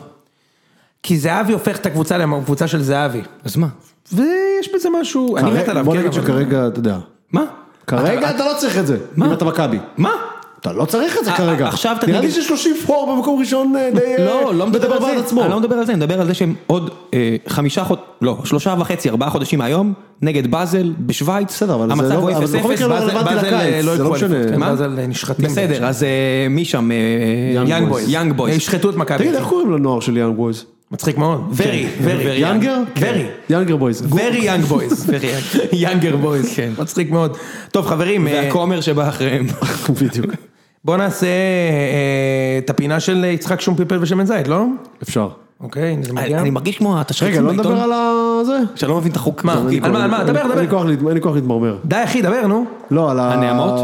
Speaker 3: כי זהבי הופך את הקבוצה לקבוצה של זהבי.
Speaker 1: אז מה?
Speaker 3: ויש בזה משהו, אני מת עליו,
Speaker 2: בוא
Speaker 3: כן,
Speaker 2: נגיד
Speaker 3: אבל-
Speaker 2: שכרגע, אתה יודע,
Speaker 1: מה?
Speaker 2: כרגע אתה לא צריך את זה, אם אתה מכבי.
Speaker 1: מה?
Speaker 2: אתה לא צריך את זה
Speaker 1: ע-
Speaker 2: כרגע.
Speaker 1: ע- עכשיו אתה
Speaker 2: נראה לי
Speaker 1: תגיד-
Speaker 2: ש-30 פור במקום ראשון אה, די...
Speaker 1: לא, לא מדבר על זה,
Speaker 2: בעד עצמו.
Speaker 1: אני לא מדבר על זה, אני מדבר על זה שהם עוד אה, חמישה חוד... לא, שלושה וחצי, ארבעה חודשים מהיום, נגד באזל, בשוויץ,
Speaker 2: בסדר, אבל זה
Speaker 1: המצב
Speaker 2: לא-
Speaker 1: הוא
Speaker 2: אבל
Speaker 1: 0-0,
Speaker 2: בכל מקרה לא
Speaker 1: באזל-
Speaker 2: רלוונטי
Speaker 1: באזל,
Speaker 2: לקיץ,
Speaker 1: אה, לא
Speaker 2: זה לא
Speaker 1: יקחו
Speaker 2: משנה.
Speaker 1: אליפות, כן,
Speaker 3: מה?
Speaker 1: מה?
Speaker 3: אז על נשחטים.
Speaker 1: בסדר, אז אה, מי שם?
Speaker 3: יאנג בויז.
Speaker 1: יאנג בויז. (laughs)
Speaker 3: ישחטו את מכבי. כן.
Speaker 2: תגיד, איך קוראים לנוער של יאנג בויז?
Speaker 3: לא, מצחיק מאוד. ורי, (laughs) ורי.
Speaker 2: יאנגר?
Speaker 3: ורי.
Speaker 2: כן. יאנגר בויז.
Speaker 3: ורי יאנג
Speaker 2: (laughs)
Speaker 3: בויז.
Speaker 1: ורי (laughs) יאנג.
Speaker 3: יאנגר בויז.
Speaker 1: כן.
Speaker 3: מצחיק מאוד. טוב חברים, אה,
Speaker 1: והכומר שבא אחריהם.
Speaker 2: בדיוק.
Speaker 3: בוא נעשה אה, את הפינה של יצחק שום פלפל ושמן זית, לא?
Speaker 2: אפשר.
Speaker 3: אוקיי, הנה זה
Speaker 1: אני
Speaker 3: מגיע.
Speaker 1: אני מרגיש כמו
Speaker 2: רגע,
Speaker 1: התשריצים
Speaker 2: לא נדבר
Speaker 1: בעיתון,
Speaker 2: על ה- זה?
Speaker 1: שאני לא מבין את החוק. מה?
Speaker 3: על מה, על מה? דבר,
Speaker 2: אין-
Speaker 3: דבר.
Speaker 2: אין לי כוח להת- אין לי כוח להתמרמר.
Speaker 3: די אחי, דבר נו.
Speaker 2: לא, על ה...
Speaker 1: הנעמות?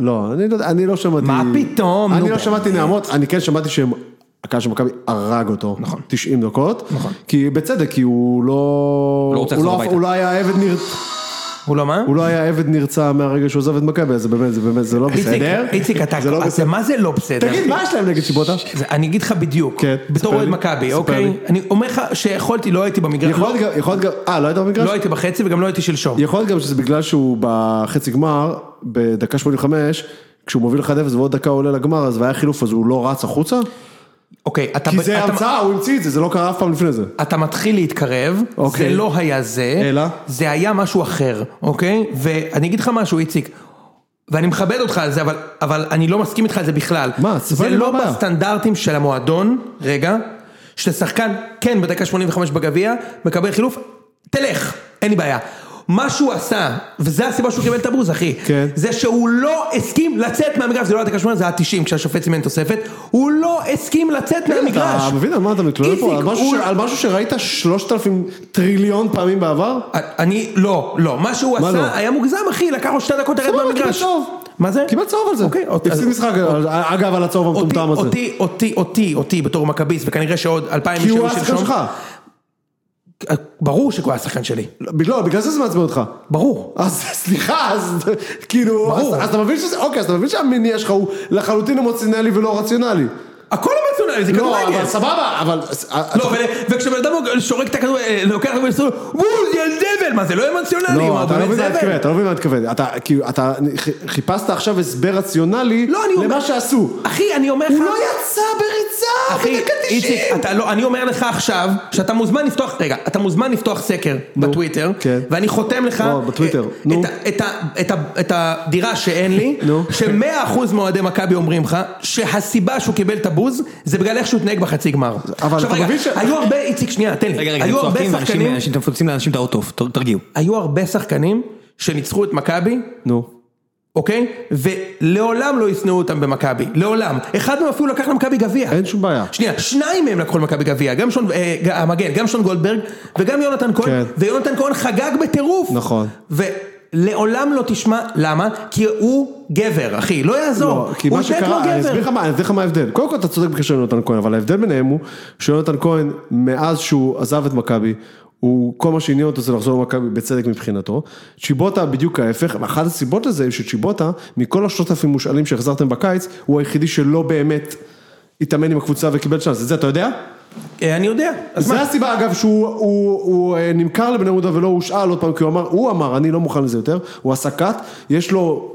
Speaker 2: לא, אני לא- אני לא שמעתי...
Speaker 3: מה פתאום, נו,
Speaker 2: אני לא
Speaker 3: באמת.
Speaker 2: שמעתי נעמות, אני כן שמעתי שהם... הקהל של מכבי הרג אותו, נכון, 90 דקות, נכון, כי בצדק, כי הוא לא,
Speaker 1: לא רוצה
Speaker 2: הוא
Speaker 1: לחזור
Speaker 2: לא,
Speaker 1: הביתה.
Speaker 2: הוא לא היה עבד נר...
Speaker 3: הוא לא מה?
Speaker 2: הוא לא היה עבד נרצע מהרגע שהוא עוזב את מכבי, אז זה באמת, זה באמת, זה לא
Speaker 3: איציק,
Speaker 2: בסדר,
Speaker 3: איציק, אתה
Speaker 2: זה לא
Speaker 3: אתה-
Speaker 2: בסדר,
Speaker 3: מה זה לא בסדר?
Speaker 2: תגיד, מה יש להם נגד שיבוטה?
Speaker 3: זה- אני אגיד לך בדיוק,
Speaker 2: כן, ספר
Speaker 3: בתור אוהד
Speaker 2: לי,
Speaker 3: מכבי,
Speaker 2: ספר
Speaker 3: אוקיי?
Speaker 2: לי.
Speaker 3: אני אומר לך שיכולתי, לא הייתי במגרש,
Speaker 2: יכול להיות גם, יכול להיות גם, אה, לא היית במגרש?
Speaker 3: לא הייתי בחצי וגם לא הייתי שלשום.
Speaker 2: יכול להיות גם שזה בגלל שהוא בחצי גמר, בדקה 85, כשהוא מוביל 1-0 ועוד דקה עולה לגמר, אז והיה חילוף, אז הוא לא רץ החוצה?
Speaker 3: אוקיי, אתה-
Speaker 2: כי זה
Speaker 3: אתה-
Speaker 2: המצאה, הוא המציא את זה, זה לא קרה אף פעם לפני זה.
Speaker 3: אתה מתחיל להתקרב, זה
Speaker 2: אוקיי.
Speaker 3: לא היה זה,
Speaker 2: אלא?
Speaker 3: זה היה משהו אחר, אוקיי? ואני אגיד לך משהו, איציק, ואני מכבד אותך על זה, אבל, אבל אני לא מסכים איתך על זה בכלל.
Speaker 2: מה, סבבה,
Speaker 3: זה
Speaker 2: מה
Speaker 3: לא
Speaker 2: הבעיה?
Speaker 3: בסטנדרטים של המועדון, רגע, ששחקן, כן, בדקה 85 בגביע, מקבל חילוף, תלך, אין לי בעיה. מה שהוא עשה, וזו הסיבה שהוא קיבל את הבוז, אחי.
Speaker 2: כן.
Speaker 3: זה שהוא לא הסכים לצאת מהמגרש, זה לא היה דקה 8, זה היה 90, כשהשופט סימן תוספת, הוא לא הסכים לצאת מהמגרש.
Speaker 2: כן, אתה מבין על מה אתה מתלונן
Speaker 3: איציק,
Speaker 2: פה? על משהו
Speaker 3: הוא- לא
Speaker 2: ש- על משהו שראית 3,000 טריליון פעמים בעבר?
Speaker 3: אני, לא, לא, מה שהוא
Speaker 2: מה
Speaker 3: עשה
Speaker 2: לא?
Speaker 3: היה מוגזם אחי, לקח לו שתי דקות לרדת
Speaker 2: סבבה,
Speaker 3: מהמגרש.
Speaker 2: לא, קיבל צהוב.
Speaker 3: מה זה?
Speaker 2: קיבל צהוב על זה.
Speaker 3: אוקיי, אז- אוקיי,
Speaker 2: הפסיד משחק, אגב, על הצהוב
Speaker 3: אותי,
Speaker 2: המטומטם הזה.
Speaker 3: אותי, אותי, אותי, אותי בתור מכביסט, וכנראה שעוד אלפיים
Speaker 2: כי הוא
Speaker 3: יישארו
Speaker 2: השחקן
Speaker 3: שלשום.
Speaker 2: שלך.
Speaker 3: ברור שהוא היה השחקן שלי,
Speaker 2: לא, בגלל זה זה מעצבן אותך.
Speaker 3: ברור.
Speaker 2: אז סליחה, אז כאילו, אז
Speaker 3: ברור.
Speaker 2: אז אתה מבין שזה, אוקיי, אז אתה מבין שהמניע שלך הוא לחלוטין אמוציונלי ולא רציונלי.
Speaker 3: הכל אמוציונלי, זה
Speaker 2: לא,
Speaker 3: כדורגל.
Speaker 2: אבל סבבה, אבל...
Speaker 3: לא, ו- וכשבן אדם שורק את הכדור, אה, לוקח את הכדור, וואו, יא זבל, מה זה לא אמוציונלי,
Speaker 2: לא,
Speaker 3: מה,
Speaker 2: אתה לא
Speaker 3: באמת
Speaker 2: מבין מה אני
Speaker 3: זבל.
Speaker 2: מתכוון, אתה לא מבין מה אני מתכוון, אתה כאילו, אתה ח- חיפשת עכשיו הסבר רציונלי
Speaker 3: לא, אני אומר-
Speaker 2: למה שעשו.
Speaker 3: אחי, אני אומר לך...
Speaker 2: הוא לא יצא בריצה,
Speaker 3: אחי,
Speaker 2: בדקה 90.
Speaker 3: איציק, אתה לא, אני אומר לך עכשיו, שאתה מוזמן לפתוח, רגע, אתה מוזמן לפתוח סקר בטוויטר,
Speaker 2: כן.
Speaker 3: ואני חותם לך,
Speaker 2: וואו, בטוויטר,
Speaker 3: אה,
Speaker 2: נו.
Speaker 3: את ה- את ה- את ה- את הדירה שאין לי,
Speaker 2: נו.
Speaker 3: שמאה אחוז מאוהדי מכבי אומרים לך, שהסיבה שהוא קיבל את הבוז, זה בגלל איך שהוא התנהג בחצי גמר.
Speaker 2: אבל
Speaker 3: עכשיו
Speaker 2: אתה
Speaker 3: רגע,
Speaker 2: מבין ש-
Speaker 3: היו הרבה, איציק, שנייה, תן לי,
Speaker 1: רגע, רגע, אתם
Speaker 3: היו הרבה
Speaker 1: צועקים,
Speaker 3: שחקנים-
Speaker 1: ואנשים- אתם מפוצצים לאנשים את האוטו, ת- תרגיעו.
Speaker 3: היו הרבה שחקנים שניצחו את מכבי,
Speaker 2: נו.
Speaker 3: אוקיי? ולעולם לא ישנאו אותם במכבי, לעולם. אחד מהם אפילו לקח למכבי גביע.
Speaker 2: אין שום בעיה.
Speaker 3: שנייה, שניים מהם לקחו למכבי גביע, גם שון, אה, ג- המגן, גם שון גולדברג וגם יונתן כהן,
Speaker 2: כן.
Speaker 3: ויונתן כהן חגג בטירוף.
Speaker 2: נכון.
Speaker 3: ולעולם לא תשמע, למה? כי הוא גבר, אחי, לא יעזור.
Speaker 2: לא, כי
Speaker 3: הוא
Speaker 2: מה
Speaker 3: באמת לא
Speaker 2: שקרה, אני אסביר לך
Speaker 3: גבר.
Speaker 2: מה, אני אסביר לך מה ההבדל. קודם כל אתה צודק בקשר ליונתן כהן, אבל ההבדל ביניהם הוא שיונתן כהן, מאז שהוא עזב את מכבי, הוא כל מה שעניין אותו זה לחזור למכבי בצדק מבחינתו. צ'יבוטה בדיוק ההפך, ואחת הסיבות לזה היא שצ'יבוטה, מכל השלושת אלפים מושאלים שהחזרתם בקיץ, הוא היחידי שלא באמת התאמן עם הקבוצה וקיבל צ'אנס, את זה אתה יודע?
Speaker 3: אה, אני יודע, אז
Speaker 2: זה
Speaker 3: מה?
Speaker 2: הסיבה אגב שהוא הוא, הוא, אה, נמכר לבני יהודה ולא הושאל עוד פעם, כי הוא אמר, הוא אמר, אני לא מוכן לזה יותר, הוא עשה קאט, יש לו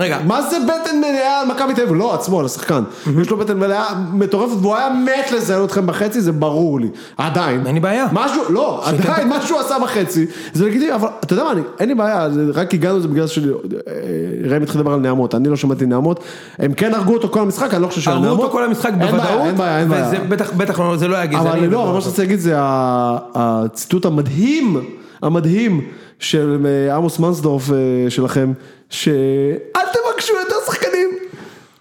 Speaker 3: רגע,
Speaker 2: מה זה בטן מלאה על מכבי תל אביב? לא, עצמו, על השחקן. יש לו בטן מלאה מטורפת, והוא היה מת לזיין אתכם בחצי, זה ברור לי. עדיין.
Speaker 3: אין לי בעיה.
Speaker 2: משהו, לא, עדיין, מה שהוא עשה בחצי, זה לגיטימי, אבל אתה יודע מה, אני, אין לי בעיה, זה- רק הגענו לזה בגלל שראם התחיל לדבר על נעמות, אני לא שמעתי נעמות, הם כן הרגו אותו כל המשחק, אני לא חושב שהיה
Speaker 3: הרגו
Speaker 2: נעמות.
Speaker 3: אותו כל המשחק
Speaker 2: אין בעיה,
Speaker 3: בוודאות,
Speaker 2: אין בעיה, אין בעיה.
Speaker 3: וזה בטח, בטח, לא- זה לא היה גזעני.
Speaker 2: אבל לא,
Speaker 3: הדבר
Speaker 2: אבל מה
Speaker 3: הזה.
Speaker 2: שרציתי להגיד זה ה- הציטוט המדהים, המדהים של אה, עמוס מנסדורף אה, שלכם, שאל תבקשו יותר שחקנים.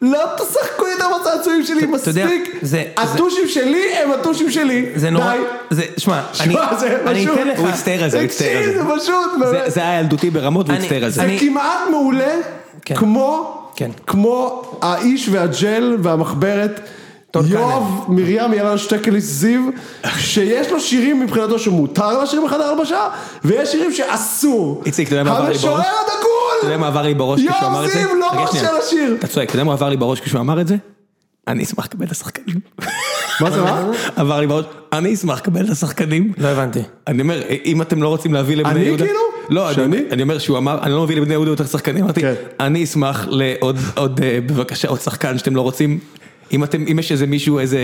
Speaker 2: לא תשחקו יותר בצעצועים שלי
Speaker 3: אתה יודע,
Speaker 2: מספיק,
Speaker 3: זה-
Speaker 2: הטושים שלי הם הטושים שלי,
Speaker 3: זה נורא,
Speaker 2: די.
Speaker 3: זה,
Speaker 2: (laughs)
Speaker 3: שמע, אני
Speaker 2: שמע, זה
Speaker 3: אני
Speaker 2: פשוט.
Speaker 3: אתן לך,
Speaker 1: הוא הצטער על זה, הוא הצטער על
Speaker 2: תקשיב,
Speaker 1: זה.
Speaker 2: זה פשוט,
Speaker 1: זה-
Speaker 2: באמת.
Speaker 1: זה היה ילדותי ברמות והוא
Speaker 3: אני-
Speaker 1: הצטער על זה.
Speaker 2: זה
Speaker 3: אני-
Speaker 2: כמעט מעולה,
Speaker 3: כן.
Speaker 2: כמו,
Speaker 3: כן.
Speaker 2: כמו האיש והג'ל והמחברת.
Speaker 3: טוב,
Speaker 2: יואב מרים ילן שטקליס זיו, שיש לו שירים מבחינתו שמותר לה שירים בחדר הלבשה, ויש שירים שאסור.
Speaker 1: איציק, אתה יודע מה עבר לי בראש?
Speaker 2: המשורר
Speaker 1: אתה יודע
Speaker 2: הדגול!
Speaker 1: מה עבר לי בראש
Speaker 2: יואב
Speaker 1: כשהוא אמר את זה?
Speaker 2: זיו לא
Speaker 1: רגע,
Speaker 2: מרשה
Speaker 1: שנייה.
Speaker 2: לשיר.
Speaker 1: אתה צועק, אתה יודע מה עבר לי בראש כשהוא אמר את זה? אני אשמח לקבל את השחקנים.
Speaker 2: מה זה מה?
Speaker 1: עבר לי בראש, אני אשמח לקבל את השחקנים.
Speaker 3: לא הבנתי.
Speaker 1: אני אומר, אם אתם לא רוצים להביא לבני
Speaker 2: אני
Speaker 1: יהודה...
Speaker 2: כאילו?
Speaker 1: לא, אני-
Speaker 2: שאני?
Speaker 1: אני אומר שהוא אמר, אני לא מביא לבני יהודה יותר שחקנים, אמרתי,
Speaker 2: כן.
Speaker 1: אני אשמח לעוד, עוד, אה, בבקשה, עוד שחקן שאתם לא רוצים, אם אתם, אם יש איזה מישהו, איזה...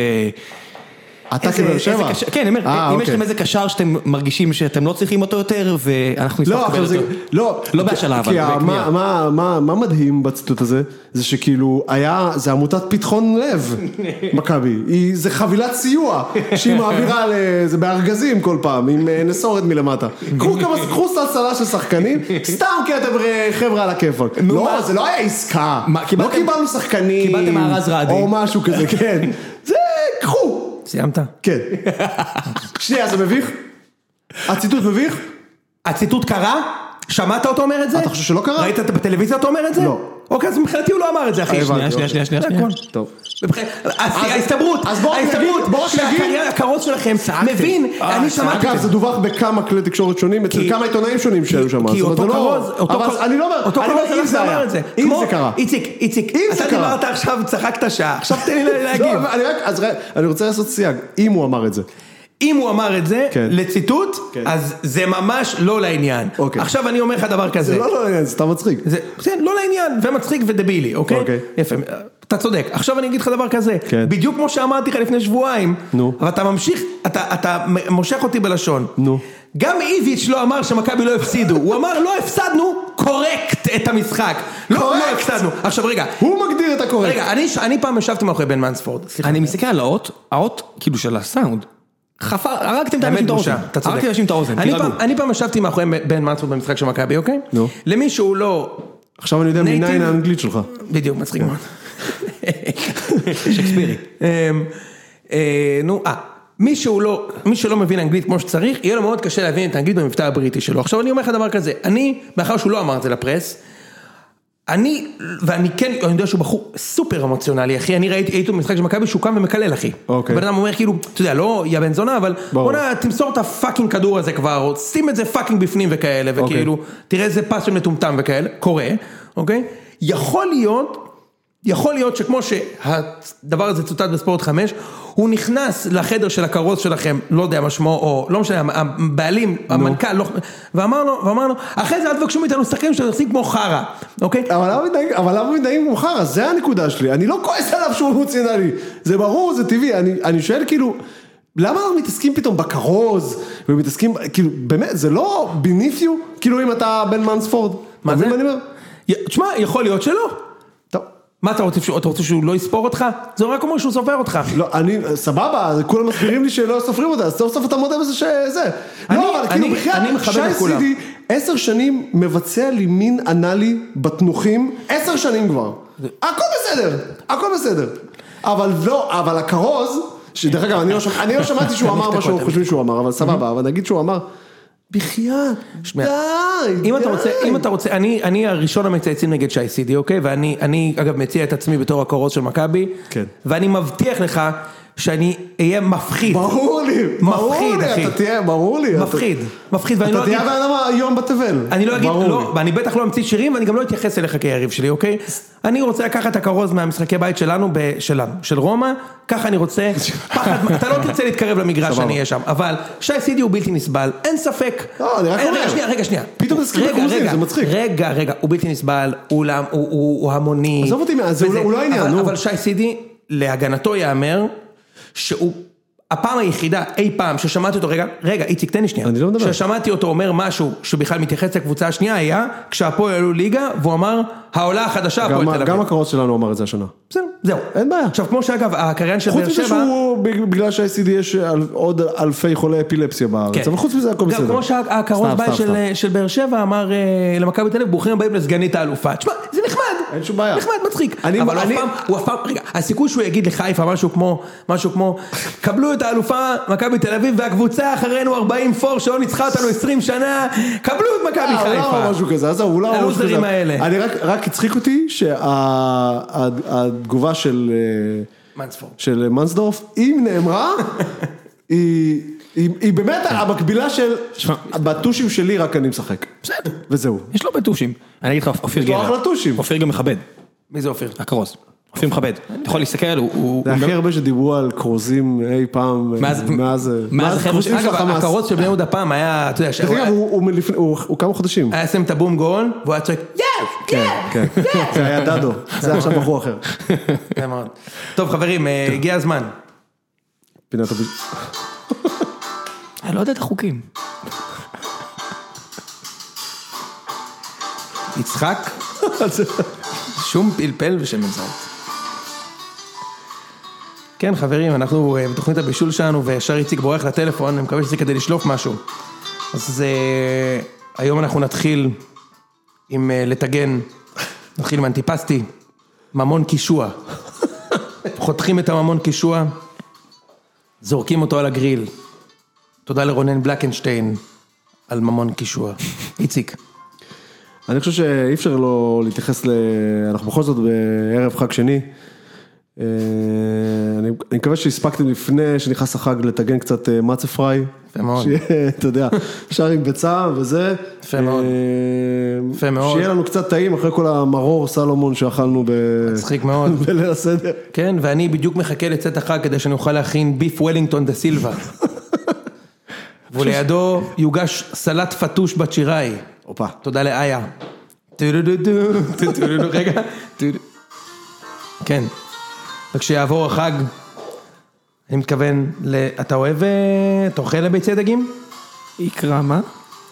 Speaker 2: אתה
Speaker 1: איזה-
Speaker 2: כבאר
Speaker 1: איזה
Speaker 2: שבע.
Speaker 1: קשר- כן, אני
Speaker 2: אה,
Speaker 1: אומר, אם יש
Speaker 2: אוקיי.
Speaker 1: לכם איזה קשר שאתם מרגישים שאתם לא צריכים אותו יותר, ואנחנו נשמח
Speaker 2: לא,
Speaker 1: לקבל
Speaker 2: אבל
Speaker 1: אותו.
Speaker 2: זה... לא,
Speaker 1: לא
Speaker 2: כי-
Speaker 1: בהשאלה, אבל
Speaker 2: כי ה-
Speaker 1: בקנייה.
Speaker 2: מה- מה- מה מה מדהים בציטוט הזה, זה שכאילו היה, זה עמותת פתחון
Speaker 1: (laughs)
Speaker 2: לב, מכבי. היא- זה חבילת סיוע, שהיא מעבירה ל... זה בארגזים כל פעם, עם אה, נסורת מלמטה. קחו כמה, קחו סלסלה של שחקנים, סתם כי אתם אה, חבר'ה על הכיפאק. לא,
Speaker 1: מה?
Speaker 2: זה לא היה עסקה.
Speaker 1: מה,
Speaker 2: לא
Speaker 1: קיבלתם-
Speaker 2: קיבלנו שחקנים.
Speaker 1: קיבלתם מארז רדי.
Speaker 2: או משהו
Speaker 1: (laughs)
Speaker 2: כזה, כן. זה, קחו.
Speaker 3: סיימת?
Speaker 2: כן. שנייה, זה מביך? הציטוט מביך?
Speaker 3: הציטוט קרה? שמעת אותו אומר את זה?
Speaker 2: אתה חושב שלא קרה?
Speaker 3: ראית את- בטלוויזיה אותו אומר את זה?
Speaker 2: לא.
Speaker 3: אוקיי, אז מבחינתי הוא לא אמר את זה, אחי.
Speaker 2: הבנתי,
Speaker 1: שנייה,
Speaker 2: אוקיי.
Speaker 1: שנייה, שנייה, שנייה,
Speaker 3: זה
Speaker 1: שנייה.
Speaker 3: הכל.
Speaker 2: טוב.
Speaker 3: מבחינת- ההסתברות,
Speaker 2: אז בואו רק נגיד-
Speaker 3: ההסתברות,
Speaker 2: בואו רק אה, נגיד-
Speaker 3: שהקריירה- הקרוס שלכם, מבין, אני שמעתי
Speaker 2: אגב,
Speaker 3: את
Speaker 2: זה
Speaker 3: זה.
Speaker 2: דווח בכמה כלי תקשורת שונים, אצל
Speaker 3: אה, אוקיי. כי-
Speaker 2: כמה עיתונאים שונים שהיו שם.
Speaker 3: כי
Speaker 2: זאת אומרת,
Speaker 3: אותו
Speaker 2: זה לא-
Speaker 3: כרוז, אותו
Speaker 2: אבל
Speaker 3: כרוז,
Speaker 2: אני לא אומר,
Speaker 3: אותו
Speaker 2: אני
Speaker 3: כרוז
Speaker 2: אומר, אם
Speaker 3: הלך
Speaker 2: זה
Speaker 3: ואמר
Speaker 2: היה,
Speaker 3: את זה,
Speaker 2: אם
Speaker 3: כמו-
Speaker 2: זה קרה.
Speaker 3: איציק, איציק,
Speaker 2: אם זה
Speaker 3: אתה
Speaker 2: קרה.
Speaker 3: דיברת עכשיו, צחקת שעה, עכשיו תן לי לה-
Speaker 2: לא,
Speaker 3: להגיב.
Speaker 2: אבל אני רק- אז ר- אני רוצה לעשות סייג, אם הוא אמר את זה.
Speaker 3: אם הוא אמר את זה,
Speaker 2: כן.
Speaker 3: לציטוט,
Speaker 2: כן.
Speaker 3: אז זה ממש לא לעניין.
Speaker 2: אוקיי.
Speaker 3: עכשיו אני אומר לך דבר כזה.
Speaker 2: זה לא, לא, זה סתם מצחיק.
Speaker 3: זה, זה לא לעניין, ומצחיק ודבילי, אוקיי?
Speaker 2: אוקיי.
Speaker 3: יפה, אתה צודק. עכשיו אני אגיד לך דבר כזה,
Speaker 2: כן.
Speaker 3: בדיוק כמו שאמרתי לך לפני שבועיים,
Speaker 2: נו.
Speaker 3: אבל אתה ממשיך, אתה, אתה מ- מושך אותי בלשון.
Speaker 2: נו.
Speaker 3: גם איביץ' לא אמר שמכבי לא הפסידו, הוא אמר לא הפסדנו קורקט את המשחק. לא, לא
Speaker 2: קורקט.
Speaker 3: הפסדנו. עכשיו רגע,
Speaker 2: הוא מגדיר את הקורקט.
Speaker 3: רגע, אני, אני פעם ישבתי מאחורי בן מנספורד, סליחה.
Speaker 2: אה,
Speaker 1: אני מסתכל על האות, האות כאילו של הסאונד. חפר, הרגתם את האנשים
Speaker 3: באמת
Speaker 1: את האוזן.
Speaker 3: בושה, אתה צודק.
Speaker 1: הרגתם את האנשים את האוזן,
Speaker 3: אני
Speaker 1: תירגעו.
Speaker 3: פעם- אני פעם ישבתי מאחורי בן מנספורד במשחק של מכבי, אוקיי?
Speaker 2: נו.
Speaker 3: למי שהוא לא...
Speaker 2: עכשיו אני יודע
Speaker 3: נייטיב.
Speaker 2: מניין האנגלית שלך.
Speaker 3: בדיוק, מצחיק מאוד. שייקספירי. אמ, אה, נו, אה. מי שהוא לא, מי שלא מבין אנגלית כמו שצריך, יהיה לו מאוד קשה להבין את האנגלית במבטא הבריטי שלו. עכשיו אני אומר לך דבר כזה, אני, מאחר שהוא לא אמר את זה לפרס, אני, ואני כן, אני יודע שהוא בחור סופר אמוציונלי, אחי, אני ראיתי, הייתי במשחק של מכבי שהוא קם ומקלל, אחי.
Speaker 2: אוקיי.
Speaker 3: הבן אדם אומר כאילו, אתה יודע, לא יא בן זונה, אבל
Speaker 2: ברור.
Speaker 3: בוא'נה, תמסור את הפאקינג כדור הזה כבר, או שים את זה פאקינג בפנים וכאלה,
Speaker 2: אוקיי.
Speaker 3: וכאילו, תראה איזה פס של מטומטם וכאלה, קורה, אוקיי? יכול להיות, יכול להיות שכמו שהדבר הזה צוטט בספורט 5, הוא נכנס לחדר של הכרוז שלכם, לא יודע מה שמו, או לא משנה, הבעלים, המנכ"ל, לא, ואמר לו, ואמר לו, אחרי זה אל תבקשו מאיתנו שחקנים שנכנסים כמו חרא, אוקיי?
Speaker 2: אבל למה מתנהג- אבל למה מתנהגים כמו חרא? זה הנקודה שלי. אני לא כועס עליו שהוא אמוציונלי. זה ברור, זה טבעי. אני, אני שואל כאילו, למה אנחנו מתעסקים פתאום בכרוז? ומתעסקים, כאילו, באמת, זה לא beneath you? כאילו אם אתה בן מנספורד.
Speaker 3: מה
Speaker 2: אתה
Speaker 3: זה?
Speaker 2: מבין אני אומר?
Speaker 3: י- תשמע, יכול להיות שלא.
Speaker 2: טוב.
Speaker 3: מה אתה רוצה, שהוא- אתה רוצה שהוא לא יספור אותך? זה רק אומר שהוא סופר אותך.
Speaker 2: לא, אני, סבבה, כולם מסבירים לי שלא סופרים אותה, אז סוף סוף אתה מודה בזה שזה.
Speaker 3: אני-
Speaker 2: לא, אבל כאילו
Speaker 3: אני-
Speaker 2: בכלל,
Speaker 3: אני מכבד
Speaker 2: שי
Speaker 3: את כולם.
Speaker 2: סידי עשר שנים מבצע לי מין אנאלי בתנוחים, עשר שנים כבר. הכל בסדר, הכל בסדר. אבל לא, אבל הכרוז, שדרך אגב, אני לא שמ- אני לא שמעתי
Speaker 3: (laughs)
Speaker 2: שהוא אמר מה שהם חושבים שהוא אמר, אבל סבבה, אבל נגיד שהוא אמר, בחייאת, די,
Speaker 3: שמע, אם אתה רוצה,
Speaker 2: די."
Speaker 3: אם אתה רוצה, אני, אני הראשון המצייצים נגד שי סידי, אוקיי? ואני, אני, אגב, מציע את עצמי בתור הקורות של מכבי.
Speaker 2: כן.
Speaker 3: ואני מבטיח לך שאני אהיה מפחיד.
Speaker 2: ברור לי, ברור
Speaker 3: מפחיד,
Speaker 2: לי,
Speaker 3: אחי.
Speaker 2: אתה תהיה, ברור לי. אתה-
Speaker 3: מפחיד. מפחיד, ואני
Speaker 2: אתה
Speaker 3: לא אגיד...
Speaker 2: תהיה הבן אדם היום בתבל.
Speaker 3: אני לא אגיד,
Speaker 2: ברור לי.
Speaker 3: לא, ואני בטח לא אמציא שירים ואני גם לא אתייחס אליך כיריב שלי, אוקיי? אני רוצה לקחת את הכרוז מהמשחקי בית שלנו, ב- שלנו, של רומא, ככה אני רוצה, פחד,
Speaker 2: (laughs)
Speaker 3: אתה לא תרצה להתקרב למגרש שאני אהיה שם, אבל שי סידי הוא בלתי נסבל, אין ספק.
Speaker 2: לא, אני רק
Speaker 3: אין,
Speaker 2: אומר.
Speaker 3: רגע, שנייה, רגע, שנייה.
Speaker 2: פתאום זה סכימת
Speaker 3: רגע,
Speaker 2: אחוזים,
Speaker 3: רגע,
Speaker 2: זה מצחיק.
Speaker 3: רגע, רגע, הוא בלתי נסבל, הוא לעם- הוא- הוא הוא המוני.
Speaker 2: עזוב אותי מה- זה
Speaker 3: וזה-
Speaker 2: הוא לא העניין,
Speaker 3: אבל-
Speaker 2: נו.
Speaker 3: אבל שי סידי, להגנתו ייאמר, שהוא... הפעם היחידה אי פעם ששמעתי אותו, רגע, רגע, איציק תן לי שנייה.
Speaker 2: אני לא מדבר.
Speaker 3: ששמעתי אותו אומר משהו שבכלל מתייחס לקבוצה השנייה היה כשהפועל עלו ליגה והוא אמר העולה החדשה
Speaker 2: גם-
Speaker 3: הפועל תל אביב.
Speaker 2: גם הכרוז שלנו אמר את זה השנה.
Speaker 3: זהו, זהו.
Speaker 2: אין בעיה.
Speaker 3: עכשיו כמו שאגב הקריין של
Speaker 2: חוץ
Speaker 3: באר
Speaker 2: מזה
Speaker 3: שבע.
Speaker 2: שהוא, בג- בגלל שה-ICD יש אל- עוד אלפי חולי אפילפסיה
Speaker 3: כן.
Speaker 2: בארץ, אבל חוץ מזה הכל בסדר.
Speaker 3: גם כמו שהקרון
Speaker 2: סתם,
Speaker 3: בית
Speaker 2: סתם,
Speaker 3: של- אה,
Speaker 2: סתם.
Speaker 3: של באר שבע אמר אה, למכבי תל אביב ברוכים הבאים לסגנית האלופה. תשמע, זה נחמד.
Speaker 2: אין שום בעיה.
Speaker 3: נחמד, מצחיק.
Speaker 2: אני-
Speaker 3: אבל הוא אף
Speaker 2: אני-
Speaker 3: פעם, הוא אף פעם, רגע, הסיכוי שהוא יגיד לחיפה משהו כמו, משהו כמו, קבלו את האלופה מכבי תל אביב והקבוצה אחרינו 40 פור שלא ניצחה אותנו 20 שנה, קבלו את מכבי
Speaker 2: אה, הוא לא אמר
Speaker 3: חיפה.
Speaker 2: משהו כזה, עזוב, הוא לא אמר משהו כזה.
Speaker 3: הלוזרים האלה.
Speaker 2: אני רק- רק הצחיק אותי שהתגובה של אה,
Speaker 3: מנספורד.
Speaker 2: של מנסדורף, אם
Speaker 3: (laughs)
Speaker 2: נאמרה, היא היא- היא באמת
Speaker 3: כן.
Speaker 2: המקבילה של, בטושים שלי רק אני משחק.
Speaker 1: בסדר.
Speaker 2: וזהו.
Speaker 1: יש לו בטושים. אני אגיד לך, אופיר
Speaker 2: יש לו
Speaker 1: גלר.
Speaker 2: אחלה טושים.
Speaker 1: אופיר גם מכבד,
Speaker 3: מי זה אופיר?
Speaker 1: הכרוז. אפילו מכבד. אתה יכול להסתכל, הוא- הוא...
Speaker 2: זה
Speaker 1: הוא
Speaker 2: הכי
Speaker 1: גם-
Speaker 2: הרבה שדיברו על כרוזים אי פעם,
Speaker 1: מאז-
Speaker 2: מאז,
Speaker 1: מאז החבר'ה של
Speaker 2: הכרוזים של
Speaker 3: אגב,
Speaker 2: החמאס.
Speaker 3: הכרוז של בני יהודה פעם היה, אתה יודע, שהוא
Speaker 2: דרך
Speaker 3: היה-
Speaker 2: אגב, הוא הוא מלפני- הוא- הוא כמה חודשים.
Speaker 3: היה שם את הבום גאון, והוא היה צועק, יס, כן,
Speaker 2: אה, כן. זה היה דדו, זה היה עכשיו בחור אחר.
Speaker 3: יפה מאוד. טוב חברים, אה, הגיע הזמן.
Speaker 2: פינת הביט.
Speaker 1: אני לא יודע את החוקים.
Speaker 3: יצחק, שום פלפל ושמן זית. כן חברים, אנחנו אה, בתוכנית הבישול שלנו, וישר איציק בורח לטלפון, אני מקווה שזה כדי לשלוף משהו. אז אה, היום אנחנו נתחיל עם אה, לטגן, נתחיל עם אנטיפסטי, ממון קישוע. (laughs) חותכים את הממון קישוע, זורקים אותו על הגריל. תודה לרונן בלקנשטיין על ממון קישוע. איציק.
Speaker 2: אני חושב שאי אפשר לא להתייחס ל... אנחנו בכל זאת בערב חג שני. אה, אני, אני מקווה שהספקתם לפני שנכנס החג לטגן קצת אה, מצה פריי.
Speaker 3: יפה מאוד.
Speaker 2: שיהיה, אתה יודע, שר עם ביצה וזה.
Speaker 3: יפה מאוד.
Speaker 2: אה,
Speaker 3: יפה מאוד.
Speaker 2: שיהיה לנו קצת טעים אחרי כל המרור סלומון שאכלנו ב...
Speaker 3: מצחיק מאוד.
Speaker 2: (laughs) בליל הסדר.
Speaker 3: כן, ואני בדיוק מחכה לצאת החג כדי שאני אוכל להכין ביף וולינגטון דה סילבה. ולידו יוגש סלט פטוש בצ'יראי.
Speaker 2: הופה.
Speaker 3: תודה לאיה. טו-דו-דו-דו, טו-דו-דו-דו, רגע. טו-דו. כן. וכשיעבור החג, אני מתכוון ל... אתה אוהב... אה, אתה אוכל ביצי דגים?
Speaker 1: יקרא מה?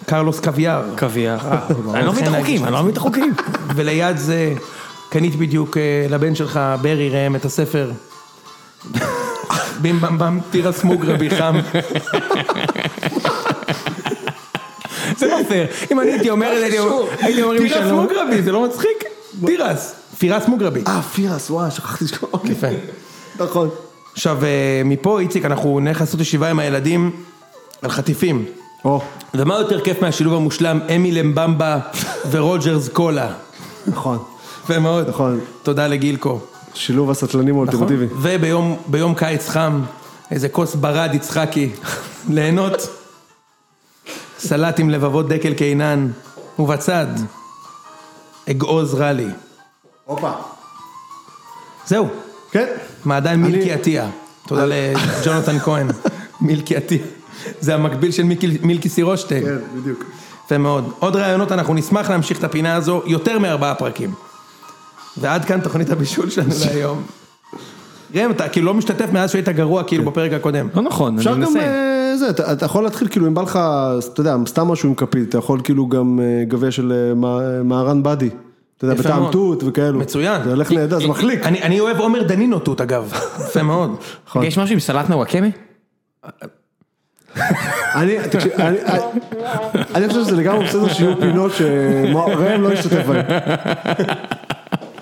Speaker 3: קרלוס קוויאר.
Speaker 1: קוויאר. אה, אני לא מבין את
Speaker 3: לכן
Speaker 1: החוקים,
Speaker 3: אני-
Speaker 1: אני לא מבין את החוקים.
Speaker 3: וליד זה קנית בדיוק אה, לבן שלך, ברי ראם, את הספר. בים במ במ, תירא סמוג רבי חם.
Speaker 1: זה לא פייר. אם אני הייתי אומר את זה, הייתי אומר- הייתי אומר עם
Speaker 3: תירס
Speaker 1: שלום.
Speaker 3: מוגרבי, זה לא מצחיק? תירס, פירס מוגרבי.
Speaker 2: אה, פירס, וואי, שכחתי אוקיי. לשכוח.
Speaker 3: יפה.
Speaker 2: נכון.
Speaker 3: עכשיו, אה, מפה, איציק, אנחנו נלך לעשות ישיבה עם הילדים על חטיפים.
Speaker 2: או,
Speaker 3: ומה יותר כיף מהשילוב המושלם, אמי למבמבה ורוג'רס קולה.
Speaker 2: נכון.
Speaker 3: יפה מאוד.
Speaker 2: נכון.
Speaker 3: תודה לגילקו.
Speaker 2: שילוב הסטלנים האולטימטיבי.
Speaker 3: נכון. וביום ביום קיץ חם, איזה כוס ברד יצחקי, ליהנות. סלט עם לבבות דקל קינן, ובצד, אגעוז רלי.
Speaker 2: הופה.
Speaker 3: זהו,
Speaker 2: כן.
Speaker 3: מעדן מילקי עטיה. תודה לג'ונתן כהן, מילקי עטיה. זה המקביל של מיקי- מילקי סירושטיין.
Speaker 2: כן, בדיוק.
Speaker 3: יפה מאוד. עוד רעיונות, אנחנו נשמח להמשיך את הפינה הזו יותר מארבעה פרקים. ועד כאן תוכנית הבישול שלנו להיום. ראם, אתה כאילו לא משתתף מאז שהיית גרוע כאילו בפרק הקודם.
Speaker 1: לא נכון,
Speaker 2: אפשר
Speaker 1: אני
Speaker 2: גם,
Speaker 1: מנסה.
Speaker 2: אה, זה, אתה, אתה יכול להתחיל, כאילו, אם בא לך, אתה יודע, סתם משהו עם כפית, אתה יכול כאילו גם אה, גביע של אה, מה- מהרן באדי, אתה יודע,
Speaker 3: יפה
Speaker 2: בטעם
Speaker 3: מאוד.
Speaker 2: תות וכאלו.
Speaker 3: מצוין. אה,
Speaker 2: זה הולך נהדר, זה
Speaker 3: אני-
Speaker 2: מחליק.
Speaker 3: אני אני אוהב עומר דנינו
Speaker 2: (laughs)
Speaker 3: תות אגב. יפה מאוד.
Speaker 2: נכון.
Speaker 1: יש משהו עם סלט נוואקמה?
Speaker 2: אני, תקשיב,
Speaker 3: אה,
Speaker 2: אני- אני- אני חושב שזה לגמרי בסדר שיהיו פינות שראם לא ישתתף בהן.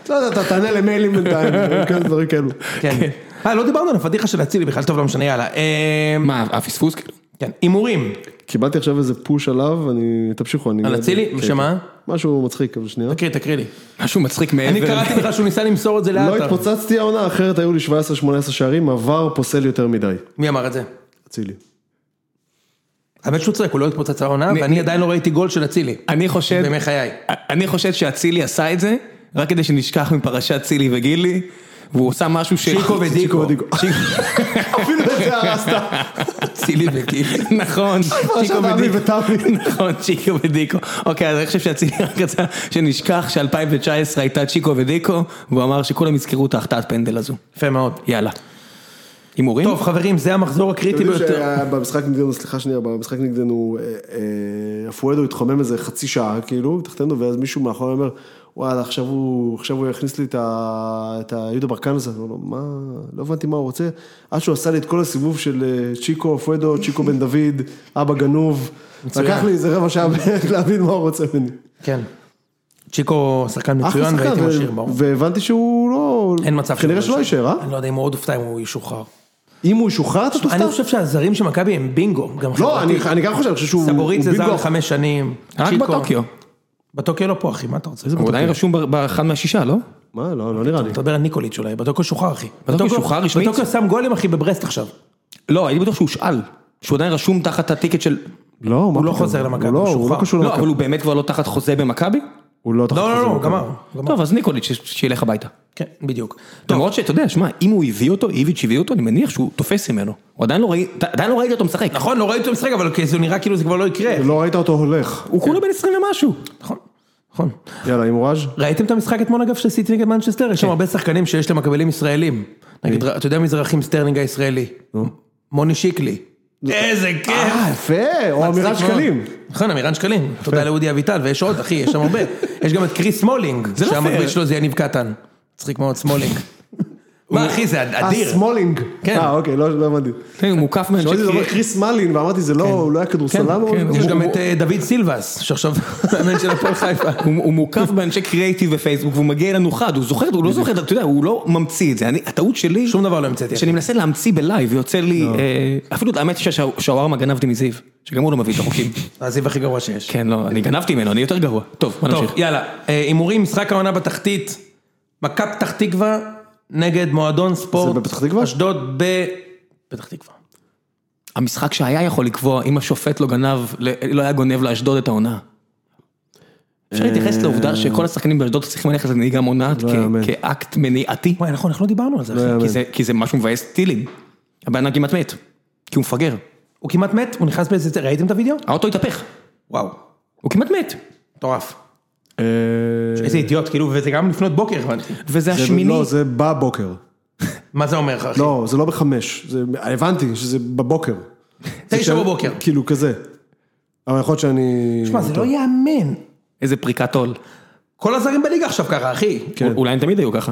Speaker 2: לא יודע, אתה תענה למיילים בינתיים, כאלה דברים כאלו.
Speaker 3: כן. אה, לא דיברנו על הפדיחה של אצילי בכלל, טוב, לא משנה, יאללה. אה,
Speaker 1: מה, הפספוס כאילו?
Speaker 3: כן, הימורים.
Speaker 2: קיבלתי עכשיו איזה פוש עליו, אני, תמשיכו, אני...
Speaker 3: על אצילי?
Speaker 2: כן.
Speaker 3: שמה?
Speaker 2: משהו מצחיק, אבל שנייה.
Speaker 3: תקריא, תקריא לי.
Speaker 1: משהו מצחיק מעבר.
Speaker 3: אני קראתי לך שהוא ניסה למסור את זה
Speaker 2: לא
Speaker 3: לעטר.
Speaker 2: התפוצצתי העונה, אחרת היו לי 17-18 שערים, עבר פוסל יותר מדי.
Speaker 3: מי אמר את זה?
Speaker 2: אצילי.
Speaker 3: האמת שהוא צודק, הוא לא התפוצץ העונה,
Speaker 1: אני-
Speaker 3: ואני עדיין לא ראיתי גול של אצילי.
Speaker 1: אני חושד,
Speaker 3: בימי חיי.
Speaker 1: אני חושד שאצילי עשה את זה, רק כדי שנשכח מפרשת צילי וגילי, והוא עשה משהו ש...
Speaker 3: שיקו ודיקו.
Speaker 2: ודיקו. אפילו את זה (laughs) הרסת.
Speaker 1: צילי וגילי. נכון,
Speaker 2: פרשת
Speaker 1: שיקו
Speaker 2: אבי
Speaker 1: ודיקו.
Speaker 2: ותמי.
Speaker 1: נכון, צ'יקו ודיקו. אוקיי, אז אני חושב שאצילי (laughs) רק רצה שנשכח ש-2019 הייתה צ'יקו ודיקו, והוא אמר שכולם יזכרו את ההחטאת פנדל הזו.
Speaker 3: יפה מאוד.
Speaker 1: יאללה. הימורים?
Speaker 3: טוב חברים, זה המחזור הקריטי
Speaker 2: אתם יודעים
Speaker 3: ביותר.
Speaker 2: שבמשחק נגדנו, סליחה שנייה, במשחק נגדנו, אה, אה, אפואדו התחומם איזה חצי שעה, כאילו, תחתנו, ואז מישהו מאחורי אומר, וואלה, עכשיו הוא, עכשיו הוא יכניס לי את ה- את היהודה ברקן הזה, אמר לו, מה, לא הבנתי מה הוא רוצה, עד שהוא עשה לי את כל הסיבוב של אה, צ'יקו, אפואדו, צ'יקו בן דוד, אבא גנוב, לקח לי איזה רבע שעה (laughs) בערך להבין מה הוא רוצה ממני.
Speaker 3: כן. צ'יקו שחקן
Speaker 2: אחלה
Speaker 3: מצוין והייתי
Speaker 2: שחקן,
Speaker 3: משאיר,
Speaker 2: ו-
Speaker 3: ברור.
Speaker 2: והבנתי שהוא לא,
Speaker 3: אין מצב
Speaker 2: כנראה שלא יישאר, אה?
Speaker 3: אני לא יודע אם הוא עוד אופתע אם הוא ישוחרר.
Speaker 2: אם הוא ישוחרר, אתה
Speaker 3: אני
Speaker 2: תופתע?
Speaker 3: חושב שהזרים של מכבי הם בינגו, גם
Speaker 2: לא, אני אני גם חושב, אני חושב שהוא
Speaker 3: סבורית
Speaker 2: הוא
Speaker 3: זה זר
Speaker 2: בינגו.
Speaker 3: לחמש שנים.
Speaker 1: רק
Speaker 3: צ'יקו.
Speaker 1: בטוקיו.
Speaker 3: בטוקיו לא פה אחי, מה אתה רוצה?
Speaker 1: הוא עדיין רשום ב- באחד מהשישה, לא?
Speaker 2: מה, לא, לא נראה לי.
Speaker 3: אתה מדבר על ניקוליץ' אולי, בטוקיו שוחרר אחי.
Speaker 1: שוחרר רשמית?
Speaker 3: בטוקיו שם גולים אחי בברסט עכשיו.
Speaker 1: לא, הייתי בטוח שהוא הושאל. שהוא עדיין רשום תחת הטיקט של...
Speaker 2: לא, מה
Speaker 3: לא
Speaker 2: פתאום?
Speaker 3: חוזר למכבי,
Speaker 2: הוא לא,
Speaker 3: הוא
Speaker 2: הוא לא
Speaker 3: שוחרר.
Speaker 2: קשור
Speaker 1: לא,
Speaker 2: למכבי.
Speaker 1: אבל הוא באמת כבר לא תחת חוזה במכבי?
Speaker 5: הוא לא תחת
Speaker 3: לא, לא,
Speaker 5: חוזה
Speaker 3: לא,
Speaker 5: מכבי.
Speaker 3: גמר. גמר.
Speaker 1: טוב, אז ניקוליץ' ש- שילך הביתה.
Speaker 3: כן, בדיוק. טוב,
Speaker 1: למרות שאתה יודע, שמע, אם הוא הביא אותו, איביץ' הביא אותו, אני מניח שהוא תופס ממנו. הוא עדיין לא ראי- עדיין לא ראיתי אותו משחק.
Speaker 3: נכון, לא ראיתי אותו משחק, אבל כי זה נראה כאילו זה כבר לא יקרה.
Speaker 2: לא ראית אותו הולך.
Speaker 1: הוא כולה בן 20 ומשהו.
Speaker 3: נכון, נכון.
Speaker 2: יאללה, עם אוראז'?
Speaker 3: ראיתם את המשחק אתמול אגב של סיטי נגד מנצ'סטר?
Speaker 1: כן.
Speaker 3: יש שם הרבה שחקנים שיש להם מקבלים ישראלים. נגיד, אתה יודע מי זה רכים סטרלינג הישראלי? מוני שיקלי. איזה כיף!
Speaker 2: אה, יפה, או אמירת
Speaker 3: מצחיק מאוד.
Speaker 2: שקלים.
Speaker 3: נכון, אמירן שקלים. תודה לאודי אביטל, ויש עוד, אחי, יש שם הרבה. יש גם את קריס סמולינג,
Speaker 1: לא פייר.
Speaker 3: שהמקביל שלו זה יניב קטן. מצחיק מאוד, סמולינג. מה, אחי, זה
Speaker 2: אה,
Speaker 3: אדיר.
Speaker 2: סמולינג.
Speaker 3: כן.
Speaker 2: אה, אוקיי, לא לא הבנתי.
Speaker 1: כן, הוא מוקף מאנשי...
Speaker 2: שמעתי אותו אומר קריס מלין, ואמרתי, זה לא, הוא לא היה כדורסלן או
Speaker 1: כן,
Speaker 2: משהו?
Speaker 3: יש
Speaker 1: הוא-
Speaker 3: גם
Speaker 1: הוא-
Speaker 3: את אה, דוד סילבס, שעכשיו מאמן של הפועל חיפה.
Speaker 1: הוא הוא מוקף באנשי קריאיטיב בפייסבוק, והוא מגיע אלינו חד, הוא זוכר, הוא לא זוכר, אתה יודע, הוא לא ממציא את זה. אני- הטעות שלי,
Speaker 3: שום דבר לא המצאתי.
Speaker 1: שאני מנסה להמציא בלייב, יוצא לי, אה, אפילו, האמת היא שהשע- שהווארמה גנבתי מזיו, שגם הוא לא מביא את
Speaker 3: (laughs)
Speaker 1: החוקים.
Speaker 3: הזיו הכי גרוע שיש.
Speaker 1: כן, לא, אני גנבתי ממנו, אני יותר גרוע. טוב, בוא
Speaker 3: טוב,
Speaker 1: נמשיך.
Speaker 3: יאללה, אה, הימורים, משחק העונה בתחתית, מכבי פתח תקווה נגד מועדון ספורט.
Speaker 2: זה בפתח תקווה?
Speaker 3: אשדוד ב... פתח תקווה.
Speaker 1: המשחק שהיה יכול לקבוע, אם השופט לא גנב, לא היה גונב לאשדוד את העונה. אפשר
Speaker 2: אה,
Speaker 1: להתייחס לעובדה שכל השחקנים באשדוד צריכים ללכת לנהיגה מונעת
Speaker 2: לא
Speaker 1: כ-
Speaker 5: יאמן.
Speaker 1: כאקט מניעתי,
Speaker 3: וואי, נכון, אנחנו לא דיברנו על זה, אחי.
Speaker 1: כי זה- כי זה משהו מבאס טילים. הבן אדם כמעט מת, כי הוא מפגר.
Speaker 3: הוא כמעט מת, הוא נכנס באיזה... ראיתם את הוידאו?
Speaker 1: האוטו התהפך,
Speaker 3: וואו,
Speaker 1: הוא כמעט מת.
Speaker 3: מטורף.
Speaker 5: אה,
Speaker 3: איזה אידיוט, כאילו, וזה גם לפנות בוקר, הבנתי.
Speaker 1: וזה
Speaker 2: זה-
Speaker 1: השמיני,
Speaker 2: לא, זה בבוקר.
Speaker 3: מה זה אומר לך, אחי?
Speaker 2: לא, זה לא בחמש. זה- הבנתי שזה בבוקר.
Speaker 3: תשע
Speaker 2: זה
Speaker 3: בבוקר.
Speaker 2: של- כאילו, כזה. אבל יכול להיות שאני...
Speaker 3: תשמע, זה לא ייאמן.
Speaker 1: איזה פריקת עול.
Speaker 3: כל הזרים בליגה עכשיו ככה, אחי.
Speaker 2: כן.
Speaker 1: אולי הם תמיד היו ככה.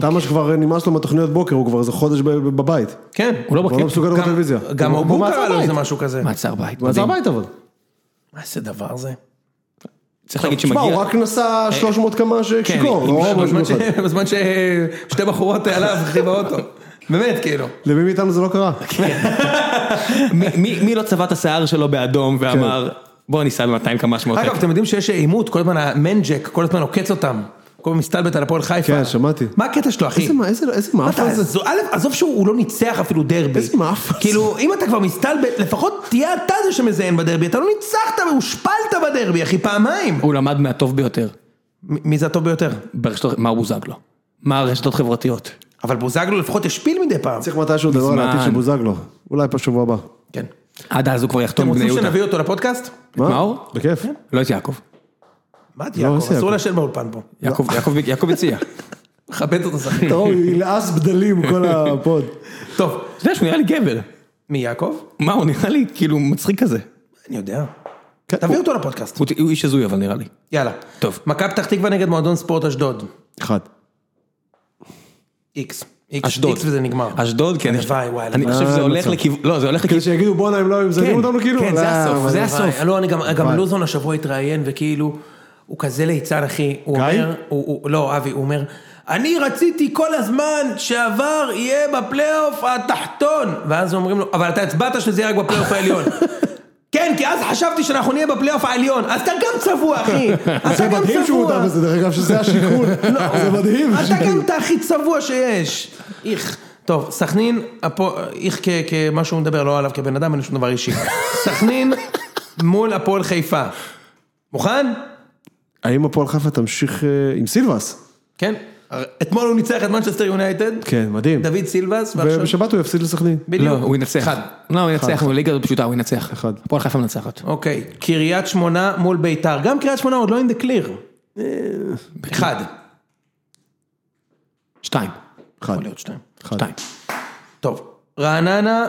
Speaker 2: תמה שכבר נמאס לו מהתוכניות בוקר, הוא כבר איזה חודש ב- ב- בבית.
Speaker 3: כן.
Speaker 1: הוא לא
Speaker 2: הוא לא
Speaker 1: בקטע.
Speaker 2: מסוגל לראות
Speaker 3: גם-
Speaker 2: טלוויזיה.
Speaker 3: גם
Speaker 2: הוא-
Speaker 3: ההוא
Speaker 2: הוא
Speaker 3: קרא
Speaker 2: במעצר
Speaker 3: לו
Speaker 2: בית.
Speaker 3: איזה משהו כזה.
Speaker 1: מעצר בית.
Speaker 2: הוא יצא
Speaker 1: מדהים.
Speaker 2: הביתה אבל.
Speaker 3: מה זה דבר זה?
Speaker 1: צריך להגיד
Speaker 2: תשמע, הוא
Speaker 1: שמגיע. אה,
Speaker 2: רק נסע 300 כמה ש-
Speaker 1: כן,
Speaker 2: שיכור,
Speaker 1: עם-
Speaker 2: לא
Speaker 1: עם-
Speaker 2: משהו
Speaker 3: בזמן
Speaker 2: מיוחד.
Speaker 3: ש- בזמן ששתי בחורות עליו,
Speaker 2: (laughs)
Speaker 3: אחי, באוטו. באמת, כאילו.
Speaker 2: למי מאיתנו זה לא
Speaker 1: (laughs)
Speaker 2: קרה?
Speaker 1: מי- מי מי לא צבע את השיער שלו באדום ואמר,
Speaker 2: כן.
Speaker 1: בוא ניסע ב-200 כמה שמות.
Speaker 3: אגב, אתם יודעים שיש עימות, כל הזמן המנג'ק, כל הזמן עוקץ אותם. כל הזמן מסתלבט על הפועל חיפה.
Speaker 2: כן, שמעתי.
Speaker 3: מה הקטע שלו, אחי?
Speaker 2: איזה מה- איזה- איזה
Speaker 3: מה
Speaker 2: מאפה
Speaker 3: אתה-
Speaker 2: זה?
Speaker 3: זו- א', עזוב שהוא לא ניצח אפילו דרבי.
Speaker 2: איזה מאפה זה?
Speaker 3: כאילו, אם אתה כבר מסתלבט, לפחות תהיה אתה זה שמזיין בדרבי, אתה לא ניצחת, הושפלת בדרבי, אחי, פעמיים.
Speaker 1: הוא למד מהטוב ביותר.
Speaker 3: מ- מי זה הטוב ביותר?
Speaker 1: ברשתות, מה בוזגלו? מה הרשתות חברתיות?
Speaker 3: אבל בוזגלו לפחות השפיל מדי פעם.
Speaker 2: צריך מתישהו לדבר על
Speaker 1: מזמן.
Speaker 2: העתיד של בוזגלו. אולי פה שבוע הבא.
Speaker 3: כן.
Speaker 1: עד אז הוא כבר
Speaker 3: אתם
Speaker 1: יחתום בני
Speaker 3: רוצים
Speaker 1: יהודה.
Speaker 3: שנביא אותו לפודקאסט?
Speaker 1: מה? מאור?
Speaker 2: בכיף.
Speaker 1: לא את יעקב.
Speaker 3: מה
Speaker 1: לא
Speaker 3: את יעקב?
Speaker 2: עושה
Speaker 3: אסור
Speaker 2: יעקב.
Speaker 3: לעשן באולפן פה.
Speaker 1: יעקב- יעקב- יעקב הציע. (laughs) אתה
Speaker 3: מכבד אותו סחי.
Speaker 1: (laughs)
Speaker 2: אתה רואה, הוא ילעס בדלים כל הפוד.
Speaker 3: (laughs) טוב,
Speaker 1: יודע שהוא נראה לי גבר.
Speaker 3: מי יעקב?
Speaker 1: מה, הוא נראה לי כאילו מצחיק כזה.
Speaker 3: אני יודע.
Speaker 2: כן,
Speaker 3: תביא אותו לפודקאסט.
Speaker 1: הוא הוא איש הזוי אבל נראה לי.
Speaker 3: יאללה.
Speaker 1: טוב.
Speaker 3: מכבי פתח תקווה נגד מועדון ספורט אשדוד.
Speaker 2: אחד.
Speaker 3: איקס. איקס-
Speaker 1: אשדוד.
Speaker 3: איקס וזה נגמר.
Speaker 1: אשדוד, כן. אני-
Speaker 3: הלוואי, וואי,
Speaker 1: אני
Speaker 3: הלוואי.
Speaker 1: חושב שזה הולך לכיוון... לא, זה הולך
Speaker 2: כדי
Speaker 1: לכיוון...
Speaker 2: שיגידו בואנה הם לא היו מזיינים אותנו כאילו?
Speaker 1: כן, זה
Speaker 2: לא,
Speaker 1: הסוף,
Speaker 2: אבל-
Speaker 1: זה
Speaker 3: הלוואי.
Speaker 1: הסוף.
Speaker 3: לא, אני גם, גם לוזון השבוע התראיין וכאילו, הוא כזה ליצן אחי. הוא
Speaker 2: גיא?
Speaker 3: אומר, הוא, הוא, לא, אבי, הוא אומר, אני רציתי כל הזמן שעבר יהיה בפלייאוף התחתון. ואז אומרים לו, אבל אתה הצבעת שזה יהיה רק
Speaker 2: (laughs)
Speaker 3: בפלייאוף העליון. כן, כי אז חשבתי שאנחנו נהיה בפלייאוף העליון, אז אתה גם צבוע,
Speaker 2: (laughs)
Speaker 3: אחי. אתה
Speaker 2: זה
Speaker 3: גם
Speaker 2: מדהים שהוא
Speaker 3: צבוע.
Speaker 2: הודה בזה, דרך אגב,
Speaker 1: (laughs)
Speaker 2: שזה השיקול.
Speaker 1: לא.
Speaker 2: זה מדהים.
Speaker 3: אתה גם אתה הכי צבוע שיש. איך. טוב, סכנין, הפו- איך כ- כמה שהוא מדבר, לא עליו כבן אדם, אין לי שום דבר אישי. סכנין מול הפועל חיפה. מוכן?
Speaker 2: האם הפועל חיפה תמשיך אה, עם סילבס?
Speaker 3: כן. אתמול הוא ניצח את מנצ'סטר יונייטד.
Speaker 2: כן, מדהים.
Speaker 3: דוד סילבס, ועכשיו...
Speaker 2: ובשבת הוא יפסיד לסכנין.
Speaker 1: לא,
Speaker 3: בדיוק.
Speaker 1: הוא ינצח.
Speaker 3: אחד.
Speaker 1: לא, הוא ינצח, הוא ליגה הזאת פשוטה, הוא ינצח.
Speaker 2: אחד.
Speaker 1: הפועל חיפה מנצחת.
Speaker 3: אוקיי, קריית שמונה מול ביתר. גם קריית שמונה עוד לא in the clear.
Speaker 1: אה,
Speaker 3: אחד.
Speaker 1: שתיים.
Speaker 2: אחד.
Speaker 3: יכול להיות שתיים.
Speaker 2: אחד.
Speaker 1: שתיים.
Speaker 3: טוב. רעננה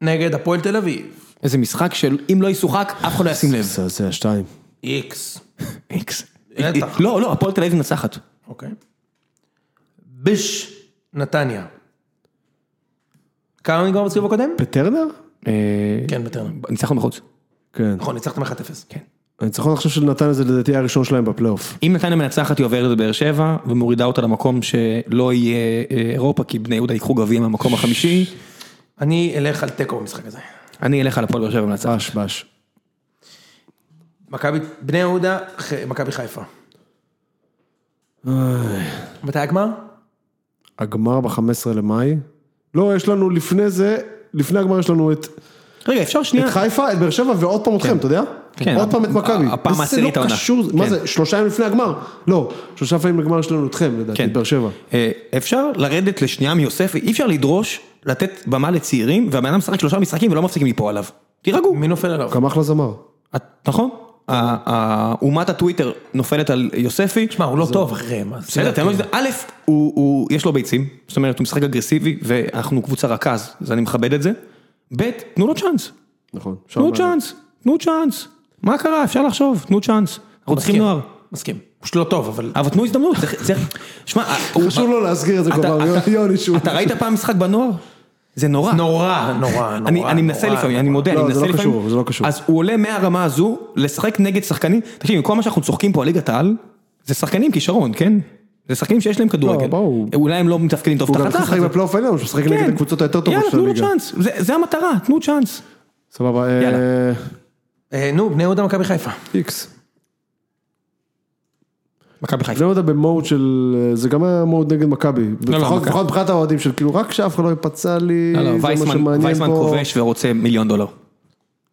Speaker 3: נגד הפועל תל אביב.
Speaker 1: איזה משחק של אם לא ישוחק, אף אחד לא ישים לב.
Speaker 2: זה- זה השתיים.
Speaker 3: איקס.
Speaker 1: איקס.
Speaker 3: בטח.
Speaker 1: לא, לא, הפועל תל אביב מנצחת.
Speaker 3: אוקיי. ביש, נתניה. כמה נגמר בסיבוב הקודם?
Speaker 2: בטרנר?
Speaker 1: אה,
Speaker 3: כן, בטרנר.
Speaker 1: ניצחנו בחוץ.
Speaker 2: כן.
Speaker 3: נכון, ניצחתם 1-0. כן.
Speaker 2: הניצחון עכשיו של נתניה זה לדעתי היה הראשון שלהם בפלייאוף.
Speaker 1: אם נתניה מנצחת היא עוברת את באר שבע ומורידה אותה למקום שלא יהיה אה, אירופה כי בני יהודה ייקחו גביע מהמקום החמישי,
Speaker 3: אני אלך על תיקו במשחק הזה.
Speaker 1: אני אלך על הפועל באר שבע מנצחת.
Speaker 2: בש, בש.
Speaker 3: מכבי בני יהודה, ח- מכבי חיפה. מתי הגמר?
Speaker 2: הגמר ב-15 למאי. לא, יש לנו לפני זה, לפני הגמר יש לנו את
Speaker 1: רגע אפשר שנייה,
Speaker 2: את חיפה, את באר שבע ועוד פעם אתכם, אתה יודע?
Speaker 1: כן.
Speaker 2: עוד פעם את מכבי.
Speaker 1: הפעם
Speaker 2: זה
Speaker 1: העשירית
Speaker 2: לא
Speaker 1: העונה.
Speaker 2: קשור, מה
Speaker 1: כן.
Speaker 2: זה, שלושה ימים לפני הגמר? לא, שלושה פעמים לגמר שלנו אתכם, לדעתי, באר שבע.
Speaker 1: אה, אפשר לרדת לשנייה מיוספי, אי אפשר לדרוש לתת במה לצעירים, והבן אדם משחק שלושה משחקים ולא מפסיקים ליפול עליו. תירגעו.
Speaker 3: מי נופל עליו?
Speaker 2: גם אחלה זמר.
Speaker 1: את- נכון? ה- ה- אומת הטוויטר נופלת על יוספי.
Speaker 3: תשמע, הוא לא טוב אחריהם. אז-
Speaker 1: בסדר, לא- תן לו את
Speaker 3: כן.
Speaker 1: זה. א', הוא, הוא, יש לו ביצים, זאת אומרת, הוא משחק אגרסיבי, ואנחנו קבוצה רכז, אז אני מכבד את זה. ב', תנו לו צ'אנס.
Speaker 2: נכון.
Speaker 1: תנו צ'אנס, תנו צ'אנס. מה קרה? אפשר לחשוב, תנו צ'אנס. אנחנו צריכים
Speaker 3: מסכים,
Speaker 1: נוער.
Speaker 3: מסכים. הוא שלא טוב, אבל...
Speaker 1: אבל תנו הזדמנות, כן. צריך- צריך... שמע, אה, הוא-
Speaker 2: (laughs) חשוב לו להזכיר את זה כל
Speaker 1: אתה-
Speaker 2: פעם,
Speaker 1: אתה-
Speaker 2: יוני שהוא...
Speaker 1: אתה ראית פעם משחק בנוער? זה נורא.
Speaker 3: נורא, נורא, נורא.
Speaker 1: אני, אני מנסה
Speaker 3: נורא.
Speaker 1: לפעמים, אני מודה,
Speaker 2: לא,
Speaker 1: אני
Speaker 2: זה
Speaker 1: מנסה
Speaker 2: לא
Speaker 1: לפעמים.
Speaker 2: קשור, זה לא קשור.
Speaker 1: אז הוא עולה מהרמה הזו, לשחק נגד שחקנים, תקשיב, עם כל מה שאנחנו צוחקים פה על ליגת העל, זה שחקנים כישרון, כן? זה שחקנים שיש להם כדורגל.
Speaker 2: ברור.
Speaker 1: אולי הם לא מתפקדים טוב
Speaker 2: הוא גם
Speaker 1: תחת
Speaker 2: משחק
Speaker 1: לחץ.
Speaker 2: בפלייאוף העליון, הוא משחק
Speaker 1: כן.
Speaker 2: נגד הקבוצות היותר טובות של
Speaker 1: יאללה, תנו
Speaker 2: הליגה.
Speaker 1: לו צ'אנס, זה- זה המטרה, תנו צ'אנס.
Speaker 2: סבבה, אה,
Speaker 1: יאללה.
Speaker 3: אה, נו, בני יהודה מכבי חיפה.
Speaker 2: איקס.
Speaker 1: מכבי חיפה.
Speaker 2: בני יהודה במוד של, אה, זה גם היה מוד נגד מכבי, לפחות
Speaker 1: לא, מכבי.
Speaker 2: לפחות מבחינת האוהדים של כאילו רק שאף אחד לא ייפצע לי,
Speaker 1: לא, לא,
Speaker 2: זה מה
Speaker 1: וייסמן
Speaker 2: שמעניין
Speaker 1: וייסמן
Speaker 2: פה.
Speaker 1: כובש כן. ורוצה מיליון דולר.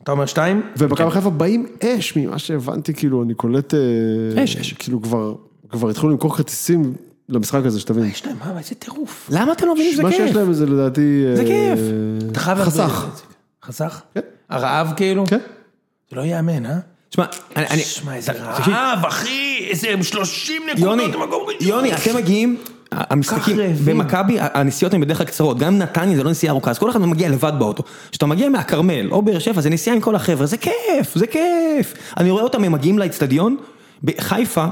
Speaker 3: אתה אומר שתיים?
Speaker 2: ומכבי חיפה באים אש ממה שהבנתי, כאילו אני קולט, אה,
Speaker 1: אש, אש.
Speaker 2: כאילו כבר, כבר התחילו למכור כרטיסים למשחק הזה, שתבין,
Speaker 3: יש להם, מה, איזה טירוף.
Speaker 1: למה אתם לא מבינים שזה
Speaker 2: מה שיש
Speaker 1: כיף?
Speaker 2: להם זה לדעתי,
Speaker 1: זה
Speaker 2: אה,
Speaker 1: כיף.
Speaker 3: אתה חייב להסביר
Speaker 2: חסך.
Speaker 3: את זה. חסך?
Speaker 2: כן.
Speaker 3: הרעב כאילו?
Speaker 2: כן,
Speaker 3: זה לא ייאמן, אה?
Speaker 1: תשמע, אני... אני-
Speaker 3: שמע, איזה
Speaker 1: תקשיב,
Speaker 3: רעב, אחי! איזה הם 30
Speaker 1: יוני,
Speaker 3: נקודות במקום ראשון.
Speaker 1: יוני, אתם מגיעים, המשחקים,
Speaker 3: רעבים.
Speaker 1: במכבי הנסיעות הן בדרך כלל קצרות, גם נתניה זה לא נסיעה ארוכה, אז כל אחד מגיע לבד באוטו. כשאתה מגיע מהכרמל או באר שבע, זה נסיעה עם כל החבר'ה, זה כיף, זה כיף. אני רואה אותם, הם מגיעים לאצטדיון, בחיפה,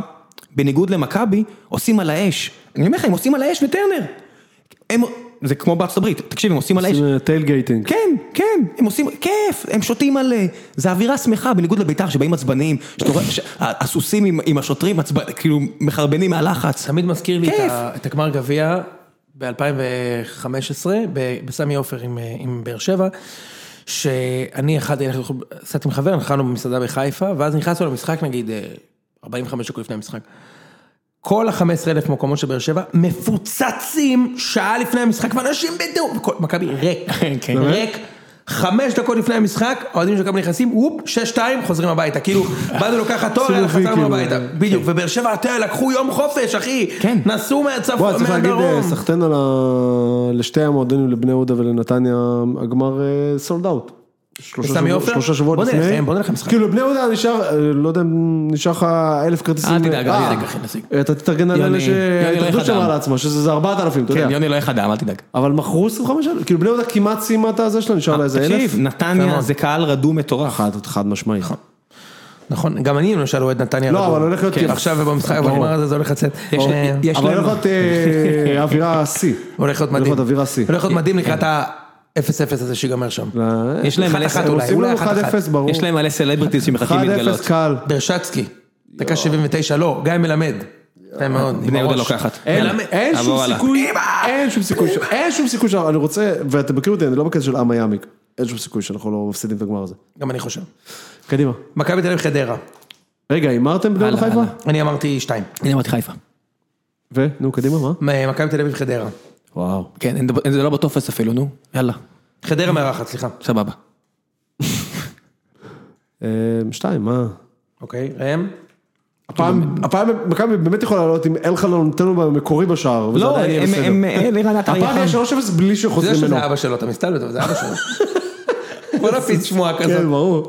Speaker 1: בניגוד למכבי, עושים על האש. אני אומר לך, הם עושים על האש וטרנר. הם, זה כמו בארצות הברית, תקשיב, הם עושים על האש.
Speaker 5: עושים טיילגייטינג.
Speaker 1: כן, כן, הם עושים, כיף, הם שותים על... אה, זה אווירה שמחה, בניגוד לבית"ר שבאים עצבניים, שאתה רואה, ש- ה- הסוסים עם, עם השוטרים עצבנ... כאילו מחרבנים מהלחץ.
Speaker 3: תמיד מזכיר לי את
Speaker 1: כיף.
Speaker 3: ה- את הגמר גביע ב-2015, בסמי עופר עם, אה, עם באר שבע, שאני אכלתי, הלכתי לאכול- נסעתי עם חבר, נכנסנו במסעדה בחיפה, ואז נכנסנו למשחק נגיד אה, 45 דקות לפני המשחק. כל ה-15 אלף מקומות של באר שבע מפוצצים שעה לפני המשחק, ואנשים בדיוק, וכל- מכבי ריק,
Speaker 1: (laughs) כן.
Speaker 3: ריק. חמש דקות לפני המשחק, האוהדים של מכבי נכנסים, וופ, שש-שתיים, חוזרים הביתה.
Speaker 1: (laughs)
Speaker 3: כאילו, באנו לקחת תואר, יאללה,
Speaker 2: סיבובי,
Speaker 3: חזרנו
Speaker 2: כאילו.
Speaker 3: הביתה. בדיוק, ובאר שבע, אתה יודע, לקחו יום חופש, אחי.
Speaker 1: כן.
Speaker 3: נסעו מהצפון,
Speaker 2: וואי,
Speaker 3: מהדרום.
Speaker 2: צריך להגיד אה, סחטיין על ה- לשתי המועדונים, לבני יהודה ולנתניה, הגמר סולד אאוט.
Speaker 3: בסמי עופר?
Speaker 2: שלושה שבועות
Speaker 3: בוא נלך,
Speaker 2: לפני,
Speaker 3: בוא נלך למשחק.
Speaker 2: כאילו בני יהודה נשאר, אה, לא יודע אם נשאר לך אלף כרטיסים,
Speaker 1: אל תדאג,
Speaker 2: אה,
Speaker 1: נשיג, אחי, נשיג.
Speaker 2: אתה תתארגן על
Speaker 1: יוני,
Speaker 2: אלה
Speaker 1: יוני לא
Speaker 2: שההתאחדות
Speaker 1: אחד
Speaker 2: שמרה
Speaker 1: העם.
Speaker 2: לעצמה, שזה זה 4,000, אתה יודע.
Speaker 1: כן, יוני לא איך אדם, אל תדאג.
Speaker 2: אבל מכרו 25 אלף, כאילו בני יהודה כמעט סיימה את הזה שלה, נשאר לה איזה אלף. אה,
Speaker 1: תקשיב, נתניה זה קהל רדום מטורף.
Speaker 2: חד, חד משמעית.
Speaker 3: נכון, גם אני למשל אוהד נתניה.
Speaker 2: לא,
Speaker 3: רדום.
Speaker 2: אבל הולך להיות
Speaker 3: כן,
Speaker 2: כיף.
Speaker 3: עכשיו במשחק, בגמר הזה זה הולך לצאת.
Speaker 1: יש-
Speaker 3: אה,
Speaker 1: יש
Speaker 2: אבל
Speaker 1: להם-
Speaker 2: הולך להיות לא אה, אווירה שיא.
Speaker 3: הולך להיות מדהים.
Speaker 2: להיות אווירה שיא. כן. לא.
Speaker 3: הולך להיות מדהים לקראת ה-0-0 הזה שיגמר שם.
Speaker 1: יש להם מלא
Speaker 3: אחת-אחת
Speaker 1: סלב-
Speaker 3: אולי,
Speaker 2: אה, עושים לנו
Speaker 3: אולי אחת-אחת.
Speaker 2: 1-0 ברור.
Speaker 1: יש להם מלא סלבריטיז שמחכים להתגלות.
Speaker 2: 1-0 קל.
Speaker 3: ברשצקי, דקה 79, לא, גיא מלמד.
Speaker 2: אה,
Speaker 3: יפה מאוד. עם
Speaker 1: בני יהודה
Speaker 3: הראש.
Speaker 1: לוקחת.
Speaker 2: אין-
Speaker 1: יאללה,
Speaker 2: אין שום
Speaker 1: עבור הלאה.
Speaker 2: סיכוי, אין שום סיכוי, ש- אין שום סיכוי שאנחנו, אני רוצה, ואתם מכירים אותי, אני לא בקטע של עם היאמיק, אין שום סיכוי שאנחנו לא מפסידים את הגמר הזה.
Speaker 3: גם אני חושב.
Speaker 2: קדימה.
Speaker 3: מכבי תל אביב חדרה.
Speaker 2: רגע, הימרתם בני יהודה
Speaker 1: הלאה,
Speaker 2: חיפה?
Speaker 1: הלאה.
Speaker 3: אני אמרתי שתיים.
Speaker 1: אני אמרתי חיפה.
Speaker 2: ו? נו, קדימה, מה?
Speaker 3: מ- מכבי תל אביב חדרה.
Speaker 2: וואו.
Speaker 1: כן, אין דבר- אין- זה לא בטופס אפילו, נו. יאללה,
Speaker 3: חדרה מארחת, סליחה.
Speaker 1: סבבה.
Speaker 2: אה, שתיים, מה? כאילו-
Speaker 3: אוקיי, ראם?
Speaker 2: הפעם, הפעם מכבי באמת יכולה לעלות עם אלחלון נותן לו במקורי בשער, וזה
Speaker 1: לא,
Speaker 2: עדיין יהיה
Speaker 1: הם-
Speaker 2: בסדר.
Speaker 1: הם... אה, לירן עטר
Speaker 2: הפעם
Speaker 1: יחד.
Speaker 2: יש 3-0 בלי
Speaker 3: זה לא
Speaker 2: שחוזרים ממנו.
Speaker 3: שזה אבא שלו, אתה מסתלבט, אבל זה אבא שלו.
Speaker 2: (laughs)
Speaker 3: בוא נפיץ שמועה כזאת.
Speaker 2: כן, ברור.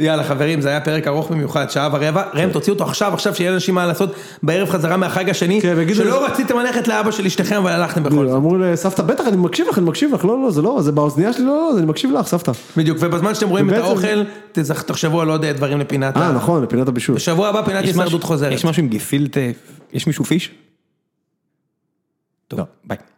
Speaker 3: יאללה חברים, זה היה פרק ארוך במיוחד, שעה ורבע.
Speaker 2: כן.
Speaker 3: ראם, תוציאו אותו עכשיו, עכשיו שיהיה לאנשים מה לעשות בערב חזרה מהחג השני,
Speaker 2: כן, ויגידו-
Speaker 3: שלא רציתם ללכת לאבא של אשתכם, אבל הלכתם בכל
Speaker 1: נכון.
Speaker 3: זאת.
Speaker 2: אמרו לסבתא, בטח, אני מקשיב לך, אני מקשיב לך, לא, לא, זה לא, זה באוזנייה שלי, לא, לא, זה- אני מקשיב לך, סבתא.
Speaker 3: בדיוק, ובזמן שאתם רואים את
Speaker 2: ובעצם-
Speaker 3: האוכל, תזכ- תחשבו על עוד דברים לפינת
Speaker 2: אה,
Speaker 3: ה...
Speaker 2: נכון, לפינת הבישול.
Speaker 3: בשבוע הבא פינת
Speaker 1: יש משהו-
Speaker 3: הישרדות חוזרת.
Speaker 1: לא. יש משהו עם גפילטה? יש מישהו פיש? טוב, ביי.